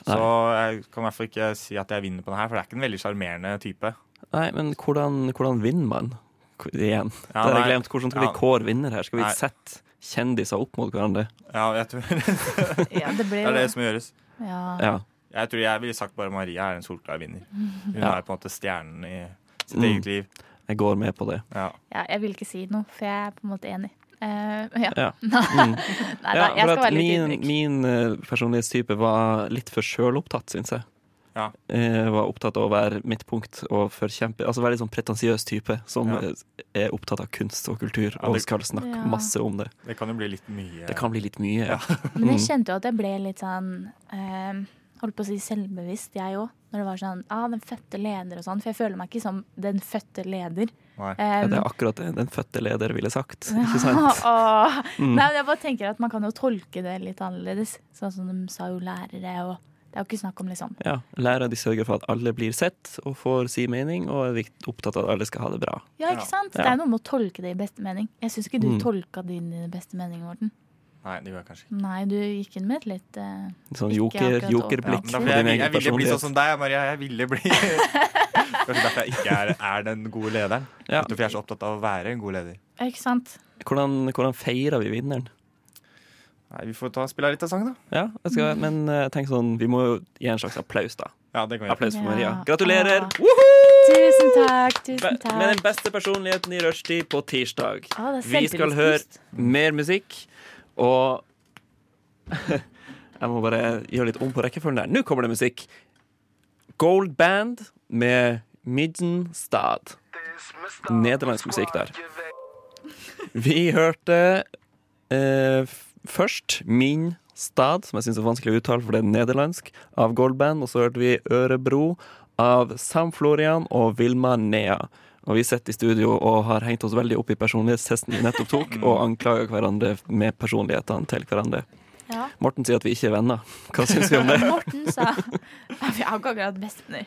[SPEAKER 5] Så jeg kan i hvert fall ikke si at jeg vinner på den her, for det er ikke en veldig sjarmerende type.
[SPEAKER 2] Nei, men hvordan, hvordan vinner man? Hvor- Igjen.
[SPEAKER 5] Ja,
[SPEAKER 2] Der har
[SPEAKER 5] nei.
[SPEAKER 2] jeg glemt. Hvordan skal vi
[SPEAKER 5] Ja.
[SPEAKER 2] kåre vinner her? Skal vi
[SPEAKER 5] Nei.
[SPEAKER 2] sette kjendiser opp mot hverandre?
[SPEAKER 5] Ja, jeg tror, det
[SPEAKER 4] Ja, det blir
[SPEAKER 5] er det
[SPEAKER 4] jo
[SPEAKER 5] som gjøres.
[SPEAKER 4] ja.
[SPEAKER 2] Ja.
[SPEAKER 5] Jeg tror jeg ville sagt bare Maria er en solklar vinner. Hun
[SPEAKER 2] Ja.
[SPEAKER 5] er på en måte stjernen i sitt
[SPEAKER 2] Mm.
[SPEAKER 5] eget liv.
[SPEAKER 2] Jeg går med på det.
[SPEAKER 5] Ja.
[SPEAKER 4] ja, jeg vil ikke si noe, for jeg er på en måte enig. Eh, ja.
[SPEAKER 2] Ja. Mm.
[SPEAKER 4] Nei da,
[SPEAKER 2] Ja,
[SPEAKER 4] jeg
[SPEAKER 2] for
[SPEAKER 4] skal
[SPEAKER 2] at
[SPEAKER 4] være litt
[SPEAKER 2] min,
[SPEAKER 4] ydmyk.
[SPEAKER 2] min eh, personlighetstype var litt for sjølopptatt, syns jeg.
[SPEAKER 5] Ja.
[SPEAKER 2] Eh, var opptatt av å være midtpunkt og forkjempe Altså veldig sånn pretensiøs type som
[SPEAKER 5] Ja.
[SPEAKER 2] eh, er opptatt av kunst og kultur
[SPEAKER 5] Ja,
[SPEAKER 2] og
[SPEAKER 5] det-
[SPEAKER 2] skal snakke
[SPEAKER 4] Ja.
[SPEAKER 2] masse om det.
[SPEAKER 5] Det kan jo bli litt mye.
[SPEAKER 2] Det kan bli litt mye. Ja.
[SPEAKER 4] Men
[SPEAKER 2] mm.
[SPEAKER 4] jeg kjente jo at jeg ble litt sånn eh, Holdt på å si selvbevisst, jeg òg. Når det var sånn ah, 'den fødte leder' og sånn. For jeg føler meg ikke som den fødte leder.
[SPEAKER 5] Nei.
[SPEAKER 2] Ja, det
[SPEAKER 4] Um,
[SPEAKER 2] er akkurat det den fødte leder ville sagt. Ikke sant? Mm.
[SPEAKER 4] Åh. Nei, men jeg bare tenker at man kan jo tolke det litt annerledes. Sånn som de sa jo lærere og Det er jo ikke snakk om liksom
[SPEAKER 2] Ja, Lærere de sørger for at alle blir sett og får si mening, og er vikt- opptatt av at alle skal ha det bra.
[SPEAKER 4] Ja, ikke sant? Det
[SPEAKER 2] Ja.
[SPEAKER 4] er noe med å tolke det i beste mening. Jeg syns ikke du
[SPEAKER 2] Mm.
[SPEAKER 4] tolka din i beste mening, Morten.
[SPEAKER 5] Nei, det gjør jeg kanskje ikke.
[SPEAKER 4] Nei, du gikk inn med et litt eh,
[SPEAKER 2] Sånn
[SPEAKER 4] Ikke
[SPEAKER 2] joker,
[SPEAKER 4] akkurat
[SPEAKER 5] Ja, men
[SPEAKER 2] jokerblikk på
[SPEAKER 5] derfor,
[SPEAKER 2] din
[SPEAKER 5] jeg, jeg
[SPEAKER 2] egen
[SPEAKER 5] ville bli sånn som
[SPEAKER 2] personlighet.
[SPEAKER 5] deg, Maria. Jeg ville bli Kanskje derfor jeg ikke er, er den gode lederen.
[SPEAKER 2] Ja.
[SPEAKER 5] Nettopp fordi jeg er så opptatt av å være en god leder.
[SPEAKER 4] Ikke sant?
[SPEAKER 2] Hvordan, hvordan feirer vi vinneren?
[SPEAKER 5] Nei, Vi får ta og spille litt av sangen, da.
[SPEAKER 2] Ja, jeg
[SPEAKER 4] Mm.
[SPEAKER 2] skal, men eh, tenk sånn, vi må jo gi en slags applaus, da.
[SPEAKER 5] Ja, det kan vi gjøre.
[SPEAKER 2] Applaus for
[SPEAKER 4] Ja.
[SPEAKER 2] Maria. Gratulerer!
[SPEAKER 4] Ah.
[SPEAKER 2] Woohoo!
[SPEAKER 4] Tusen takk, tusen
[SPEAKER 2] Be- Med
[SPEAKER 4] takk.
[SPEAKER 2] den beste personligheten i rushtid på tirsdag.
[SPEAKER 4] Ah, det er
[SPEAKER 2] Vi skal høre
[SPEAKER 4] selvtillitsboost.
[SPEAKER 2] mer musikk, og Jeg må bare gjøre litt om på rekkefølgen der. Nå kommer det musikk. Gold Band med Middenstad. Nederlandsk musikk der. Vi hørte eh, f- først Min Stad, som jeg syns er vanskelig å uttale, for det er nederlandsk, av Gold Band. Og så hørte vi Ørebro av Sam Florian og Vilma Nea. Og vi sitter i studio og har hengt oss veldig opp i personlighetstesten vi nettopp tok,
[SPEAKER 5] Mm.
[SPEAKER 2] og anklager hverandre med personlighetene til hverandre.
[SPEAKER 4] Ja.
[SPEAKER 2] Morten sier at vi ikke er venner. Hva syns vi om det?
[SPEAKER 4] Morten sa Ja, Vi har ikke akkurat bestevenner.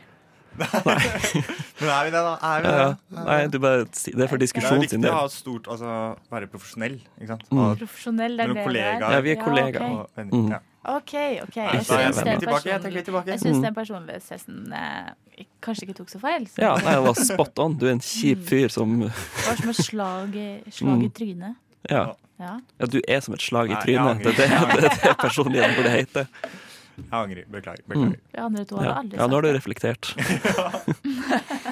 [SPEAKER 5] Men er vi det, da? Er vi det?
[SPEAKER 2] Ja, nei, du bare, si- det er for
[SPEAKER 5] Det er
[SPEAKER 2] diskusjon
[SPEAKER 5] jo viktig
[SPEAKER 2] sin
[SPEAKER 5] å ha
[SPEAKER 2] del.
[SPEAKER 5] et stort, altså være profesjonell, ikke sant?
[SPEAKER 2] Mm.
[SPEAKER 5] Ha
[SPEAKER 4] Profesjonell, det er
[SPEAKER 5] Mellom
[SPEAKER 4] det
[SPEAKER 5] kollegaer.
[SPEAKER 2] Ja, vi er kollegaer.
[SPEAKER 4] ok.
[SPEAKER 5] og venner.
[SPEAKER 2] Mm.
[SPEAKER 5] Ja.
[SPEAKER 4] OK. ok Jeg
[SPEAKER 5] Så jeg
[SPEAKER 4] syns
[SPEAKER 5] tenker
[SPEAKER 4] den
[SPEAKER 5] tilbake, jeg
[SPEAKER 4] personlig-
[SPEAKER 5] tenker tilbake.
[SPEAKER 4] jeg syns
[SPEAKER 2] Mm.
[SPEAKER 4] den personlighetstesten eh, kanskje ikke tok så feil. Så
[SPEAKER 2] Ja, nei, det var spot on. Du er en kjip fyr som
[SPEAKER 4] Det var som et slag, i- slag
[SPEAKER 2] Mm.
[SPEAKER 4] i trynet.
[SPEAKER 2] Ja.
[SPEAKER 4] Ja.
[SPEAKER 2] Ja, du er som et slag i
[SPEAKER 5] Nei,
[SPEAKER 2] trynet. Det
[SPEAKER 5] jeg
[SPEAKER 2] er det, det, er det personligheten burde hete.
[SPEAKER 5] Jeg angrer. Beklager. beklager.
[SPEAKER 2] Mm.
[SPEAKER 4] Vi andre to hadde
[SPEAKER 2] Ja.
[SPEAKER 4] aldri
[SPEAKER 2] ja, nå har du
[SPEAKER 4] sagt det.
[SPEAKER 2] reflektert.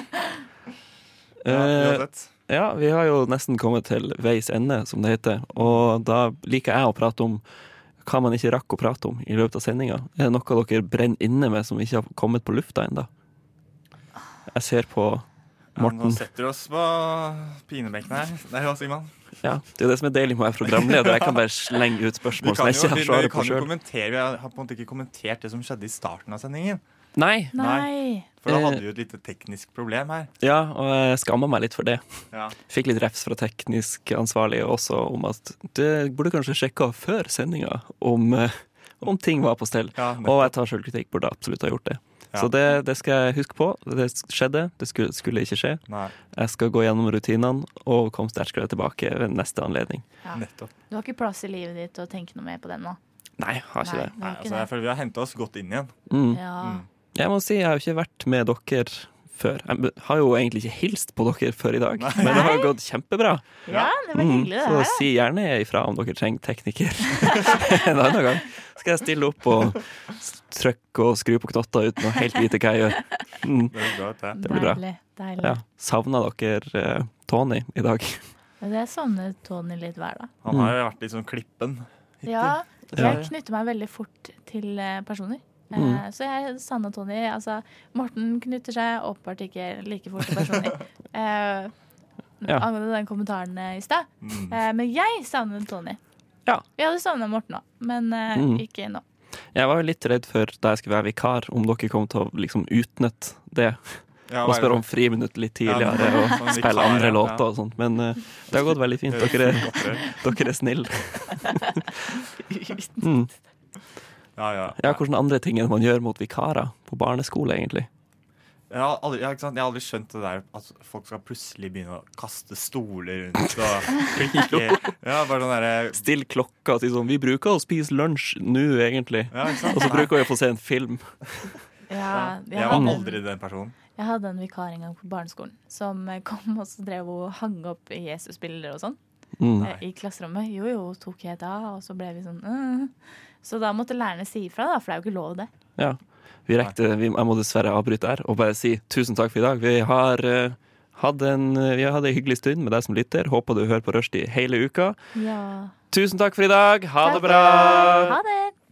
[SPEAKER 5] Ja,
[SPEAKER 2] Eh,
[SPEAKER 5] uansett.
[SPEAKER 2] ja, vi har jo nesten kommet til veis ende, som det heter. Og da liker jeg å prate om hva man ikke rakk å prate om i løpet av sendinga. Er det noe dere brenner inne med som ikke har kommet på lufta ennå? Jeg ser på
[SPEAKER 5] Ja, nå
[SPEAKER 2] Morten.
[SPEAKER 5] setter du oss på pinebenken her. Nei, hva sier man?
[SPEAKER 2] Ja, det er jo det som er deilig med å være programleder. Jeg kan bare slenge ut
[SPEAKER 5] Vi
[SPEAKER 2] spørsmål som
[SPEAKER 5] kan
[SPEAKER 2] jeg
[SPEAKER 5] jo,
[SPEAKER 2] ikke
[SPEAKER 5] vi,
[SPEAKER 2] har
[SPEAKER 5] vi
[SPEAKER 2] svaret på
[SPEAKER 5] kan jo
[SPEAKER 2] sjøl.
[SPEAKER 5] kommentere. Vi har på en måte ikke kommentert det som skjedde i starten av sendingen.
[SPEAKER 2] Nei.
[SPEAKER 4] Nei.
[SPEAKER 5] For da
[SPEAKER 2] Eh.
[SPEAKER 5] hadde vi jo et lite teknisk problem her.
[SPEAKER 2] Ja, og jeg skammer meg litt for det.
[SPEAKER 5] Ja.
[SPEAKER 2] Fikk litt refs fra teknisk ansvarlig også om at det burde kanskje sjekka før sendinga om, eh, om ting var på stell.
[SPEAKER 5] Ja, nettopp.
[SPEAKER 2] og jeg tar selvkritikk, burde absolutt ha gjort det.
[SPEAKER 5] Ja.
[SPEAKER 2] Så det, det skal jeg huske på. Det skjedde, det skulle, skulle ikke skje.
[SPEAKER 5] Nei,
[SPEAKER 2] Jeg skal gå gjennom rutinene og komme sterkere tilbake ved neste anledning.
[SPEAKER 5] nettopp.
[SPEAKER 4] Du har ikke plass i livet ditt til å tenke noe mer på den nå.
[SPEAKER 2] Nei, jeg har ikke
[SPEAKER 4] Nei,
[SPEAKER 2] det.
[SPEAKER 4] du
[SPEAKER 5] Nei,
[SPEAKER 4] har
[SPEAKER 5] altså,
[SPEAKER 4] ikke
[SPEAKER 5] jeg føler vi har henta oss godt inn igjen.
[SPEAKER 2] Mm.
[SPEAKER 4] det. Ja.
[SPEAKER 2] Jeg må si jeg har jo ikke vært med dere før. Jeg har jo egentlig ikke hilst på dere før i dag, men det har jo gått kjempebra.
[SPEAKER 4] ja, det var
[SPEAKER 2] Mm,
[SPEAKER 4] hyggelig, det
[SPEAKER 2] Så
[SPEAKER 4] her.
[SPEAKER 2] si gjerne ifra om dere trenger tekniker en annen gang. Skal jeg stille opp og s- trykke og skru på knotter uten å helt vite hva jeg gjør. Mm,
[SPEAKER 5] Det høres bra ut, det.
[SPEAKER 2] det blir bra.
[SPEAKER 4] Deilig. deilig.
[SPEAKER 2] ja. Savna dere eh, Tony i dag?
[SPEAKER 4] Men det savner Tony litt hver dag.
[SPEAKER 5] Han har jo vært litt sånn klippen.
[SPEAKER 4] Ja,
[SPEAKER 2] Mm. Ja.
[SPEAKER 4] jeg knytter meg veldig fort til eh, personer. Eh,
[SPEAKER 2] Mm.
[SPEAKER 4] Så jeg savner Tony. Altså, Morten knytter seg åpenbart ikke like fort til personer. Eh,
[SPEAKER 2] Ja.
[SPEAKER 4] Angående den kommentaren eh, i stad.
[SPEAKER 5] Mm.
[SPEAKER 4] Eh, men jeg savner Tony.
[SPEAKER 2] Ja.
[SPEAKER 4] Vi hadde savna Morten òg, men eh,
[SPEAKER 2] Mm.
[SPEAKER 4] ikke nå.
[SPEAKER 2] Jeg var jo litt redd for da jeg skulle være vikar, om dere kom til å liksom utnytte det
[SPEAKER 5] Ja,
[SPEAKER 2] og
[SPEAKER 5] hva er
[SPEAKER 2] spørre
[SPEAKER 5] det?
[SPEAKER 2] om friminutt litt tidligere
[SPEAKER 5] Ja,
[SPEAKER 2] og
[SPEAKER 5] sånn vikar,
[SPEAKER 2] spille andre
[SPEAKER 5] ja.
[SPEAKER 2] låter og sånt. Men eh, det har gått veldig fint. Dere er,
[SPEAKER 5] Godt, det.
[SPEAKER 2] dere er snille. Mm.
[SPEAKER 5] Ja, ja.
[SPEAKER 2] Ja, hvordan andre ting enn man gjør mot vikarer på barneskole, egentlig.
[SPEAKER 5] Jeg har, aldri, ja, ikke sant? jeg har aldri skjønt det der at folk skal plutselig begynne å kaste stoler rundt. Og klikke. Ja, bare sånn derre
[SPEAKER 2] Still klokka og si sånn Vi bruker å spise lunsj nå, egentlig.
[SPEAKER 5] ja, ikke sant?
[SPEAKER 2] Og så bruker vi å få se en film.
[SPEAKER 4] Ja, jeg,
[SPEAKER 5] Jeg
[SPEAKER 4] hadde
[SPEAKER 5] var
[SPEAKER 4] en,
[SPEAKER 5] aldri den personen.
[SPEAKER 4] jeg hadde en vikar en gang på barneskolen som eh, kom og så drev og hang opp Jesus-bilder og sånn
[SPEAKER 2] Mm.
[SPEAKER 4] eh, i klasserommet. Jo, jo, tok jeg da, og så ble vi sånn «Øh». Så da måtte lærerne si ifra, da, for det er jo ikke lov, det.
[SPEAKER 2] Ja. Vi rekte, vi, jeg må dessverre avbryte her og bare si tusen takk for i dag. Vi har eh, hatt en, eh, vi har hatt en hyggelig stund med deg som lytter. Håper du hører på Rushdie hele uka.
[SPEAKER 4] Ja.
[SPEAKER 2] Tusen takk for i dag. Ha det
[SPEAKER 4] Takk.
[SPEAKER 2] bra!
[SPEAKER 4] Ha det!